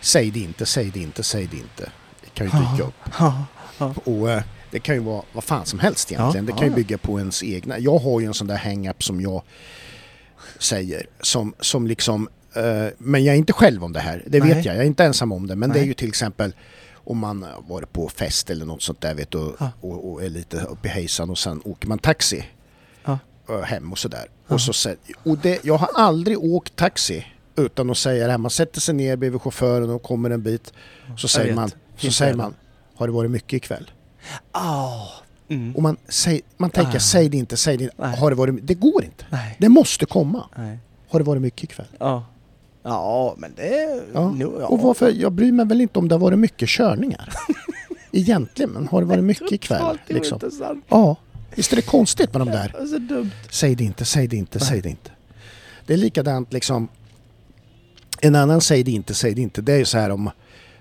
Speaker 2: Säg det inte, säg det inte, säg det inte. Det kan ju dyka upp.
Speaker 1: Ja.
Speaker 2: Och eh, det kan ju vara vad fan som helst egentligen.
Speaker 1: Ja,
Speaker 2: det kan ju
Speaker 1: ja, ja.
Speaker 2: bygga på ens egna. Jag har ju en sån där hang-up som jag säger. Som, som liksom, eh, men jag är inte själv om det här. Det
Speaker 1: Nej.
Speaker 2: vet jag. Jag är inte ensam om det. Men det är
Speaker 1: Nej.
Speaker 2: ju till exempel om man har varit på fest eller något sånt där vet du, och,
Speaker 1: Ja.
Speaker 2: och, och är lite uppe i hejsan och sen åker man taxi
Speaker 1: Ja.
Speaker 2: eh, hem och sådär.
Speaker 1: Ja.
Speaker 2: Och, så, sä- och det, jag har aldrig åkt taxi utan att säga det här. Man sätter sig ner bredvid chauffören och kommer en bit. Så säger
Speaker 1: vet.
Speaker 2: man, så
Speaker 1: Finns
Speaker 2: säger
Speaker 1: det.
Speaker 2: man, har det varit mycket ikväll?
Speaker 1: Ah. Mm.
Speaker 2: Och man, säg, man tänker,
Speaker 1: Ah.
Speaker 2: säg det inte, säg det inte.
Speaker 1: Nej.
Speaker 2: Har det, varit, det går inte.
Speaker 1: Nej.
Speaker 2: Det måste komma.
Speaker 1: Nej.
Speaker 2: Har det varit mycket ikväll?
Speaker 1: Ja. Ja, men det...
Speaker 2: Ja.
Speaker 1: Nu, ja.
Speaker 2: Och varför? Jag bryr mig väl inte om det har varit mycket körningar. Egentligen, men har det varit mycket ikväll?
Speaker 1: Totalt
Speaker 2: Liksom.
Speaker 1: ointressant.
Speaker 2: Ja, visst är det konstigt med de där.
Speaker 1: Det är så dumt.
Speaker 2: Säg det inte, säg det inte, säg det inte. Det är likadant liksom. En annan säg det inte, säg det inte. Det är ju så här om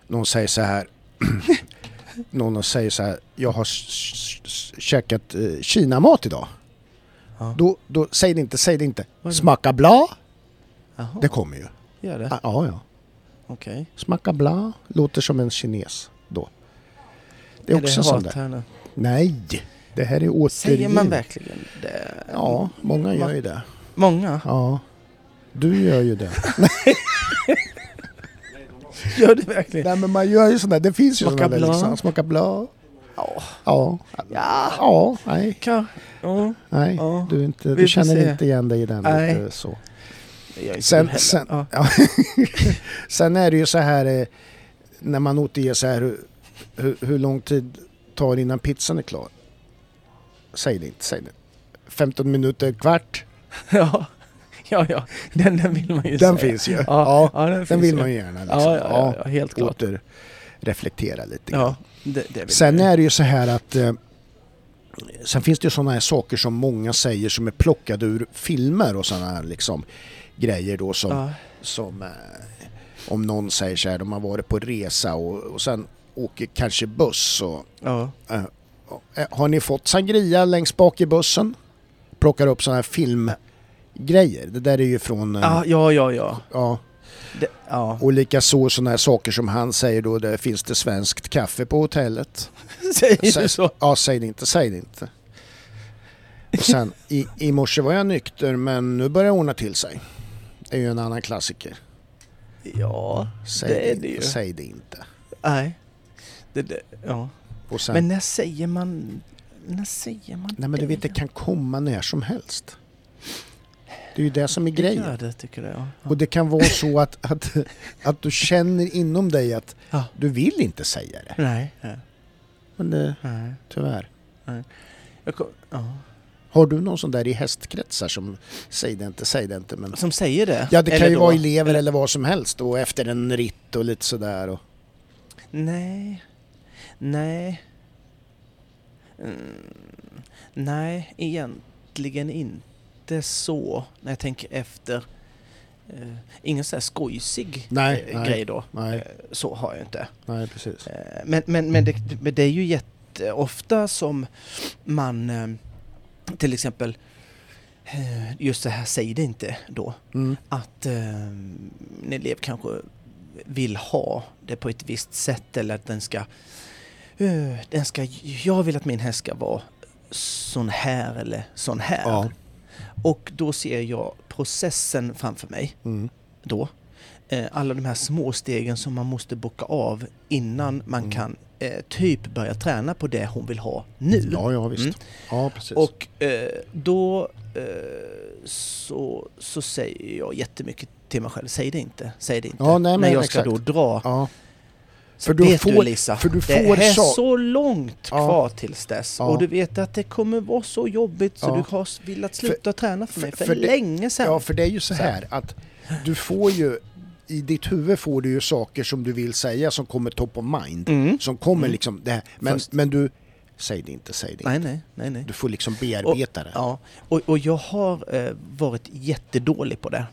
Speaker 2: någon säger så här. någon säger så här. Jag har s- s- s- käkat eh, kinamat idag.
Speaker 1: Ja.
Speaker 2: Då, då säg det inte, säg det inte.
Speaker 1: Vad är det?
Speaker 2: Smaka bla.
Speaker 1: Jaha,
Speaker 2: Det kommer ju.
Speaker 1: gör det?
Speaker 2: Ah, ja, ja.
Speaker 1: Okej.
Speaker 2: Smaka bla låter som en kines då. Det är, också en sån
Speaker 1: hat
Speaker 2: där.
Speaker 1: här nu?
Speaker 2: Nej, det här är återgivning.
Speaker 1: Säger man verkligen det?
Speaker 2: Ja, många gör ju det.
Speaker 1: Många?
Speaker 2: Ja, du gör ju det.
Speaker 1: Gör det verkligen?
Speaker 2: Nej men man gör ju sådana, det finns ju
Speaker 1: Smaka
Speaker 2: sådana där
Speaker 1: blå.
Speaker 2: liksom. Smaka blå.
Speaker 1: Ja.
Speaker 2: Ja.
Speaker 1: Ja.
Speaker 2: Ja, nej,
Speaker 1: Kan. Ja.
Speaker 2: nej.
Speaker 1: Ja,
Speaker 2: Du, är inte,
Speaker 1: vi
Speaker 2: du
Speaker 1: får
Speaker 2: känner
Speaker 1: se.
Speaker 2: inte igen dig i den.
Speaker 1: Nej.
Speaker 2: Lite, så.
Speaker 1: Jag är inte
Speaker 2: Sen-
Speaker 1: du heller.
Speaker 2: sen-
Speaker 1: Ja.
Speaker 2: Sen är det ju så här eh, när man återger så här hur, hur, hur lång tid tar det innan pizzan är klar? Säg det inte, säg det. 15 minuter, kvart.
Speaker 1: ja. Ja, ja. Den, den vill man ju
Speaker 2: Den
Speaker 1: säga.
Speaker 2: finns ju. Ja,
Speaker 1: Ja, ja, den,
Speaker 2: den
Speaker 1: finns
Speaker 2: vill
Speaker 1: ju.
Speaker 2: man ju gärna liksom.
Speaker 1: Ja, ja, ja, ja, helt klart.
Speaker 2: åter reflektera lite grann.
Speaker 1: Ja, det, det vill
Speaker 2: Sen
Speaker 1: man ju.
Speaker 2: är det ju så här att eh, Sen finns det ju sådana här saker som många säger som är plockade ur filmer och sådana här liksom grejer då som,
Speaker 1: Ja.
Speaker 2: som eh, om någon säger så här, de har varit på resa och, och sen åker kanske buss och
Speaker 1: Ja.
Speaker 2: eh, och, eh, har ni fått sangria längst bak i bussen? Plockar upp sådana här filmgrejer. Det där är ju från eh,
Speaker 1: Ah, Ja, ja, ja. ja.
Speaker 2: ja,
Speaker 1: Det, ja.
Speaker 2: Och likaså sådana här saker som han säger då, där finns det svenskt kaffe på hotellet?
Speaker 1: Säger
Speaker 2: Säg-
Speaker 1: du så?
Speaker 2: Ja, säg det inte, säg det inte. Och sen, i, i morse var jag nykter men nu börjar jag ordna till sig. Det är ju en annan klassiker.
Speaker 1: Ja,
Speaker 2: Säg
Speaker 1: Det är
Speaker 2: inte,
Speaker 1: det ju.
Speaker 2: Säg det inte.
Speaker 1: nej. Det, det, ja.
Speaker 2: Och sen,
Speaker 1: Men när säger man... När säger man
Speaker 2: nej men du vet det kan komma när som helst. Det är ju det som är
Speaker 1: det
Speaker 2: grejen.
Speaker 1: gör det tycker jag. Ja.
Speaker 2: Och det kan vara så att, att, att du känner inom dig att
Speaker 1: Ja.
Speaker 2: du vill inte säga det.
Speaker 1: Nej, nej,
Speaker 2: Men det,
Speaker 1: nej.
Speaker 2: tyvärr.
Speaker 1: Jag kom, ja.
Speaker 2: Har du någon sån där i hästkretsar som säg det inte, säg det inte men...
Speaker 1: Som säger det?
Speaker 2: Ja det kan
Speaker 1: Eller
Speaker 2: ju
Speaker 1: då-
Speaker 2: vara elever eller vad som helst och efter en ritt och lite sådär och...
Speaker 1: Nej. Nej. Mm. Nej, egentligen inte så när jag tänker efter. Eh, ingen så här skojsig
Speaker 2: Nej,
Speaker 1: eh,
Speaker 2: nej.
Speaker 1: grej då.
Speaker 2: Nej,
Speaker 1: Eh, Så har jag inte.
Speaker 2: nej precis.
Speaker 1: Eh, Men, men, men, det, men det är ju jätteofta som man eh, till exempel eh, just det här, säg det inte då.
Speaker 2: Mm.
Speaker 1: Att eh, en elev kanske vill ha det på ett visst sätt eller att den ska, eh, den ska jag vill att min häst ska vara sån här eller sån här.
Speaker 2: Ja.
Speaker 1: Och då ser jag processen framför mig
Speaker 2: Mm.
Speaker 1: då. Eh, Alla de här små stegen som man måste bocka av innan man
Speaker 2: Mm.
Speaker 1: kan eh, typ börja träna på det hon vill ha nu.
Speaker 2: Ja, ja visst.
Speaker 1: Mm.
Speaker 2: Ja precis.
Speaker 1: Och eh, då eh, så, så säger jag jättemycket till mig själv, säg det inte, säg det inte.
Speaker 2: Ja, nej,
Speaker 1: När
Speaker 2: men
Speaker 1: jag ska
Speaker 2: exakt.
Speaker 1: då dra.
Speaker 2: ja.
Speaker 1: Så
Speaker 2: för du
Speaker 1: vet
Speaker 2: får-
Speaker 1: du Lisa,
Speaker 2: för du
Speaker 1: det
Speaker 2: får
Speaker 1: är
Speaker 2: sa-
Speaker 1: så långt
Speaker 2: Ja.
Speaker 1: kvar tills dess.
Speaker 2: Ja.
Speaker 1: Och du vet att det kommer vara så jobbigt så
Speaker 2: Ja.
Speaker 1: du har s- velat sluta träna för
Speaker 2: för-
Speaker 1: mig för,
Speaker 2: för det-
Speaker 1: länge sedan.
Speaker 2: Ja, för det är ju så
Speaker 1: Så.
Speaker 2: här att du får ju, i ditt huvud får du ju saker som du vill säga som kommer top of mind.
Speaker 1: Mm.
Speaker 2: Som kommer
Speaker 1: Mm.
Speaker 2: liksom, det här. Men,
Speaker 1: Först.
Speaker 2: men du, säg det inte, säg det inte.
Speaker 1: Nej, nej, nej, nej.
Speaker 2: Du får liksom bearbeta det.
Speaker 1: Ja, och, och jag har eh, varit jättedålig på det,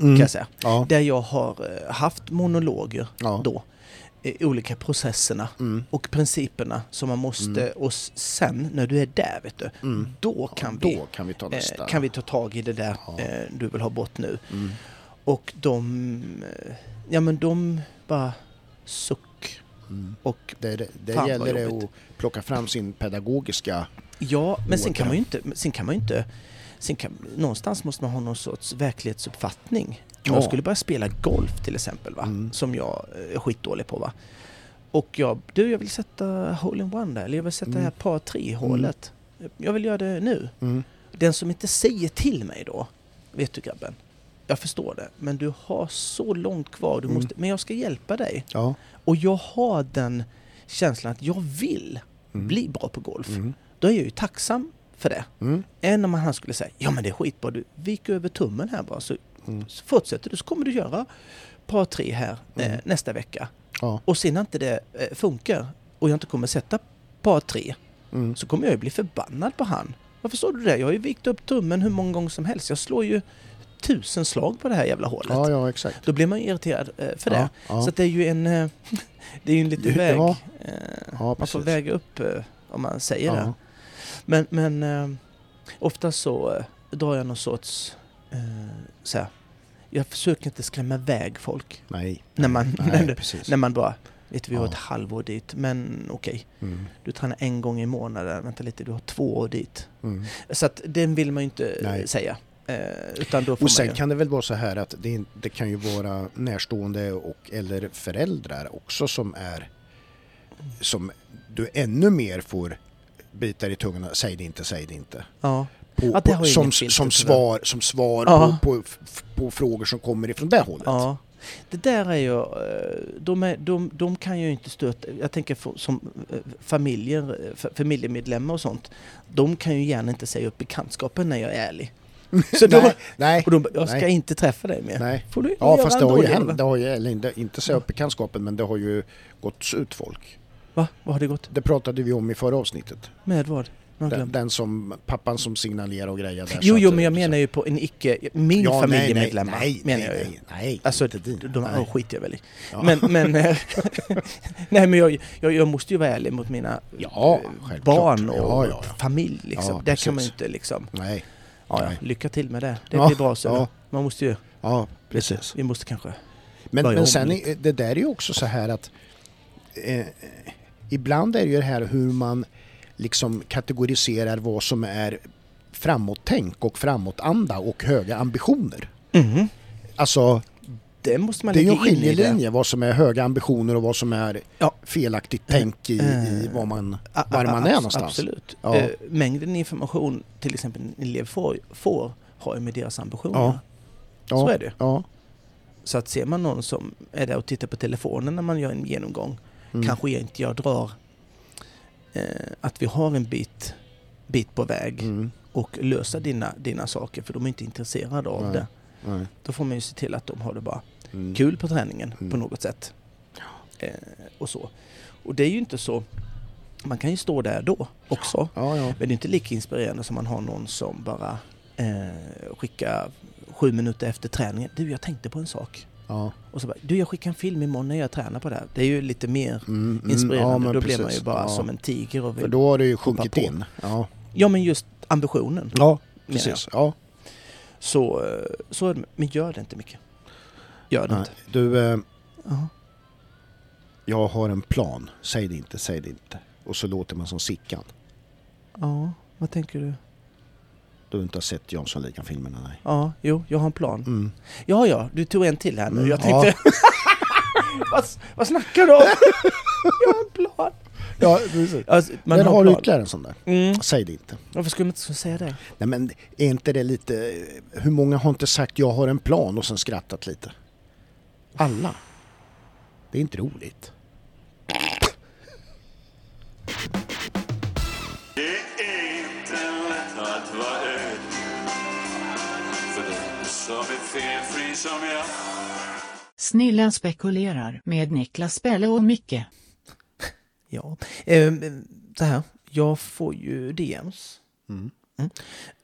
Speaker 2: Mm.
Speaker 1: kan jag säga.
Speaker 2: Ja.
Speaker 1: Där jag har eh, haft monologer
Speaker 2: Ja.
Speaker 1: då, i olika processerna
Speaker 2: Mm.
Speaker 1: och principerna som man måste, och s- sen när du är där, vet du,
Speaker 2: Mm.
Speaker 1: då kan
Speaker 2: Då
Speaker 1: vi
Speaker 2: kan vi ta nästa.
Speaker 1: eh, kan vi ta tag i det där
Speaker 2: Ja.
Speaker 1: eh, du vill ha bort nu.
Speaker 2: Mm.
Speaker 1: Och de, eh, ja men de bara suck
Speaker 2: Mm.
Speaker 1: och
Speaker 2: Det, det, det
Speaker 1: Fan, vad
Speaker 2: gäller det
Speaker 1: jobbigt.
Speaker 2: att plocka fram sin pedagogiska...
Speaker 1: Ja, men sen
Speaker 2: Åka.
Speaker 1: kan man ju inte... men Sen kan man ju inte sen kan, någonstans måste man ha någon sorts verklighetsuppfattning. Om
Speaker 2: Ja.
Speaker 1: Jag skulle börja spela golf till exempel, va?
Speaker 2: Mm.
Speaker 1: som jag eh, är skitdålig på. Va? Och jag, du, jag vill sätta hole-in-one där, eller jag vill sätta
Speaker 2: Mm.
Speaker 1: det här par tre-hålet. Jag vill göra det nu.
Speaker 2: Mm.
Speaker 1: Den som inte säger till mig då, vet du grabben, jag förstår det, men du har så långt kvar, du
Speaker 2: Mm.
Speaker 1: måste, men jag ska hjälpa dig.
Speaker 2: Ja.
Speaker 1: Och jag har den känslan att jag vill
Speaker 2: Mm.
Speaker 1: bli bra på golf.
Speaker 2: Mm.
Speaker 1: Då är jag ju tacksam för det.
Speaker 2: Mm.
Speaker 1: Än om han skulle säga, ja men det är skitbra, du viker över tummen här bara så,
Speaker 2: Mm.
Speaker 1: så fortsätter du så kommer du göra par tre här eh,
Speaker 2: Mm.
Speaker 1: nästa vecka.
Speaker 2: Ja.
Speaker 1: Och sen när inte det eh, funkar och jag inte kommer sätta par tre
Speaker 2: Mm.
Speaker 1: så kommer jag ju bli förbannad på han. Varför står du det? Jag har ju vikt upp tummen hur många gånger som helst. Jag slår ju tusen slag på det här jävla hålet.
Speaker 2: ja, ja exakt.
Speaker 1: Då blir man ju irriterad eh, för det.
Speaker 2: Ja, ja.
Speaker 1: Så att det är ju en, eh, det är ju en liten
Speaker 2: Ja.
Speaker 1: väg.
Speaker 2: Ja,
Speaker 1: eh,
Speaker 2: ja,
Speaker 1: man får
Speaker 2: precis.
Speaker 1: väga upp eh, om man säger det.
Speaker 2: ja.
Speaker 1: Men, men eh, ofta så eh, drar jag någon sorts... Eh, så här, jag försöker inte skrämma iväg folk
Speaker 2: Nej.
Speaker 1: när man,
Speaker 2: Nej,
Speaker 1: när,
Speaker 2: precis.
Speaker 1: när man bara... Vet du, vi har
Speaker 2: Ja.
Speaker 1: ett halvår dit, men okej.
Speaker 2: Mm.
Speaker 1: Du tränar en gång i månaden, vänta lite, du har två år dit.
Speaker 2: Mm.
Speaker 1: Så att den vill man ju inte eh,
Speaker 2: Nej.
Speaker 1: säga. Eh, utan då får
Speaker 2: Och
Speaker 1: man
Speaker 2: sen
Speaker 1: ju,
Speaker 2: kan det väl vara så här att det, är- det kan ju vara närstående och eller föräldrar också som är som du ännu mer får bita i tungan och säg det inte, säg det inte.
Speaker 1: ja,
Speaker 2: På,
Speaker 1: Ja, det har
Speaker 2: på,
Speaker 1: ju
Speaker 2: som,
Speaker 1: inget filter,
Speaker 2: som
Speaker 1: tyvärr.
Speaker 2: svar, som svar
Speaker 1: Ja.
Speaker 2: på, på, f- på frågor som kommer ifrån det hållet.
Speaker 1: ja. Det där är ju... eh, De, är, de, de kan ju inte stöta... Jag tänker för, som eh, familjer, eh, fa- familjemedlemmar och sånt. De kan ju gärna inte säga upp bekantskapen när jag är ärlig. Så då,
Speaker 2: nej, nej,
Speaker 1: Och de bara, jag ska
Speaker 2: Nej.
Speaker 1: inte träffa dig mer.
Speaker 2: nej.
Speaker 1: Får du
Speaker 2: Ja
Speaker 1: göra
Speaker 2: fast det
Speaker 1: ändå,
Speaker 2: har ju
Speaker 1: eller?
Speaker 2: hänt, det har ju, eller inte- inte så upp bekantskapen men det har ju gått ut folk.
Speaker 1: Va? Vad har det gått?
Speaker 2: Det pratade vi om i förra avsnittet.
Speaker 1: Med vad? Nu har jag
Speaker 2: Den,
Speaker 1: glömt.
Speaker 2: den som, pappan som signalerar och grejer där.
Speaker 1: Jo,
Speaker 2: så
Speaker 1: jo,
Speaker 2: att-
Speaker 1: men jag menar ju på en icke... Min
Speaker 2: Ja, nej, nej,
Speaker 1: familjemedlemmar
Speaker 2: nej,
Speaker 1: menar
Speaker 2: nej,
Speaker 1: jag ju.
Speaker 2: Nej, nej,
Speaker 1: Alltså,
Speaker 2: inte din.
Speaker 1: De
Speaker 2: nej.
Speaker 1: här skiter jag väl i.
Speaker 2: Ja.
Speaker 1: Men, men, eh, nej, men jag, jag, jag måste ju vara ärlig mot mina
Speaker 2: Ja,
Speaker 1: eh,
Speaker 2: självklart.
Speaker 1: barn och
Speaker 2: Ja, ja, ja.
Speaker 1: familj. Liksom.
Speaker 2: Ja,
Speaker 1: Där kan man ju
Speaker 2: precis.
Speaker 1: inte liksom...
Speaker 2: Nej.
Speaker 1: Ja, ja,
Speaker 2: Nej.
Speaker 1: lycka till med det. Det
Speaker 2: Ja,
Speaker 1: blir bra. Så
Speaker 2: ja.
Speaker 1: Man måste ju...
Speaker 2: Ja, precis.
Speaker 1: Vi måste kanske
Speaker 2: Men,
Speaker 1: Börja om
Speaker 2: men sen,
Speaker 1: lite.
Speaker 2: är- det där är ju också så här att eh, ibland är det ju det här hur man liksom kategoriserar vad som är framåttänk och framåtanda och höga ambitioner.
Speaker 1: Mhm.
Speaker 2: Alltså,
Speaker 1: Det måste man
Speaker 2: det är ju en
Speaker 1: lägga in i det.
Speaker 2: skiljelinje vad som är höga ambitioner och vad som är
Speaker 1: Ja.
Speaker 2: felaktigt tänk i, i
Speaker 1: Eh,
Speaker 2: vad man...
Speaker 1: A-
Speaker 2: var
Speaker 1: a-
Speaker 2: man är
Speaker 1: abs-
Speaker 2: någonstans.
Speaker 1: Absolut.
Speaker 2: Ja.
Speaker 1: Eh, mängden information till exempel en elev får, får har ju med deras ambitioner.
Speaker 2: Ja. Ja,
Speaker 1: Så är det.
Speaker 2: Ja,
Speaker 1: Så att ser man någon som är där och tittar på telefonen när man gör en genomgång,
Speaker 2: mm,
Speaker 1: kanske jag inte jag drar eh, att vi har en bit, bit på väg
Speaker 2: Mm,
Speaker 1: och lösa dina, dina saker för de är inte intresserade av
Speaker 2: Nej.
Speaker 1: det.
Speaker 2: nej,
Speaker 1: Då får man ju se till att de har det bara
Speaker 2: mm,
Speaker 1: kul på träningen
Speaker 2: Mm.
Speaker 1: på något sätt. Eh, och så. Och det är ju inte så, man kan ju stå där då också.
Speaker 2: Ja, ja.
Speaker 1: Men det är inte lika inspirerande som man har någon som bara eh, skickar sju minuter efter träningen. Du, jag tänkte på en sak.
Speaker 2: ja.
Speaker 1: Och så bara, du, jag skickar en film imorgon när jag tränar på det här. Det är ju lite mer
Speaker 2: Mm, mm,
Speaker 1: inspirerande.
Speaker 2: ja, men
Speaker 1: då blir man
Speaker 2: precis.
Speaker 1: ju bara
Speaker 2: Ja.
Speaker 1: som en tiger och
Speaker 2: För
Speaker 1: vill...
Speaker 2: då har det ju sjunkit
Speaker 1: på.
Speaker 2: in. Ja,
Speaker 1: Ja, men just ambitionen.
Speaker 2: ja
Speaker 1: menar jag.
Speaker 2: precis. Ja.
Speaker 1: Så, eh, så är det. Men gör det inte mycket. Gör det
Speaker 2: Nej.
Speaker 1: inte.
Speaker 2: Du, eh,
Speaker 1: Ja.
Speaker 2: jag har en plan. Säg det inte, säg det inte. Och så låter man som Sickan.
Speaker 1: ja, vad tänker du?
Speaker 2: Du har inte sett Jönssonligan-filmerna, nej.
Speaker 1: Ja, jo, jag har en plan.
Speaker 2: Mm.
Speaker 1: Ja, ja, du tog en till här nu.
Speaker 2: Mm,
Speaker 1: Jag tänkte... vad, vad snackar du om? jag har en plan.
Speaker 2: Ja, precis.
Speaker 1: Alltså, man
Speaker 2: Men har
Speaker 1: har
Speaker 2: du
Speaker 1: en plan.
Speaker 2: ytterligare en sån där?
Speaker 1: Mm.
Speaker 2: Säg det inte.
Speaker 1: Varför skulle man inte säga det?
Speaker 2: Nej men är inte det lite, hur många har inte sagt jag har en plan och sen skrattat lite? Alla. Det är inte roligt.
Speaker 3: Det är inte lätt att vara öd För den som är felfri som jag
Speaker 4: Snillen spekulerar med Niklas Pelle och Micke.
Speaker 1: Ja, ehm, så här. Jag får ju DMs.
Speaker 2: Mm.
Speaker 1: Mm.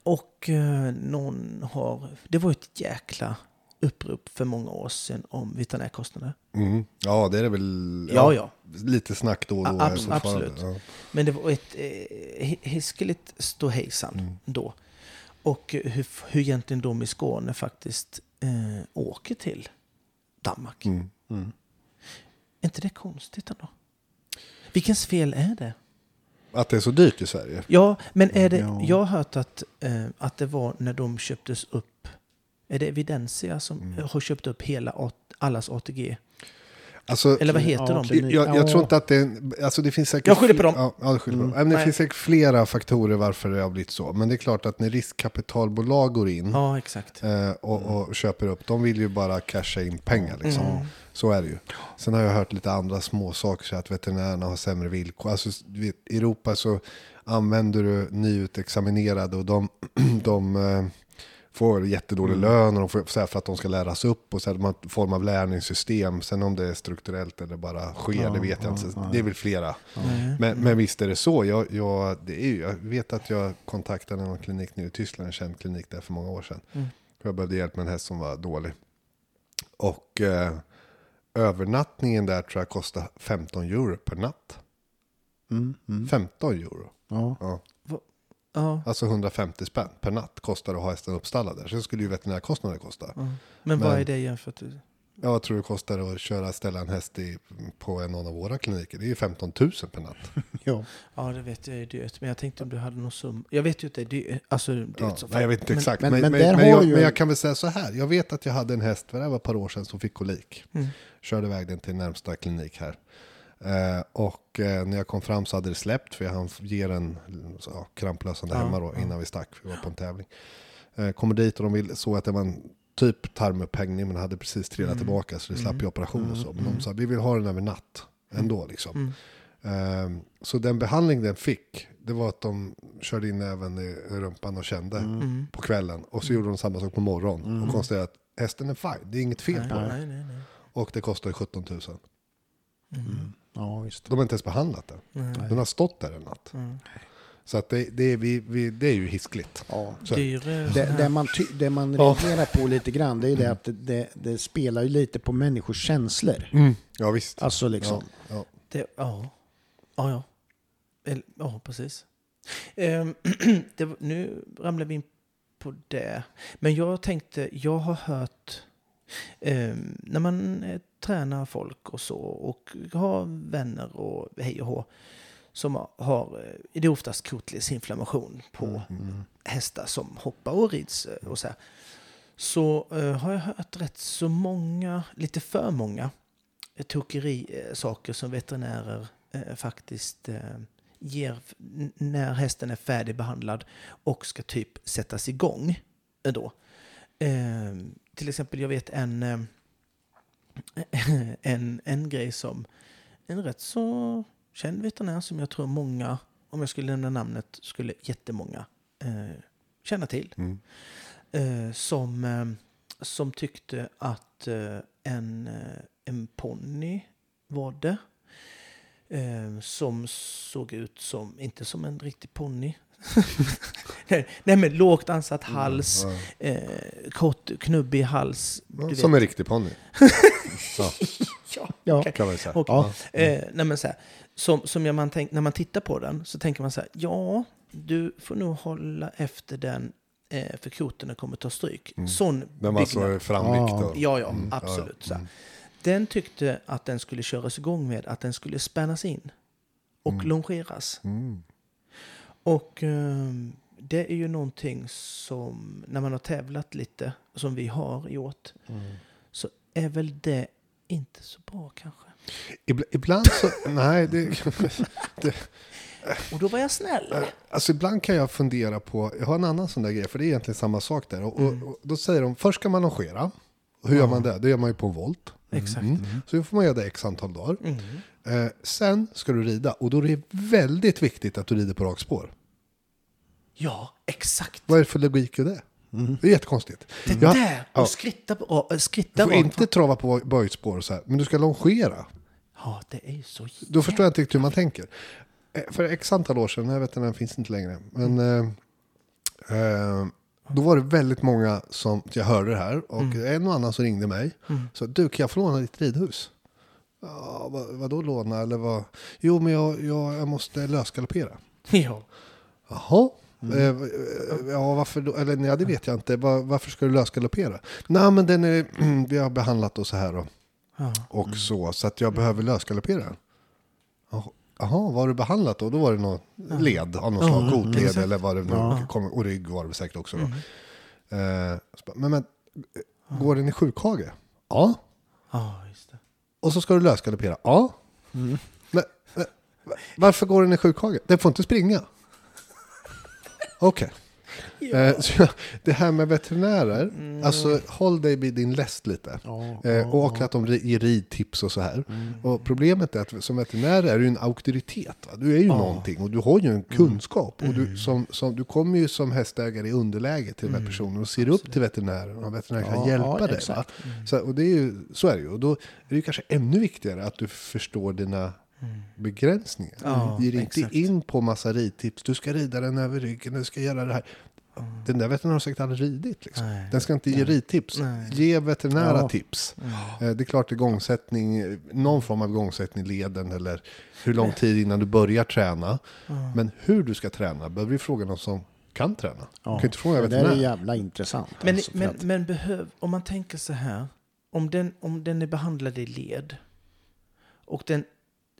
Speaker 1: Och eh, någon har... Det var ju ett jäkla upprop för många år sedan om veterinärkostnader.
Speaker 5: Mm. Ja, det är det väl.
Speaker 1: Ja, ja.
Speaker 5: Lite snack då och då.
Speaker 1: A- abs-
Speaker 5: här fortfarande.
Speaker 1: absolut.
Speaker 5: Ja.
Speaker 1: Men det var ett eh, hi- hiskeligt ståhejsan
Speaker 5: Mm.
Speaker 1: då. Och eh, hur, hur egentligen de i Skåne faktiskt eh, åker till Danmark.
Speaker 5: Mm.
Speaker 1: Är inte det konstigt ändå? Vilkens fel är det?
Speaker 5: Att det är så dyrt i Sverige.
Speaker 1: Ja, men är det,
Speaker 5: Ja.
Speaker 1: jag har hört att, eh, att det var när de köptes upp. Är det Evidensia som
Speaker 5: Mm.
Speaker 1: har köpt upp hela, A- allas ATG?
Speaker 5: Alltså,
Speaker 1: Eller vad heter
Speaker 2: Ja,
Speaker 1: de?
Speaker 2: klinik.
Speaker 5: jag, jag, jag tror inte att det är en- alltså det finns säkert...
Speaker 1: Jag skyller på dem. Mm.
Speaker 5: Ja, ja, du skyller på dem. Nej, men
Speaker 1: Nej.
Speaker 5: det finns säkert flera faktorer varför det har blivit så. Men det är klart att när riskkapitalbolag går in
Speaker 1: Ja, exakt.
Speaker 5: eh, och, och köper upp, de vill ju bara casha in pengar. Liksom. Så är det ju. Sen har jag hört lite andra små saker, så att veterinärerna har sämre villkor. Alltså, du vet, I Europa så använder du nyutexaminerade och de, de eh, får jättedålig lön och de får, så här, för att de ska läras upp och så här, de har en form av lärningssystem. Sen om det är strukturellt eller bara sker, det vet jag inte. Det är väl flera. Men, men visst är det så. Jag, jag, det är ju, jag vet att jag kontaktade någon klinik nu i Tyskland, en känd klinik där för många år sedan. Jag behövde hjälp med en häst som var dålig. Och eh, övernattningen där tror jag kostade 15 euro per natt. 15 euro.
Speaker 2: Mm, Ja.
Speaker 5: Ja.
Speaker 1: Ja,
Speaker 5: Alltså 150 spänn per natt kostar det att ha hästen uppstallad där. Sen skulle ju veterinärkostnader kosta.
Speaker 1: men vad
Speaker 5: Men-
Speaker 1: är det jämfört med...
Speaker 5: Ja, vad tror du det kostar att köra ställa en häst i, på en av våra kliniker? Det är ju 15 000 per natt.
Speaker 2: ja.
Speaker 1: Ja, det vet jag är dyrt. Men jag tänkte om du hade någon sum. Jag vet ju att det är dyrt. Alltså, det är
Speaker 5: Ja,
Speaker 1: så
Speaker 5: nej, jag vet inte
Speaker 1: men-
Speaker 5: exakt.
Speaker 2: men-
Speaker 5: Men, men,
Speaker 2: men
Speaker 5: men,
Speaker 2: där har
Speaker 5: jag,
Speaker 2: ju-
Speaker 5: men jag kan väl säga så här. Jag vet att jag hade en häst för det här var ett par år sedan som fick kolik. Körde iväg den till närmsta klinik här. Eh, och eh, när jag kom fram så hade det släppt för jag hann ge den så, ja, kramplösande hemma då innan vi stack. För vi var på en tävling. Eh, kommer dit och de ville, såg att det var en typ tarmupphängning men hade precis trillat tillbaka så det slapp ju operation och så. Men de sa vi vill ha den över natt ändå liksom. Ehm, Så den behandling den fick, det var att de körde in även i rumpan och kände på kvällen. Och så gjorde de samma sak på morgonen och konstaterade att hästen är fine, det är inget fel på
Speaker 1: Nej,
Speaker 5: den.
Speaker 1: nej, nej. nej.
Speaker 5: Och det kostar 17 000.
Speaker 2: ja, visst.
Speaker 5: De har inte ens behandlat den. Den har stått där en natt. Så att det, det, är, vi, vi, det är ju hiskligt.
Speaker 2: Ja.
Speaker 5: Så-
Speaker 1: Dyre...
Speaker 2: Det, det man, ty- det man reagerar på lite grann det är ju det att det, det, det spelar ju lite på människors känslor.
Speaker 5: Ja visst.
Speaker 2: Alltså liksom.
Speaker 5: Ja, ja.
Speaker 1: Det, ja. Ja, ja. Eller, ja, precis. Ehm, det, var- nu ramlar vi in på det. Men jag tänkte, jag har hört Eh, när man eh, tränar folk och så och har vänner och hej och hå som har, eh, det är oftast kotledsinflammation på hästar som hoppar och rids eh, och så här. Så eh, har jag hört rätt så många, lite för många, eh, tokeri, eh, saker som veterinärer eh, faktiskt eh, ger f- n- när hästen är färdigbehandlad och ska typ sättas igång eh, då. Eh, till exempel, jag vet en, eh, en, en grej som en rätt så känd veterinär som jag tror många, om jag skulle nämna namnet, skulle jättemånga eh, känna till. Eh, som, eh, som tyckte att eh, en, eh, en ponny var det. Eh, som såg ut som, inte som en riktig ponny. nej, nej men lågt ansatt hals, eh, kort knubbig hals. du
Speaker 5: Som
Speaker 1: vet.
Speaker 5: en riktig ponny. ja,
Speaker 1: Ja.
Speaker 2: Ja.
Speaker 5: kan man ju säga.
Speaker 1: Och,
Speaker 5: Ja.
Speaker 1: eh, nej men så här, som, som jag man tänk, när man tittar på den så tänker man så här, ja, du får nog hålla efter den eh, för koten kommer ta stryk. Sån
Speaker 5: Den var så framvikt då.
Speaker 1: Ja, Mm. ja, absolut. Så här. Den tyckte att den skulle köras igång med att den skulle spännas in och longeras. Och ehm, det är ju någonting som, när man har tävlat lite, som vi har gjort, så är väl det inte så bra kanske.
Speaker 5: Ibl- ibland så... nej, det, det,
Speaker 1: Och då var jag snäll.
Speaker 5: Alltså ibland kan jag fundera på, jag har en annan sån där grej, för det är egentligen samma sak där. Och,
Speaker 1: Mm.
Speaker 5: och, och då säger de, först ska man longera. Och hur gör man det? Det gör man ju på en volt.
Speaker 1: Mm.
Speaker 5: Mm.
Speaker 1: Exakt. Mm.
Speaker 5: Så då får man göra det x antal dagar. Eh, sen ska du rida, och då är det väldigt viktigt att du rider på rakspår.
Speaker 1: Ja, exakt.
Speaker 5: Vad är det för logik i det? Det är jättekonstigt.
Speaker 1: Mm. Det
Speaker 5: Ja,
Speaker 1: där! Och skritta, på- äh, skritta
Speaker 5: Du får
Speaker 1: rakt
Speaker 5: inte trava på böjspår och så här, men du ska longera.
Speaker 1: Ja, det är ju så
Speaker 5: Då förstår jag inte riktigt hur man tänker. Eh, För x antal år sedan, den här veterinären finns inte längre, men eh, eh, då var det väldigt många som, jag hörde det här, och en och annan som ringde mig. Så du, kan jag få låna ditt ridhus? Ja, vad, vadå låna eller vad? Jo, men jag, jag, jag måste lösgaloppera.
Speaker 1: Ja.
Speaker 5: Jaha. Eh, eh, Ja, varför då? Eller nej, det vet jag inte. Var, varför ska du lösgaloppera? Nej, men den är, vi har behandlat och så här och,
Speaker 1: Ja.
Speaker 5: och så. Så att jag behöver lösgaloppera den. Jaha, Jaha, vad har du behandlat då? Då var det någon led av något slag. Kotled eller vad det nu kom. Och rygg var det säkert också då. Eh, så bara, men, men, går den i sjukhage? Ja.
Speaker 1: Ja, just det.
Speaker 5: Och så ska du lösgaloppera? Ja. Men, men, varför går den i sjukhage? Den får inte springa. Okej. Eh, så jag- Det här med veterinärer,
Speaker 2: Mm.
Speaker 5: alltså håll dig vid din läst lite. eh, och att de ri- ger ridtips och så här.
Speaker 2: Mm.
Speaker 5: Och problemet är att som veterinär är du en auktoritet. Va? Du är ju någonting och du har ju en
Speaker 2: Mm.
Speaker 5: kunskap. Och du, som, som, du kommer ju som hästägare i underläge till den här personen och ser upp till veterinären. Och veterinären kan
Speaker 2: Mm. Ja,
Speaker 5: hjälpa
Speaker 2: ja,
Speaker 5: dig. Va?
Speaker 2: exakt.
Speaker 1: Mm.
Speaker 5: Så, och det är ju, så är det ju. Och då är det ju kanske ännu viktigare att du förstår dina begränsningar.
Speaker 1: Mm. Ja,
Speaker 5: Ge dig
Speaker 1: exakt.
Speaker 5: inte in på massa ridtips. Du ska rida den över ryggen, du ska göra det här. Den där veterinären har säkert aldrig ridit. Liksom.
Speaker 1: Mm. Nej.
Speaker 5: Den ska inte ge ridtips.
Speaker 1: Nej. Mm.
Speaker 5: Ge veterinära
Speaker 2: Ja.
Speaker 5: tips. Eh, Det är klart igångsättning, eh, någon form av igångsättning i leden eller hur lång tid innan du börjar träna. Men hur du ska träna behöver du fråga någon som kan träna. Du kan inte fråga en
Speaker 2: det där är
Speaker 5: veterinär.
Speaker 2: jävla intressant.
Speaker 1: Men,
Speaker 2: alltså, för
Speaker 1: men,
Speaker 2: att-
Speaker 1: men behöv, om man tänker så här, om den, om den är behandlad i led och den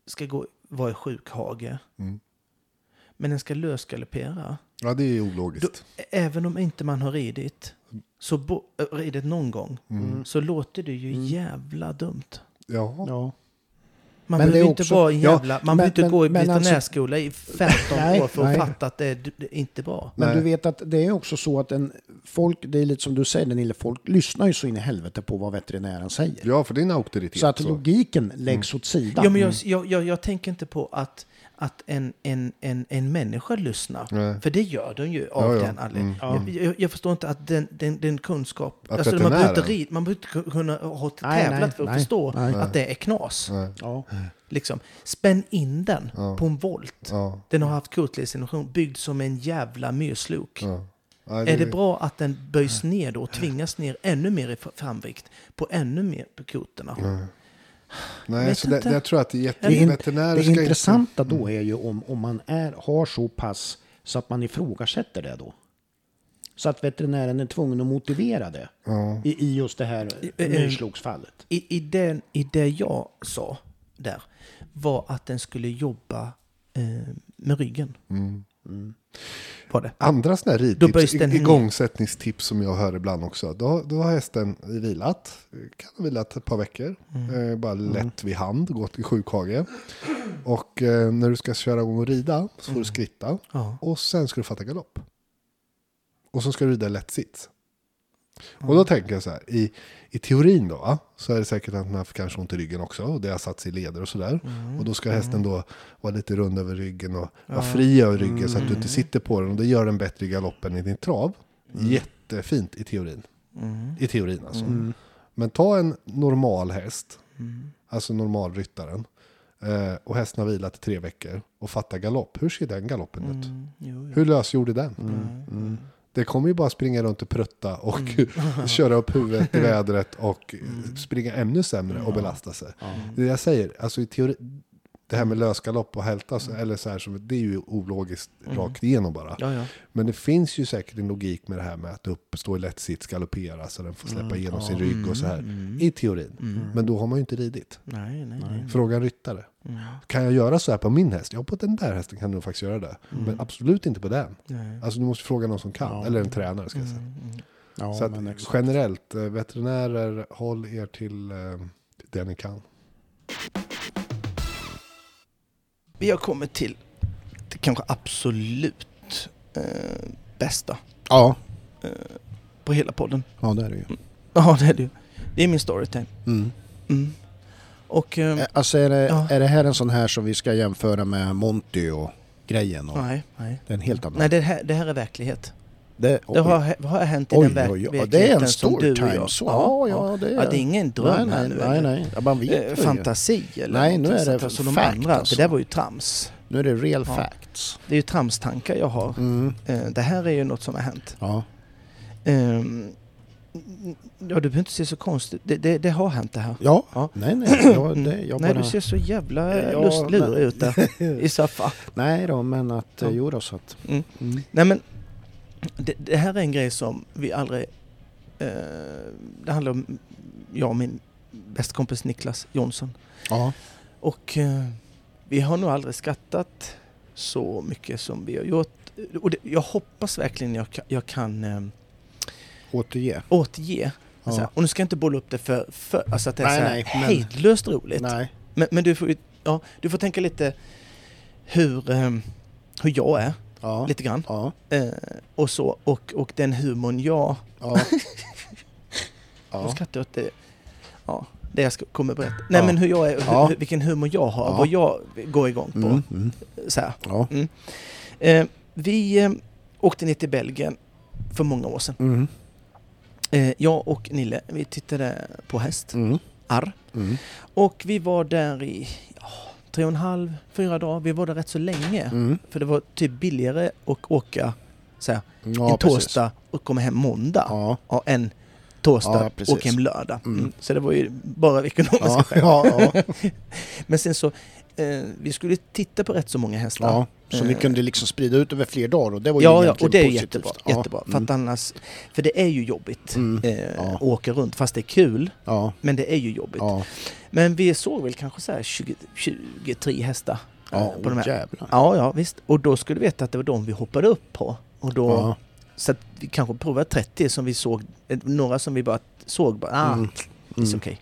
Speaker 1: ska gå, vara i sjukhage,
Speaker 5: Mm.
Speaker 1: men den ska lösgaloppera,
Speaker 5: Ja, det är ju
Speaker 1: då,
Speaker 5: ologiskt.
Speaker 1: ä- även om inte man har ridit, så bo, äh, ridit någon gång,
Speaker 5: Mm.
Speaker 1: så låter det ju jävla dumt.
Speaker 5: Ja.
Speaker 2: ja.
Speaker 1: Man
Speaker 2: Men det är
Speaker 1: behöver inte
Speaker 2: också-
Speaker 1: vara en
Speaker 5: Ja,
Speaker 1: jävla... man
Speaker 2: men-
Speaker 1: behöver inte
Speaker 2: men-
Speaker 1: gå i
Speaker 2: men alltså-
Speaker 1: veterinärskola i 15
Speaker 2: Nej,
Speaker 1: år för att
Speaker 2: nej.
Speaker 1: fatta att det är, det är inte bra.
Speaker 2: Men
Speaker 5: Nej.
Speaker 2: du vet att det är också så att en, folk, det är lite som du säger Nille, folk lyssnar ju så in i helvete på vad veterinären säger.
Speaker 5: ja, för det är en auktoritet.
Speaker 2: Så att
Speaker 5: så.
Speaker 2: logiken läggs åt sidan.
Speaker 1: Ja, men jag,
Speaker 2: Mm.
Speaker 1: jag, jag, jag tänker inte på att, att en, en, en, en människa lyssnar.
Speaker 5: Nej.
Speaker 1: För det gör den ju av
Speaker 5: Ja, ja.
Speaker 1: den anledningen.
Speaker 2: Mm.
Speaker 1: Jag, jag, jag förstår inte att den, den, den kunskap...
Speaker 5: Att
Speaker 1: alltså, man, behöver inte
Speaker 5: veterinären-
Speaker 1: rid, man behöver inte kunna ha
Speaker 2: Nej,
Speaker 1: tävlat
Speaker 2: nej,
Speaker 1: för att
Speaker 2: nej,
Speaker 1: förstå
Speaker 2: nej.
Speaker 1: att det är knas.
Speaker 2: Ja.
Speaker 1: Liksom. Spänn in den på en volt.
Speaker 5: Ja.
Speaker 1: Den har haft kotledsinnovation byggd som en jävla myrslok.
Speaker 5: Ja,
Speaker 1: Är det bra att den böjs ner då och tvingas ner ännu mer i framvikt på ännu mer på koterna?
Speaker 5: Nej,
Speaker 1: Vet
Speaker 5: så det,
Speaker 1: inte.
Speaker 5: det, jag tror att det är
Speaker 2: Det, är,
Speaker 5: jätte...
Speaker 2: in-
Speaker 5: veterinärer
Speaker 2: det
Speaker 5: ska inte-
Speaker 2: intressanta
Speaker 5: Mm.
Speaker 2: då är ju om, om man är, har så pass så att man ifrågasätter det då. Så att veterinären är tvungen att motivera det i, i just det här
Speaker 1: eh,
Speaker 2: myrslågsfallet.
Speaker 1: I, i, den, I det jag sa där var att den skulle jobba eh, med ryggen. Var det.
Speaker 5: Andra sådana här
Speaker 1: Då böjs
Speaker 5: ridtips,
Speaker 1: den
Speaker 5: i-
Speaker 1: ner.
Speaker 5: igångsättningstips som jag hör ibland också. Då, då har hästen vilat, kan ha vilat ett par veckor,
Speaker 1: Mm.
Speaker 5: eh, bara lätt vid hand, gått i sjukhage. Och eh, när du ska köra igång och rida så får du skritta
Speaker 1: Mm. Ja.
Speaker 5: och sen ska du fatta galopp. Och så ska du rida lätt sits. Och då tänker jag så här, i, i teorin då, va, så är det säkert att man får kanske ont i ryggen också, och det har satt sig i leder och sådär. Och då ska hästen då vara lite rund över ryggen och vara fri över ryggen så att du inte sitter på den. Och det gör den bättre i galoppen i din trav. Jättefint i teorin. I teorin alltså. Men ta en normal häst, alltså normalryttaren, eh, och hästen har vilat i tre veckor och fattar galopp. Hur ser den galoppen ut?
Speaker 1: Jo, jo.
Speaker 5: Hur lösgjord är den?
Speaker 1: Mm.
Speaker 5: Det kommer ju bara springa runt och prutta och
Speaker 1: Mm.
Speaker 5: köra upp huvudet i vädret och springa ännu sämre och belasta sig. Det jag säger, alltså i teori, det här med
Speaker 1: Mm.
Speaker 5: lösgalopp och hältas, eller så här, som- det är ju ologiskt rakt igenom bara.
Speaker 1: Mm. Ja, ja.
Speaker 5: Men det finns ju säkert en logik med det här med att upp, stå i lätt sits, galoppera så den får släppa
Speaker 1: Mm.
Speaker 5: igenom sin rygg och så här. I teorin. Men då har man ju inte ridit.
Speaker 1: Nej, nej, Mm. Mm, nej.
Speaker 5: Fråga en ryttare. Kan jag göra så här på min häst? Ja, på den där hästen kan du nog faktiskt göra det.
Speaker 1: Mm.
Speaker 5: Men absolut inte på den.
Speaker 1: nej.
Speaker 5: Alltså du måste fråga någon som kan, eller en tränare ska jag säga.
Speaker 2: Mm. Ja,
Speaker 5: så att,
Speaker 2: men exakt.
Speaker 5: generellt, eh, veterinärer, håll er till eh, det ni kan.
Speaker 1: Vi har kommit till det kanske absolut eh, bästa
Speaker 2: ja.
Speaker 1: på hela podden.
Speaker 2: ja, det är det ju.
Speaker 1: Ja, det är det ju. Det är min storytime.
Speaker 2: Mm.
Speaker 1: Mm. Och... Eh,
Speaker 2: Eh, Alltså är det,
Speaker 1: Ja.
Speaker 2: är det här en sån här som vi ska jämföra med Monty och grejen? Och
Speaker 1: nej, nej.
Speaker 2: Det är en helt annan.
Speaker 1: Nej, det här, det här är verklighet.
Speaker 2: det, oj.
Speaker 1: Det har, har hänt i
Speaker 2: Oj,
Speaker 1: den verk-
Speaker 2: oj, oj. Ja,
Speaker 1: verkligheten
Speaker 2: det är en
Speaker 1: som du och
Speaker 2: storytime.
Speaker 1: jag.
Speaker 2: Så, ja, ja, det är,
Speaker 1: Ja, det är ingen dröm här
Speaker 2: nej,
Speaker 1: nu.
Speaker 2: nej, nej, nej. Ja, man vet
Speaker 1: Eh,
Speaker 2: ju.
Speaker 1: fantasi eller
Speaker 2: Nej, nu
Speaker 1: någonting
Speaker 2: är det
Speaker 1: sånt här som de
Speaker 2: fact,
Speaker 1: andra.
Speaker 2: alltså.
Speaker 1: Det där var ju trams.
Speaker 2: Nu är det real
Speaker 1: Ja.
Speaker 2: facts.
Speaker 1: Det är ju tramstankar jag har.
Speaker 2: Mm.
Speaker 1: Eh, Det här är ju något som har hänt.
Speaker 2: Ja.
Speaker 1: Ehm, Ja, du behöver inte se så konstigt. Det, det, det har hänt det här.
Speaker 2: Ja.
Speaker 1: Ja.
Speaker 2: nej, nej. Jag, det, jag
Speaker 1: Nej,
Speaker 2: bara...
Speaker 1: du ser så jävla
Speaker 2: Ja,
Speaker 1: lust- lurig
Speaker 2: nej.
Speaker 1: ut där i soffa.
Speaker 2: Nej då, men att...
Speaker 1: Ja.
Speaker 2: Ja. Jo då, så att...
Speaker 1: Mm.
Speaker 2: Mm.
Speaker 1: Nej, men det, det här är en grej som vi aldrig... Eh, det handlar om jag och min bästa kompis Niklas Jonsson.
Speaker 2: Ja.
Speaker 1: Och eh, vi har nog aldrig skrattat så mycket som vi har gjort. Och det, jag hoppas verkligen jag, ka- jag kan eh,
Speaker 2: Återge.
Speaker 1: återge.
Speaker 2: Ja.
Speaker 1: Så här, och nu ska jag inte bolla upp det för, för alltså att det är
Speaker 2: Nej,
Speaker 1: så här
Speaker 2: nej, men-
Speaker 1: hejdlöst roligt.
Speaker 2: Nej.
Speaker 1: Men, men du, får, ju- ja, du får tänka lite hur, eh, hur jag är,
Speaker 2: Ja.
Speaker 1: lite grann.
Speaker 2: Ja.
Speaker 1: Eh, och, så, och, och den humorn jag...
Speaker 2: Ja.
Speaker 1: Ja.
Speaker 2: ja.
Speaker 1: skrattar jag åt det. Ja, det jag ska, kommer berätta. Nej
Speaker 2: Ja.
Speaker 1: men hur jag är, hur,
Speaker 2: Ja.
Speaker 1: hur- vilken humor jag har,
Speaker 2: Ja.
Speaker 1: vad jag går igång på.
Speaker 2: Mm. Mm.
Speaker 1: Så här. Mm.
Speaker 2: Ja.
Speaker 1: Eh, vi eh, åkte ner till Belgien för många år sedan.
Speaker 2: Mm.
Speaker 1: Eh, jag och Nille, vi tittade på häst,
Speaker 2: Mm.
Speaker 1: Arr.
Speaker 2: Mm.
Speaker 1: Och vi var där i ja, tre och en halv, fyra dagar. Vi var där rätt så länge.
Speaker 2: Mm.
Speaker 1: För det var typ billigare att åka så här,
Speaker 2: Ja,
Speaker 1: en
Speaker 2: precis.
Speaker 1: torsdag och komma hem måndag.
Speaker 2: Ja.
Speaker 1: Ja, en torsdag
Speaker 2: Ja, precis.
Speaker 1: och hem lördag.
Speaker 2: Mm.
Speaker 1: Mm. Så det var ju bara ekonomiska
Speaker 2: Ja.
Speaker 1: skäl.
Speaker 2: Ja. Ja.
Speaker 1: Men sen så, eh, vi skulle titta på rätt så många hästar.
Speaker 2: ja. Så vi
Speaker 1: Eh.
Speaker 2: kunde liksom sprida ut över fler dagar och det var ju
Speaker 1: Ja, ja,
Speaker 2: egentligen
Speaker 1: och det är ju
Speaker 2: positivt.
Speaker 1: jättebra.
Speaker 2: Ja.
Speaker 1: jättebra för,
Speaker 2: Mm.
Speaker 1: att annars, för det är ju jobbigt
Speaker 2: Mm.
Speaker 1: eh,
Speaker 2: Ja.
Speaker 1: att åka runt, fast det är kul.
Speaker 2: Ja.
Speaker 1: Men det är ju jobbigt.
Speaker 2: Ja.
Speaker 1: Men vi såg väl kanske så här 20, 23 hästar. eh,
Speaker 2: Ja.
Speaker 1: på de
Speaker 2: Oh,
Speaker 1: här.
Speaker 2: jävlar.
Speaker 1: ja, ja, visst. Och då skulle vi veta att det var de vi hoppade upp på. Och då,
Speaker 2: Ja.
Speaker 1: Så att vi kanske provade 30 som vi såg, eh, några som vi bara såg bara, ah,
Speaker 2: Mm.
Speaker 1: It's
Speaker 2: Mm.
Speaker 1: okay.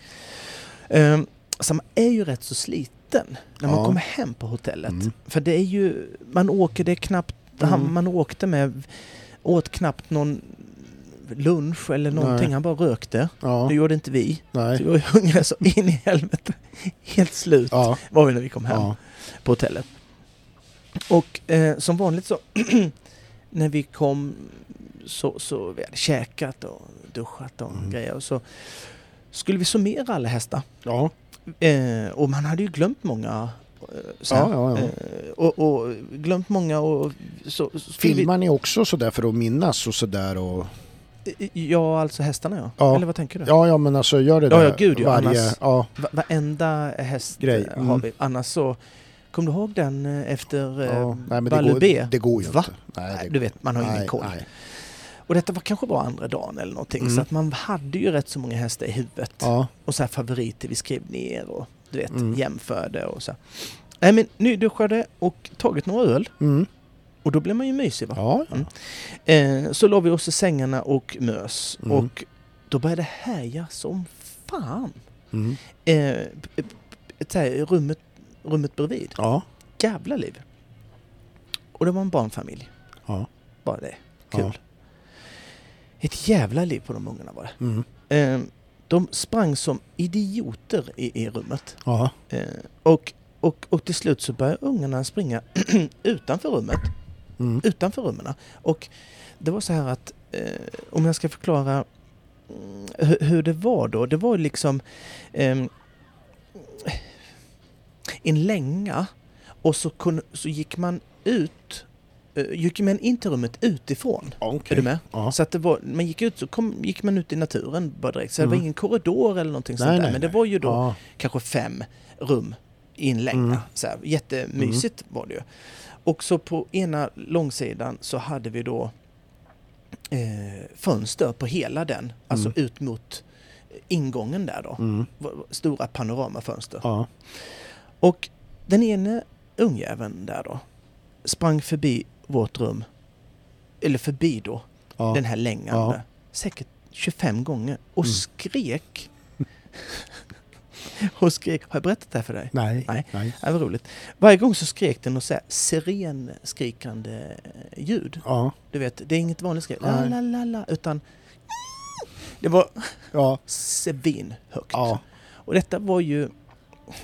Speaker 1: Ehm, så man är ju rätt så sliten när man
Speaker 2: Ja.
Speaker 1: kommer hem på hotellet.
Speaker 2: Mm.
Speaker 1: För det är ju, man åker, det är knappt, han,
Speaker 2: Mm.
Speaker 1: man åkte med, åt knappt någon lunch eller någonting,
Speaker 2: Nej.
Speaker 1: han bara rökte.
Speaker 2: Ja.
Speaker 1: Det typ gjorde inte vi. Så
Speaker 2: Nej.
Speaker 1: vi var ju hungriga så in i helvete. Helt slut
Speaker 2: Ja.
Speaker 1: var vi när vi kom hem
Speaker 2: Ja.
Speaker 1: på hotellet. Och eh, som vanligt så när vi kom så, så vi hade käkat och duschat och
Speaker 2: Mm.
Speaker 1: grejer och så skulle vi summera alla hästar.
Speaker 2: Ja.
Speaker 1: Eh, och man hade ju glömt många. Eh, så här.
Speaker 2: Ja, ja, ja.
Speaker 1: Eh, och, och glömt många och så... så skulle
Speaker 2: Filmar ni också sådär för att minnas och sådär? Och...
Speaker 1: Vi, ja, alltså hästarna ja.
Speaker 2: Ja.
Speaker 1: Eller vad tänker du?
Speaker 2: Ja, ja, men alltså gör det
Speaker 1: Ja,
Speaker 2: där
Speaker 1: ja, gud, ja,
Speaker 2: varje...
Speaker 1: annars-
Speaker 2: Ja,
Speaker 1: Va- varenda häst
Speaker 2: Grej,
Speaker 1: eh,
Speaker 2: mm.
Speaker 1: har vi. Annars så... Kommer du ihåg den eh, efter eh,
Speaker 2: ja. Nej, men det
Speaker 1: Baloo
Speaker 2: går,
Speaker 1: B?
Speaker 2: det går ju
Speaker 1: Va?
Speaker 2: inte. Nej, det
Speaker 1: Nej, du vet, man har ingen koll.
Speaker 2: Nej. Mm.
Speaker 1: Och Och detta var kanske bara andra dagen eller någonting. Så att man hade ju rätt så många hästar i huvudet.
Speaker 2: Ja.
Speaker 1: Och så här favoriter vi skrev ner och du vet,
Speaker 2: Mm.
Speaker 1: jämförde och så. här. Nej men nyduschade och tagit några öl.
Speaker 2: Mm.
Speaker 1: Och då blir man ju mysig va?
Speaker 2: Ja, ja.
Speaker 1: Mm. Eh, så la vi oss i sängarna och mös.
Speaker 2: Mm.
Speaker 1: Och då började det härja som fan.
Speaker 2: Mm.
Speaker 1: Eh, p- p- p- så här, i rummet, rummet bredvid.
Speaker 2: Ja.
Speaker 1: Jävla liv. Och det var en barnfamilj.
Speaker 2: Ja.
Speaker 1: Bara det.
Speaker 2: Ja.
Speaker 1: Kul. Ett jävla liv på de ungarna var det.
Speaker 2: Mm.
Speaker 1: Eh, de sprang som idioter i, i rummet.
Speaker 2: Ja.
Speaker 1: Eh, och, och, och till slut så började ungarna springa utanför rummet.
Speaker 2: Mm.
Speaker 1: Utanför rummen. Och det var så här att, eh, om jag ska förklara mm, hur, hur det var då. Det var ju liksom ehm, en länga och så, kunde, så gick man ut, eh, gick man in till rummet utifrån.
Speaker 2: Okej.
Speaker 1: Är du med?
Speaker 2: Ja.
Speaker 1: Så att det var, man gick ut så kom, gick man ut i naturen bara direkt. Så det
Speaker 2: Mm.
Speaker 1: var ingen korridor eller någonting
Speaker 2: Nej,
Speaker 1: sånt där.
Speaker 2: nej,
Speaker 1: Men det
Speaker 2: nej.
Speaker 1: var ju då
Speaker 2: Ja.
Speaker 1: kanske fem rum i en länga.
Speaker 2: Mm.
Speaker 1: Så här, jättemysigt var det ju. Och så på ena långsidan så hade vi då eh, fönster på hela den, alltså ut mot ingången där då.
Speaker 2: Mm.
Speaker 1: V- Stora panoramafönster.
Speaker 2: Ja.
Speaker 1: Och den ene ungjäveln där då sprang förbi vårt rum, eller förbi då,
Speaker 2: Ja.
Speaker 1: den här längan
Speaker 2: Ja. Mm.
Speaker 1: där, säkert 25 gånger och skrek. och skrek, har jag berättat det här för dig?
Speaker 2: Nej.
Speaker 1: Nej.
Speaker 2: Nej.
Speaker 1: Ja, vad roligt. Varje gång så skrek den och så här sirenskrikande eh, ljud.
Speaker 2: Ja.
Speaker 1: Du vet, det är inget vanligt skrik, la,
Speaker 2: Nej.
Speaker 1: la, la, la, utan det var
Speaker 2: Ja.
Speaker 1: svinhögt.
Speaker 2: Ja.
Speaker 1: Och detta var ju...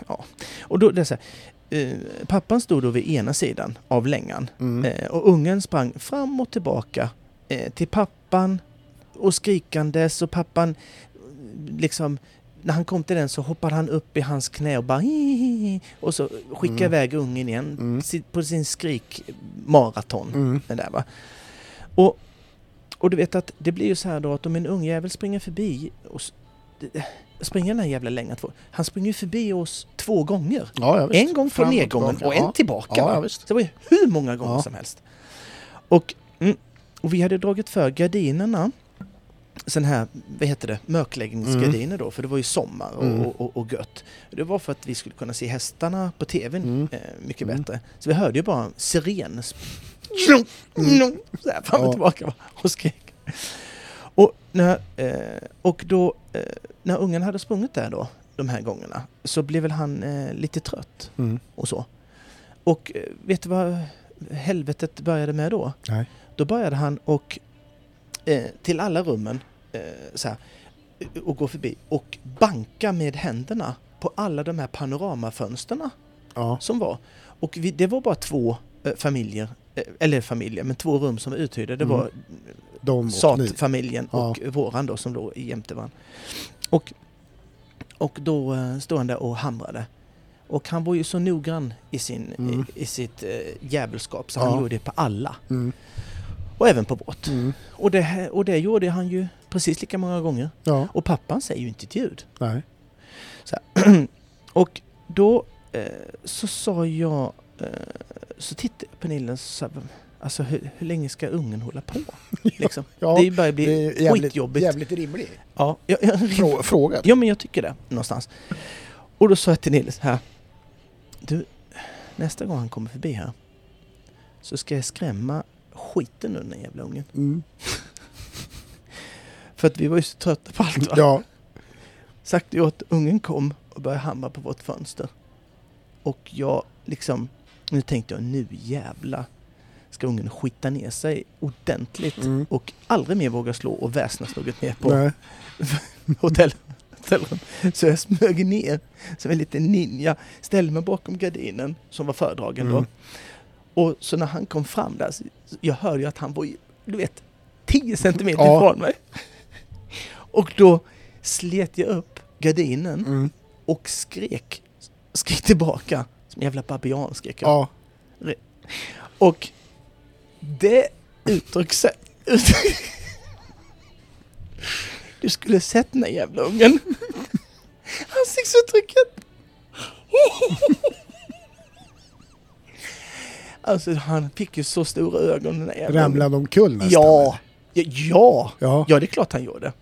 Speaker 1: Ja. Och då, det är så här, eh, pappan stod då vid ena sidan av längan
Speaker 2: Mm.
Speaker 1: eh, och ungen sprang fram och tillbaka eh, till pappan och skrikandes och pappan eh, liksom när han kom till den så hoppade han upp i hans knä och bara hi, hi, hi, och så skickade
Speaker 2: Mm.
Speaker 1: iväg ungen igen
Speaker 2: Mm.
Speaker 1: si- på sin skrikmaraton.
Speaker 2: Mm.
Speaker 1: Det där, va? Och, och du vet att det blir ju så här då att om en ung jävel springer förbi oss, springer den här jävla längan två, han springer ju förbi oss två gånger.
Speaker 2: Ja, ja, visst.
Speaker 1: En gång från
Speaker 2: Fram och
Speaker 1: nedgången
Speaker 2: tillbaka.
Speaker 1: och en
Speaker 2: Ja.
Speaker 1: tillbaka.
Speaker 2: Ja,
Speaker 1: va?
Speaker 2: ja, visst.
Speaker 1: Så det var ju hur många gånger
Speaker 2: Ja.
Speaker 1: som helst. Och, mm, och vi hade dragit för gardinerna. Sån här, vad heter det, mörkläggningsgardiner då, för det var ju sommar och,
Speaker 2: Mm.
Speaker 1: och, och, och gött. Det var för att vi skulle kunna se hästarna på tvn
Speaker 2: Mm.
Speaker 1: eh, mycket
Speaker 2: Mm.
Speaker 1: bättre. Så vi hörde ju bara en siren Tjong, tjong, så här fram och
Speaker 2: Mm. Ja.
Speaker 1: tillbaka va, och skrek. Och, när, eh, och då, eh, när ungen hade sprungit där då, de här gångerna, så blev väl han eh, lite trött
Speaker 2: Mm.
Speaker 1: och så. Och eh, vet du vad helvetet började med då?
Speaker 2: Nej.
Speaker 1: Då började han och eh, till alla rummen eh, så här, eh, och gå förbi och banka med händerna på alla de här panoramafönsterna
Speaker 2: Ja.
Speaker 1: som var. Och vi, det var bara två eh, familjer, eh, eller familjer, men två rum som var uthyrda. Det
Speaker 2: Mm.
Speaker 1: var
Speaker 2: De och ni.
Speaker 1: Satfamiljen och våran då som låg jämte varandra. Och, och då eh, stod han där och hamrade. Och han var ju så noggrann i, sin,
Speaker 2: Mm.
Speaker 1: i, i sitt eh, jävelskap så
Speaker 2: Ja.
Speaker 1: han gjorde det på alla.
Speaker 2: Mm.
Speaker 1: Och även på vårt.
Speaker 2: Mm.
Speaker 1: Och, det, här- och det gjorde han ju precis lika många gånger.
Speaker 2: Ja.
Speaker 1: Och pappan säger ju inte ett ljud.
Speaker 2: Nej.
Speaker 1: Och då eh, så sa jag, eh, så tittade jag på Nilla och sa, alltså hur, hur länge ska ungen hålla på? Liksom.
Speaker 2: Ja,
Speaker 1: det börjar bli
Speaker 2: Det är jävligt,
Speaker 1: skitjobbigt.
Speaker 2: jävligt rimlig
Speaker 1: Ja, ja, ja,
Speaker 2: frå- fråga.
Speaker 1: ja, men jag tycker det någonstans. Och då sa jag till Nille så här. Du, nästa gång han kommer förbi här så ska jag skrämma skiten ur den här jävla ungen.
Speaker 2: Mm.
Speaker 1: För att vi var ju så trötta på allt va?
Speaker 2: Ja.
Speaker 1: Sagt och åt, ungen kom och började hamra på vårt fönster. Och jag liksom, nu tänkte jag nu jävla ska ungen skita ner sig ordentligt
Speaker 2: Mm.
Speaker 1: och aldrig mer våga slå och väsnas något mer på
Speaker 2: Nej.
Speaker 1: hotell, hotellrum. Så jag smög ner som en liten ninja, ställde mig bakom gardinen som var föredragen
Speaker 2: Mm.
Speaker 1: då. Och så när han kom fram där, så- så jag hörde ju att han var ju, du vet, 10 centimeter
Speaker 2: Ja.
Speaker 1: ifrån mig. Och då slet jag upp gardinen
Speaker 2: Mm.
Speaker 1: och skrek, skrek tillbaka. Som en jävla babian skrek jag.
Speaker 2: Ja.
Speaker 1: Och det uttryckssätt... uttryck- Du skulle sett den där jävla ungen. Ansiktsuttrycket. Alltså han fick ju så stora ögon den där jävla ungen.
Speaker 2: Ramlade omkull nästan.
Speaker 1: Ja, Ja, ja,
Speaker 6: Ja.
Speaker 1: ja, det är klart han gjorde.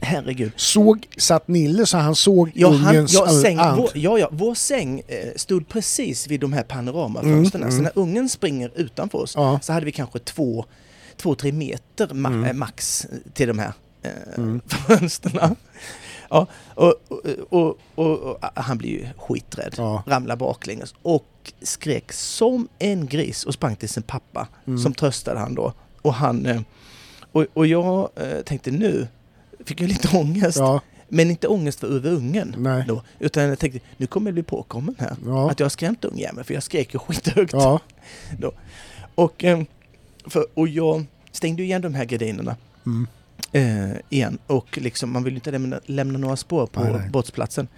Speaker 1: Herregud.
Speaker 6: Såg, satt Nille så han såg
Speaker 1: Ja, han,
Speaker 6: ungens
Speaker 1: ja, säng,
Speaker 6: and?
Speaker 1: vår, ja, ja, vår säng eh, stod precis vid de här panoramafönstren. så när ungen springer utanför oss
Speaker 6: Mm, Ja. Mm.
Speaker 1: så hade vi kanske två, två tre meter ma- eh, max till de här eh, fönstren. Ja, och, och, och, och, och ah, han blev ju skiträdd,
Speaker 6: Ja.
Speaker 1: ramlade baklänges och skrek som en gris och sprang till sin pappa
Speaker 6: Mm.
Speaker 1: som tröstade han då. Och, han, eh, och, och jag eh, tänkte nu, fick jag lite ångest.
Speaker 6: Ja,
Speaker 1: Men inte ångest för över ungen.
Speaker 6: Nej.
Speaker 1: Då, utan jag tänkte, nu kommer jag bli påkommen här.
Speaker 6: Ja.
Speaker 1: Att jag har skrämt ungjäveln, för jag skrek ju skithögt.
Speaker 6: ja,
Speaker 1: Då. Och, ehm, för, och jag stängde ju igen de här gardinerna.
Speaker 6: Mm.
Speaker 1: Eh, igen. Och liksom, man vill ju inte lämna, lämna några spår på
Speaker 7: Nej, nej.
Speaker 1: brottsplatsen.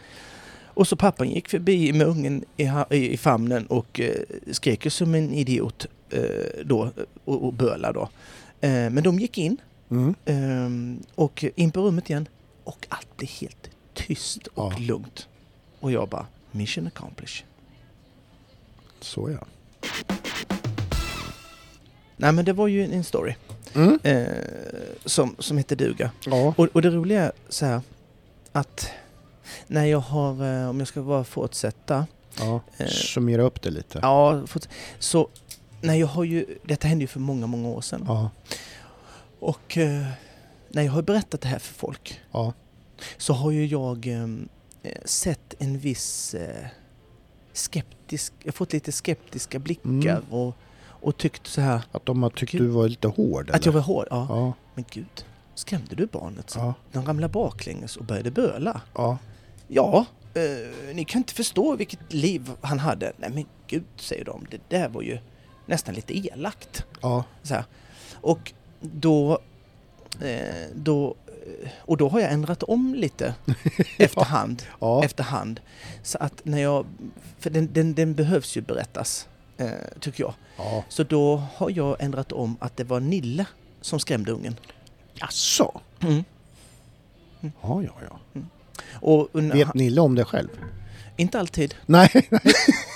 Speaker 1: Och så pappan gick förbi med ungen i, ha, i, i famnen och eh, skrek ju som en idiot eh, då, och, och böla då. Eh, men de gick in
Speaker 6: mm.
Speaker 1: Ehm, och in på rummet igen och allt blir helt tyst och
Speaker 6: Ja.
Speaker 1: lugnt. Och jag bara, mission accomplished.
Speaker 6: så ja.
Speaker 1: Nej men det var ju en, en story
Speaker 6: Mm.
Speaker 1: eh, som, som hette duga.
Speaker 6: Ja,
Speaker 1: Och, och det roliga är så här att när jag har, eh, om jag ska bara fortsätta,
Speaker 6: ja.
Speaker 1: Eh.
Speaker 6: Summera upp det lite.
Speaker 1: ja, forts- så när jag har ju, detta hände ju för många, många år sedan.
Speaker 6: Ja,
Speaker 1: Och eh, när jag har berättat det här för folk
Speaker 6: ja.
Speaker 1: så har ju jag ehm, eh, sett en viss eh, skeptisk, jag har fått lite skeptiska blickar
Speaker 6: Mm.
Speaker 1: och, och tyckt så här
Speaker 6: Att de har tyckt du var lite hård
Speaker 1: att jag
Speaker 6: eller?
Speaker 1: var hård. Ja.
Speaker 6: Ja,
Speaker 1: Men gud, skrämde du barnet? Så
Speaker 6: ja,
Speaker 1: De ramlade baklänges och började böla.
Speaker 6: ja.
Speaker 1: Ja, eh, ni kan inte förstå vilket liv han hade. Nej men gud, säger de, det där var ju nästan lite elakt.
Speaker 6: ja.
Speaker 1: Så här. Och då, eh, då, eh, och då har jag ändrat om lite efterhand.
Speaker 6: Ja.
Speaker 1: efterhand. Så att när jag, för den, den, den behövs ju berättas, eh, tycker jag.
Speaker 6: ja.
Speaker 1: Så då har jag ändrat om att det var Nille som skrämde ungen.
Speaker 6: Jaså?
Speaker 1: Mm.
Speaker 6: Ja, ja, ja.
Speaker 1: Och, un-
Speaker 6: Vet
Speaker 1: han,
Speaker 6: Nille om det själv?
Speaker 1: inte alltid,
Speaker 6: Nej, nej,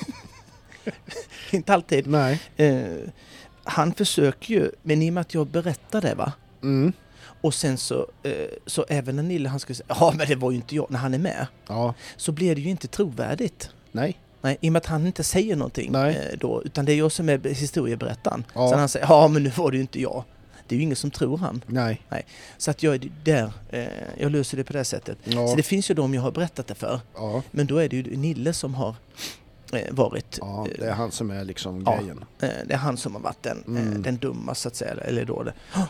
Speaker 1: inte alltid.
Speaker 6: nej.
Speaker 1: Eh, han försöker ju, men i och med att jag berättar det va,
Speaker 6: Mm.
Speaker 1: och sen så, eh, så även när Nille han skulle säga ja men det var ju inte jag, när han är med,
Speaker 6: Ja,
Speaker 1: så blir det ju inte trovärdigt.
Speaker 6: nej.
Speaker 1: Nej, I och med att han inte säger någonting
Speaker 6: Nej.
Speaker 1: eh, då, utan det är jag som är historieberättaren.
Speaker 6: Ja.
Speaker 1: Så när han säger ja men nu var det ju inte jag. Det är ju ingen som tror han.
Speaker 6: Nej.
Speaker 1: Så att jag är där, eh, jag löser det på det här sättet.
Speaker 6: Ja.
Speaker 1: Så det finns ju de jag har berättat det för.
Speaker 6: Ja.
Speaker 1: Men då är det ju Nille som har eh, varit,
Speaker 6: ja,
Speaker 1: eh,
Speaker 6: det är han som är liksom
Speaker 1: Ja.
Speaker 6: grejen.
Speaker 1: eh, det är han som har varit den, eh,
Speaker 6: Mm.
Speaker 1: den dumma så att säga. eller- Eller då det.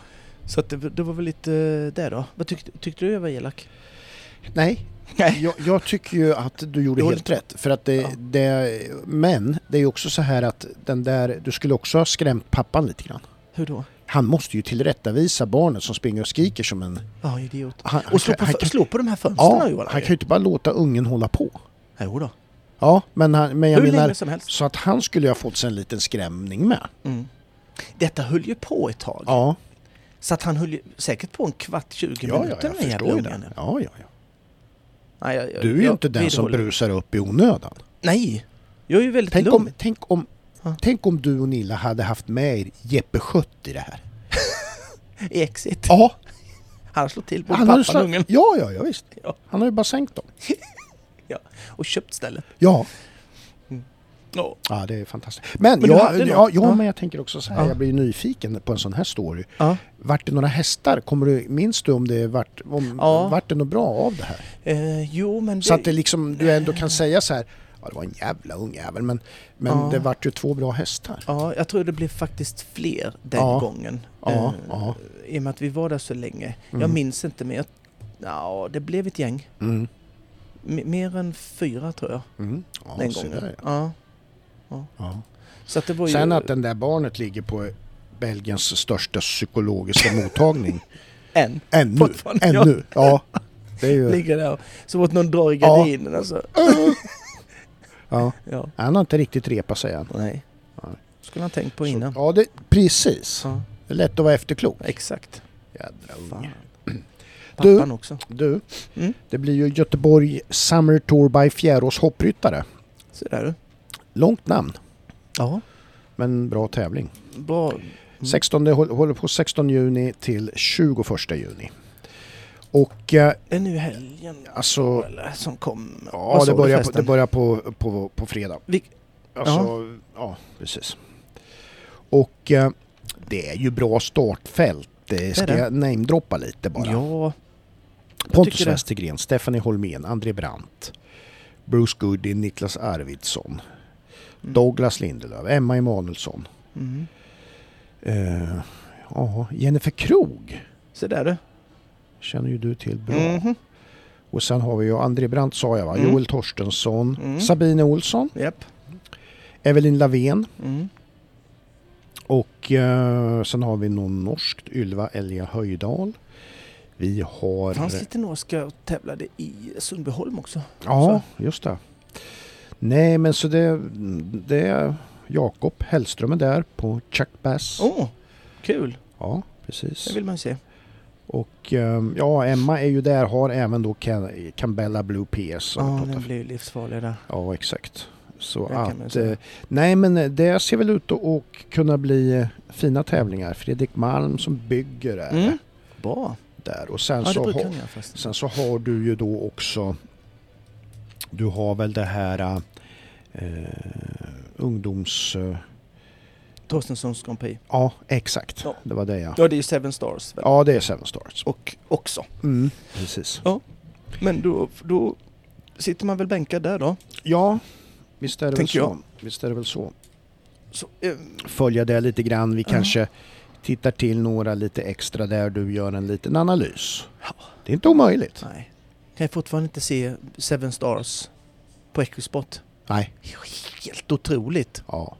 Speaker 1: Så att det, det var väl lite eh, det då. Vad tyckte, tyckte du jag var elak?
Speaker 6: Nej,
Speaker 1: Nej.
Speaker 6: jag, jag tycker ju att du gjorde
Speaker 1: Jo,
Speaker 6: helt rätt. För att det,
Speaker 1: Ja.
Speaker 6: det, men det är ju också så här att den där, du skulle också ha skrämt pappan lite grann.
Speaker 1: Hur då?
Speaker 6: Han måste ju tillrättavisa barnet som springer och skriker som en...
Speaker 1: Ja, idiot.
Speaker 6: Han,
Speaker 1: Och slå på,
Speaker 6: han, han,
Speaker 1: slå på de här fönstren
Speaker 6: ja,
Speaker 1: Johan.
Speaker 6: han kan ju inte bara låta ungen hålla på.
Speaker 1: Jo då.
Speaker 6: Ja, men, han, men jag
Speaker 1: Hur
Speaker 6: menar...
Speaker 1: länge som helst.
Speaker 6: Så att han skulle ju ha fått sig en liten skrämning med.
Speaker 1: Mm. Detta höll ju på ett tag.
Speaker 6: Ja,
Speaker 1: Så att han höll ju säkert på en kvart, 20
Speaker 6: ja, ja
Speaker 1: minuter
Speaker 6: jag
Speaker 1: den jävla
Speaker 6: förstår ju
Speaker 1: ungen.
Speaker 6: det. Ja, ja, ja.
Speaker 1: Nej, jag- jag-
Speaker 6: Du är ju
Speaker 1: jag
Speaker 6: inte den som
Speaker 1: vidhåller.
Speaker 6: brusar upp i onödan.
Speaker 1: Nej, jag är ju väldigt
Speaker 6: Tänk
Speaker 1: lugn.
Speaker 6: om, tänk, om,
Speaker 1: Ja.
Speaker 6: tänk om du och Nilla hade haft med er Jeppe Schött i det här.
Speaker 1: i Exit.
Speaker 6: Ja,
Speaker 1: Han slår till både
Speaker 6: han
Speaker 1: pappan
Speaker 6: hade slå-
Speaker 1: och ungen.
Speaker 6: ja, ja, ja visst.
Speaker 1: Ja.
Speaker 6: Han har ju bara sänkt dem.
Speaker 1: Ja. Och köpt stället.
Speaker 6: Ja,
Speaker 1: Ja.
Speaker 6: ja det är fantastiskt. Men,
Speaker 1: Men du
Speaker 6: jag,
Speaker 1: hade
Speaker 6: ja,
Speaker 1: något.
Speaker 6: ja,
Speaker 1: Ja.
Speaker 6: men jag tänker också så här,
Speaker 1: Ja.
Speaker 6: jag blir ju nyfiken på en sån här story.
Speaker 1: Ja.
Speaker 6: Vart det några hästar? Kommer du, minns du om det vart, om,
Speaker 1: Ja.
Speaker 6: vart det något bra av det här?
Speaker 1: Eh, jo, men det...
Speaker 6: Så att det liksom, du ändå kan säga så här, ja det var en jävla ungjävel men, men
Speaker 1: Ja.
Speaker 6: det vart ju två bra hästar.
Speaker 1: Ja, jag tror det blev faktiskt fler den
Speaker 6: Ja.
Speaker 1: gången.
Speaker 6: Ja,
Speaker 1: Eh,
Speaker 6: ja.
Speaker 1: I och med att vi var där så länge. Jag
Speaker 6: Mm.
Speaker 1: minns inte, men jag... Ja, det blev ett gäng.
Speaker 6: Mm.
Speaker 1: M- mer än fyra, tror jag,
Speaker 6: Mm. Ja,
Speaker 1: den
Speaker 6: så
Speaker 1: gången.
Speaker 6: där, ja.
Speaker 1: ja.
Speaker 6: Ja.
Speaker 1: Så att det var
Speaker 6: Sen
Speaker 1: ju...
Speaker 6: att den där barnet ligger på Belgiens största psykologiska mottagning.
Speaker 1: En.
Speaker 6: Ännu.
Speaker 1: Fortfarande, ja.
Speaker 6: Ännu. Ja. Det är ju,
Speaker 1: Ligger där och så fort någon drar i
Speaker 6: Ja.
Speaker 1: gardinerna så...
Speaker 6: ja.
Speaker 1: Ja.
Speaker 6: Han har inte riktigt repat sig än.
Speaker 1: Nej.
Speaker 6: Nej.
Speaker 1: Skulle han tänkt på
Speaker 6: Så,
Speaker 1: innan.
Speaker 6: ja, det, precis.
Speaker 1: Ja,
Speaker 6: Det är lätt att vara efterklok.
Speaker 1: exakt.
Speaker 6: Jädra
Speaker 1: Fan.
Speaker 6: unge. Du-
Speaker 1: Pappan också.
Speaker 6: Du,
Speaker 1: Mm.
Speaker 6: det blir ju Göteborg Summer Tour by Fjärås hoppryttare.
Speaker 1: Så där du.
Speaker 6: Långt namn,
Speaker 1: Ja.
Speaker 6: men bra tävling.
Speaker 1: Bra.
Speaker 6: 16, det håll- håller på 16 juni till 21 juni. Och eh,
Speaker 1: Är nu helgen
Speaker 6: alltså,
Speaker 1: eller, som kom? Vad
Speaker 6: ja
Speaker 1: sa
Speaker 6: det
Speaker 1: du
Speaker 6: börjar, på,
Speaker 1: förresten?
Speaker 6: det börjar på, på, på fredag.
Speaker 1: Vilk-
Speaker 6: Alltså, ja, precis. Och eh, det är ju bra startfält. Det ska
Speaker 1: det.
Speaker 6: jag namedroppa lite bara.
Speaker 1: Ja,
Speaker 6: Pontus
Speaker 1: tycker det.
Speaker 6: Westergren, Stephanie Holmén, André Brandt, Bruce Goodin, Niklas Arvidsson, Douglas Lindelöf, Emma Emanuelsson.
Speaker 1: mm.
Speaker 6: Eh, ja, Jennifer Krog
Speaker 1: så där du.
Speaker 6: känner ju du till bra.
Speaker 1: Mhm.
Speaker 6: Och sen har vi ju André Brandt sa jag va,
Speaker 1: Mm.
Speaker 6: Joel Torstensson,
Speaker 1: Mm.
Speaker 6: Sabine Olsson,
Speaker 1: Japp.
Speaker 6: Evelyn Lavén
Speaker 1: Mm.
Speaker 6: och eh, sen har vi någon norskt, Ylva Elja Höjdahl. Vi har...
Speaker 1: Det fanns lite norska och tävlade i Sundbyholm också.
Speaker 6: Ja, just det. Nej, men så det, det är Jakob Hellström är där på Chuck Bass.
Speaker 1: Åh, kul!
Speaker 6: Ja,
Speaker 1: Det
Speaker 6: precis.
Speaker 1: vill man ju se.
Speaker 6: Och ehm, ja, Emma är ju där, har även då Can- Cambella Blue PS. som vi
Speaker 1: Ja,
Speaker 6: pratade
Speaker 1: den
Speaker 6: om.
Speaker 1: blir ju livsfarlig där.
Speaker 6: ja exakt. Så
Speaker 1: Ah, Det kan man ju
Speaker 6: att,
Speaker 1: säga.
Speaker 6: eh, nej men det ser väl ut att att kunna bli eh, fina tävlingar. Fredrik Malm som bygger är
Speaker 1: Mm. Bra!
Speaker 6: där och sen
Speaker 1: Ja, det
Speaker 6: så har-
Speaker 1: brukar ni göra fast.
Speaker 6: Sen eh, Alltså, så har du ju då också Du har väl det här eh, ungdoms... Eh,
Speaker 1: Torstenssons Grand Prix.
Speaker 6: ja, exakt.
Speaker 1: Ja.
Speaker 6: Det var det ja.
Speaker 1: Ja, det är ju Seven Stars väl?
Speaker 6: Ja, det är Seven Stars.
Speaker 1: Och också.
Speaker 6: Mm, precis.
Speaker 1: Men då, då sitter man väl bänkad där då?
Speaker 6: Ja, visst är det, väl
Speaker 1: Tänker
Speaker 6: så.
Speaker 1: jag.
Speaker 6: visst är det väl så.
Speaker 1: Så, eh,
Speaker 6: Följa det lite grann. Vi kanske tittar till några lite extra där du gör en liten analys.
Speaker 1: Ja.
Speaker 6: Det är inte omöjligt.
Speaker 1: nej. Kan jag fortfarande inte se Seven Stars på Equispot.
Speaker 6: Nej.
Speaker 1: Helt otroligt!
Speaker 6: Ja.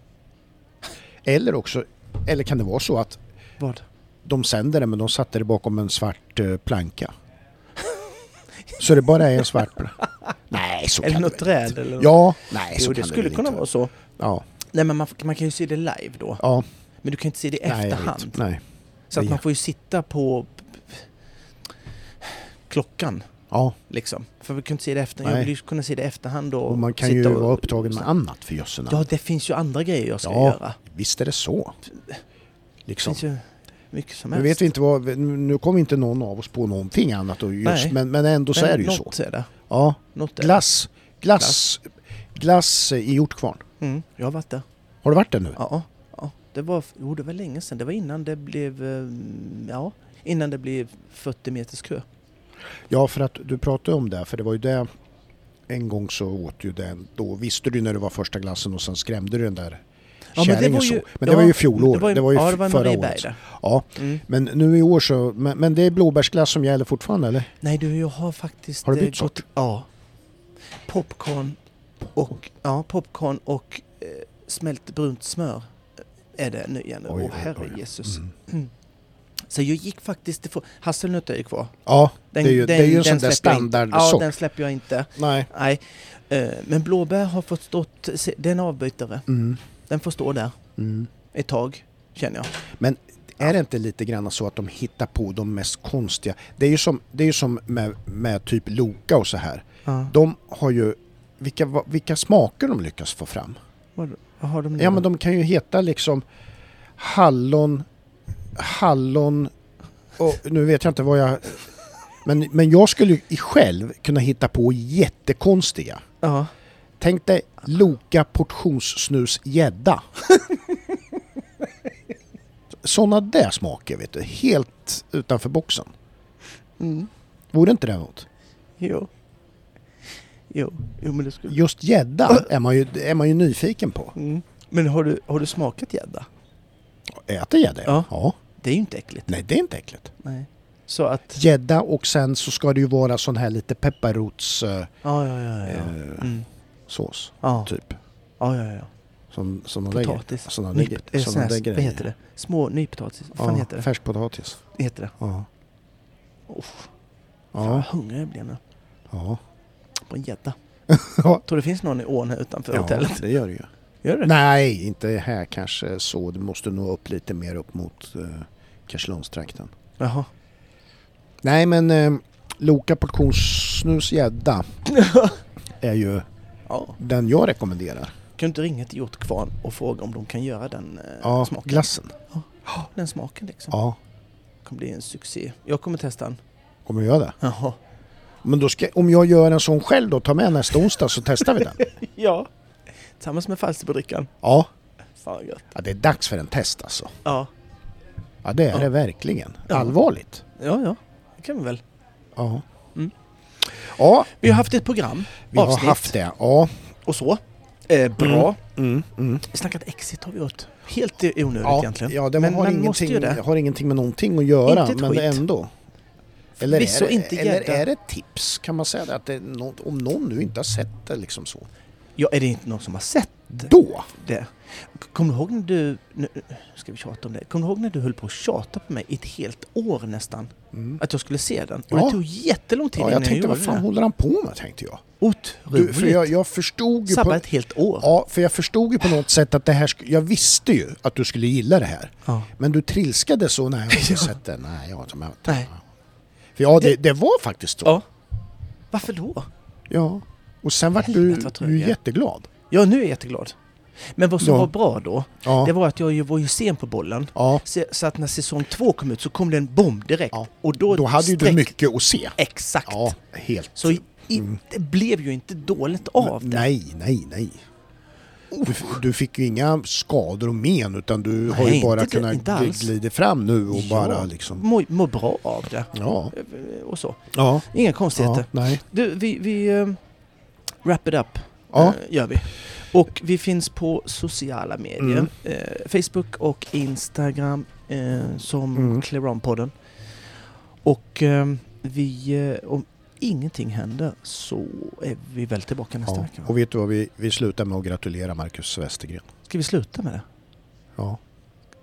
Speaker 6: Eller också, eller kan det vara så att
Speaker 1: Vad?
Speaker 6: de sänder det men de satte det bakom en svart eh, planka. Så det bara är en svart planka? Nej, så
Speaker 1: Eller
Speaker 6: kan
Speaker 1: något
Speaker 6: det väl
Speaker 1: träd eller något.
Speaker 6: Ja, nej så
Speaker 1: Jo,
Speaker 6: kan
Speaker 1: det skulle
Speaker 6: väl
Speaker 1: kunna
Speaker 6: inte.
Speaker 1: vara så.
Speaker 6: Ja,
Speaker 1: Nej, men man, f- man kan ju se det live då.
Speaker 6: ja.
Speaker 1: Men du kan ju inte se det i
Speaker 6: Nej, jag vet.
Speaker 1: efterhand.
Speaker 6: Nej.
Speaker 1: Så att
Speaker 6: Det-
Speaker 1: man får ju sitta på klockan
Speaker 6: Ja,
Speaker 1: liksom. För vi kunde inte se det i efterhand.
Speaker 6: Nej.
Speaker 1: Jag vill ju kunna se det i efterhand då.
Speaker 6: och man kan
Speaker 1: sitta
Speaker 6: ju
Speaker 1: och-
Speaker 6: vara upptagen med annat för jösse namn.
Speaker 1: Ja, det finns ju andra grejer jag ska
Speaker 6: Ja,
Speaker 1: göra.
Speaker 6: visst är det så.
Speaker 1: Det
Speaker 6: Liksom.
Speaker 1: finns ju mycket som
Speaker 6: Nu
Speaker 1: helst.
Speaker 6: vet vi inte vad, nu kom inte någon av oss på någonting annat då just,
Speaker 1: Nej.
Speaker 6: men, men ändå så
Speaker 1: Men
Speaker 6: är det ju så.
Speaker 1: något Är det.
Speaker 6: Ja.
Speaker 1: Något är
Speaker 6: Glass, glass, glass i Hjortkvarn.
Speaker 1: det. Mm, jag har varit där.
Speaker 6: Har du varit där nu?
Speaker 1: Ja, ja. Det var, jo, det var länge sedan. Det var innan det blev, eh, ja, innan det blev 40 meters kö.
Speaker 6: Ja, för att du pratade om det, för det var ju det en gång så åt ju den, då visste du när det var första glassen och sen skrämde du den där
Speaker 1: Ja,
Speaker 6: kärringen men det var ju, så. Men det var ju fjolår, det var ju,
Speaker 1: ja, det var
Speaker 6: förra
Speaker 1: Marieberg
Speaker 6: året.
Speaker 1: där.
Speaker 6: Ja,
Speaker 1: Mm.
Speaker 6: men nu i år så, men, men det är blåbärsglass som gäller fortfarande eller?
Speaker 1: Nej du, jag har faktiskt...
Speaker 6: Har du
Speaker 1: eh,
Speaker 6: bytt sort?
Speaker 1: Ja. Popcorn och, ja, popcorn och eh, smält brunt smör eh, är det nu igen.
Speaker 6: Oj,
Speaker 1: Åh
Speaker 6: oj,
Speaker 1: herre
Speaker 6: oj. Mm.
Speaker 1: Jesus. Så jag gick faktiskt ifrån... Hasselnötter är ju kvar.
Speaker 6: Ja, det är ju, det är ju en sån där
Speaker 1: släpper jag inte. Ja,
Speaker 6: standardsort.
Speaker 1: den släpper jag inte.
Speaker 6: Nej.
Speaker 1: Nej. Eh, Men blåbär har fått stått... se- Det är en avbytare.
Speaker 6: Mm.
Speaker 1: Den får stå där
Speaker 6: Mm.
Speaker 1: ett tag, känner jag.
Speaker 6: Men är det inte lite grann så att de hittar på de mest konstiga? Det är ju som, det är ju som med, med typ Loka och så här.
Speaker 1: Ja.
Speaker 6: De har ju, vilka, va- vilka smaker de lyckas få fram.
Speaker 1: Vad, vad har de nu?
Speaker 6: Ja men de kan ju heta liksom hallon, hallon och nu vet jag inte vad jag... Men, men jag skulle ju själv kunna hitta på jättekonstiga.
Speaker 1: Ja.
Speaker 6: Tänk dig Loka portionssnus gädda. Sådana där smaker vet du, helt utanför boxen.
Speaker 1: Mm.
Speaker 6: Vore inte det något?
Speaker 1: Jo. Jo, jo men det skulle...
Speaker 6: Just gädda är, man ju- är man ju nyfiken på.
Speaker 1: Mm. Men har du, har du smakat gädda?
Speaker 6: Äter gädda?
Speaker 1: Ja.
Speaker 6: ja.
Speaker 1: Det är ju inte äckligt.
Speaker 6: Nej, det är inte äckligt.
Speaker 1: Nej. Så att...
Speaker 6: gädda och sen så ska det ju vara sån här lite pepparrotssås.
Speaker 1: Ja, ja, ja. ja.
Speaker 6: Eh,
Speaker 1: Mm.
Speaker 6: sås
Speaker 1: Ja.
Speaker 6: Typ.
Speaker 1: ja, ja, ja.
Speaker 6: Som, som de lägger.
Speaker 1: Potatis.
Speaker 6: Såna
Speaker 1: Nyp-
Speaker 6: lägger-
Speaker 1: eh,
Speaker 6: såna
Speaker 1: sån här-
Speaker 6: där
Speaker 1: Vad
Speaker 6: grejer.
Speaker 1: heter det? Små nypotatis. Vad fan
Speaker 6: Ja,
Speaker 1: heter det?
Speaker 6: Färskpotatis.
Speaker 1: Heter det?
Speaker 6: Ja.
Speaker 1: Uff. Fan
Speaker 6: Ja.
Speaker 1: vad hungrig jag blev nu.
Speaker 6: Ja.
Speaker 1: På en gädda.
Speaker 6: Ja.
Speaker 1: Tror det finns någon i ån här utanför hotellet.
Speaker 6: det gör det ju.
Speaker 1: Gör det?
Speaker 6: Nej, inte här kanske så. Du måste nå upp lite mer upp mot eh, Karlslundstrakten.
Speaker 1: Jaha.
Speaker 6: Nej, men eh, Loka portionssnus gädda är ju
Speaker 1: Ja.
Speaker 6: den jag rekommenderar.
Speaker 1: Kan du inte ringa till Hjortkvarn och fråga om de kan göra den eh,
Speaker 6: Ja,
Speaker 1: smaken?
Speaker 6: glassen.
Speaker 1: Ja. Den smaken liksom.
Speaker 6: Ja,
Speaker 1: Det kommer bli en succé. Jag kommer testa den.
Speaker 6: kommer du göra det?
Speaker 1: Jaha.
Speaker 6: Men då ska, om jag gör en sån själv då, ta med nästa onsdag så testar vi den.
Speaker 1: Ja. Tillsammans med Falsterbodrickan.
Speaker 6: Ja.
Speaker 1: Fan vad gött.
Speaker 6: ja, det är dags för en test alltså.
Speaker 1: Ja.
Speaker 6: Ja, det är
Speaker 1: Ja.
Speaker 6: det verkligen.
Speaker 1: Ja.
Speaker 6: Allvarligt.
Speaker 1: Ja, ja. Det kan vi väl.
Speaker 6: Ja.
Speaker 1: Mm.
Speaker 6: Ja,
Speaker 1: Vi har haft ett program.
Speaker 6: Mm. vi har haft det. Ja.
Speaker 1: Och så. Eh, bra.
Speaker 6: Mm, mm.
Speaker 1: Snackat exit har vi gjort. Helt i i onödigt
Speaker 6: ja,
Speaker 1: egentligen.
Speaker 6: Ja, det
Speaker 1: men
Speaker 6: har,
Speaker 1: man måste
Speaker 6: ingenting,
Speaker 1: ju det.
Speaker 6: har ingenting med någonting att göra,
Speaker 1: Inte ett
Speaker 6: men
Speaker 1: skit.
Speaker 6: ändå. Eller är,
Speaker 1: Förvisso
Speaker 6: det,
Speaker 1: inte
Speaker 6: eller
Speaker 1: gädda.
Speaker 6: är det tips? Kan man säga det? Att det är nå- om någon nu inte har sett det liksom så.
Speaker 1: Ja, är det inte någon som har sett
Speaker 6: Då!
Speaker 1: det? K- Kommer du ihåg när du... Nu ska vi tjata om det. Kommer du ihåg när du höll på att tjata på mig i ett helt år nästan? Att jag skulle se den. Och
Speaker 6: Mm. Ja.
Speaker 1: det tog jättelång tid
Speaker 6: Ja,
Speaker 1: innan
Speaker 6: jag tänkte,
Speaker 1: gjorde
Speaker 6: vad fan
Speaker 1: det.
Speaker 6: håller han på med? tänkte jag. Du,
Speaker 1: Otroligt.
Speaker 6: för jag, jag förstod ju
Speaker 1: Sabba
Speaker 6: på,
Speaker 1: ett helt år.
Speaker 6: Ja, för jag förstod ju på något sätt att det här... sk- Jag visste ju att du skulle gilla det här.
Speaker 1: Ja.
Speaker 6: Men du trilskade så när jag har inte sett det. Nej, jag har inte med.
Speaker 1: Nej.
Speaker 6: För ja, det, det var faktiskt så.
Speaker 1: Ja. Varför då?
Speaker 6: Ja. Och sen vart du,
Speaker 1: Helvete, vad trög
Speaker 6: du
Speaker 1: jag är.
Speaker 6: jätteglad.
Speaker 1: Ja, nu är jag jätteglad. Men vad som
Speaker 6: Ja.
Speaker 1: var bra då,
Speaker 6: Ja.
Speaker 1: det var att jag ju var ju sen på bollen.
Speaker 6: Ja.
Speaker 1: Så, så att när säsong två kom ut så kom det en bomb direkt.
Speaker 6: Ja.
Speaker 1: Och då,
Speaker 6: Då hade ju du
Speaker 1: sträck-
Speaker 6: mycket att se.
Speaker 1: Exakt.
Speaker 6: Ja, helt.
Speaker 1: Så i, det blev ju inte dåligt av det.
Speaker 6: Nej, nej, nej. Du, f- du fick ju inga skador och men utan du har
Speaker 1: Nej,
Speaker 6: ju bara
Speaker 1: inte det-
Speaker 6: kunnat
Speaker 1: inte
Speaker 6: gl-
Speaker 1: alls.
Speaker 6: glida fram nu och bara
Speaker 1: Ja,
Speaker 6: liksom...
Speaker 1: Må, må bra av det.
Speaker 6: Ja.
Speaker 1: Och så.
Speaker 6: Ja.
Speaker 1: Inga
Speaker 6: ja
Speaker 1: konstigheter.
Speaker 6: nej.
Speaker 1: Du, vi, vi eh, wrap it up.
Speaker 6: Ja.
Speaker 1: eh, gör vi. Och vi finns på sociala medier.
Speaker 6: Mm.
Speaker 1: Eh, Facebook och Instagram eh, som
Speaker 6: Mm.
Speaker 1: Clearon-podden. Och eh, vi, eh, om ingenting händer så är vi väl tillbaka nästa
Speaker 6: Ja.
Speaker 1: vecka. va?
Speaker 6: Och vet du vad, vi, vi slutar med att gratulera Marcus Westergren.
Speaker 1: Ska vi sluta med det?
Speaker 6: Ja.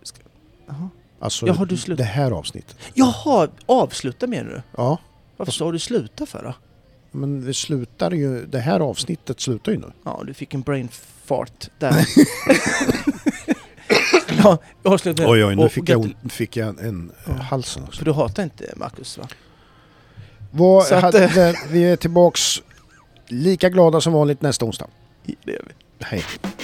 Speaker 1: Ska- Jaha.
Speaker 6: Alltså
Speaker 1: Jaha, du slut-
Speaker 6: det här avsnittet.
Speaker 1: Jaha, avsluta med det nu.
Speaker 6: Ja.
Speaker 1: Varför sa du sluta för då?
Speaker 6: Men vi slutar ju, det här avsnittet slutar ju nu.
Speaker 1: Ja, du fick en brain fart där. ja, jag har slutat med det.
Speaker 6: Oj, oj, nu
Speaker 1: Och
Speaker 6: fick jag,
Speaker 1: gratul-
Speaker 6: ont- fick jag en
Speaker 1: Ja.
Speaker 6: ja. halsen också.
Speaker 1: För du hatar inte Marcus va?
Speaker 6: Vad
Speaker 1: Så att,
Speaker 6: hade, vi är tillbaks lika glada som vanligt nästa onsdag.
Speaker 1: Det gör vi.
Speaker 6: Hej.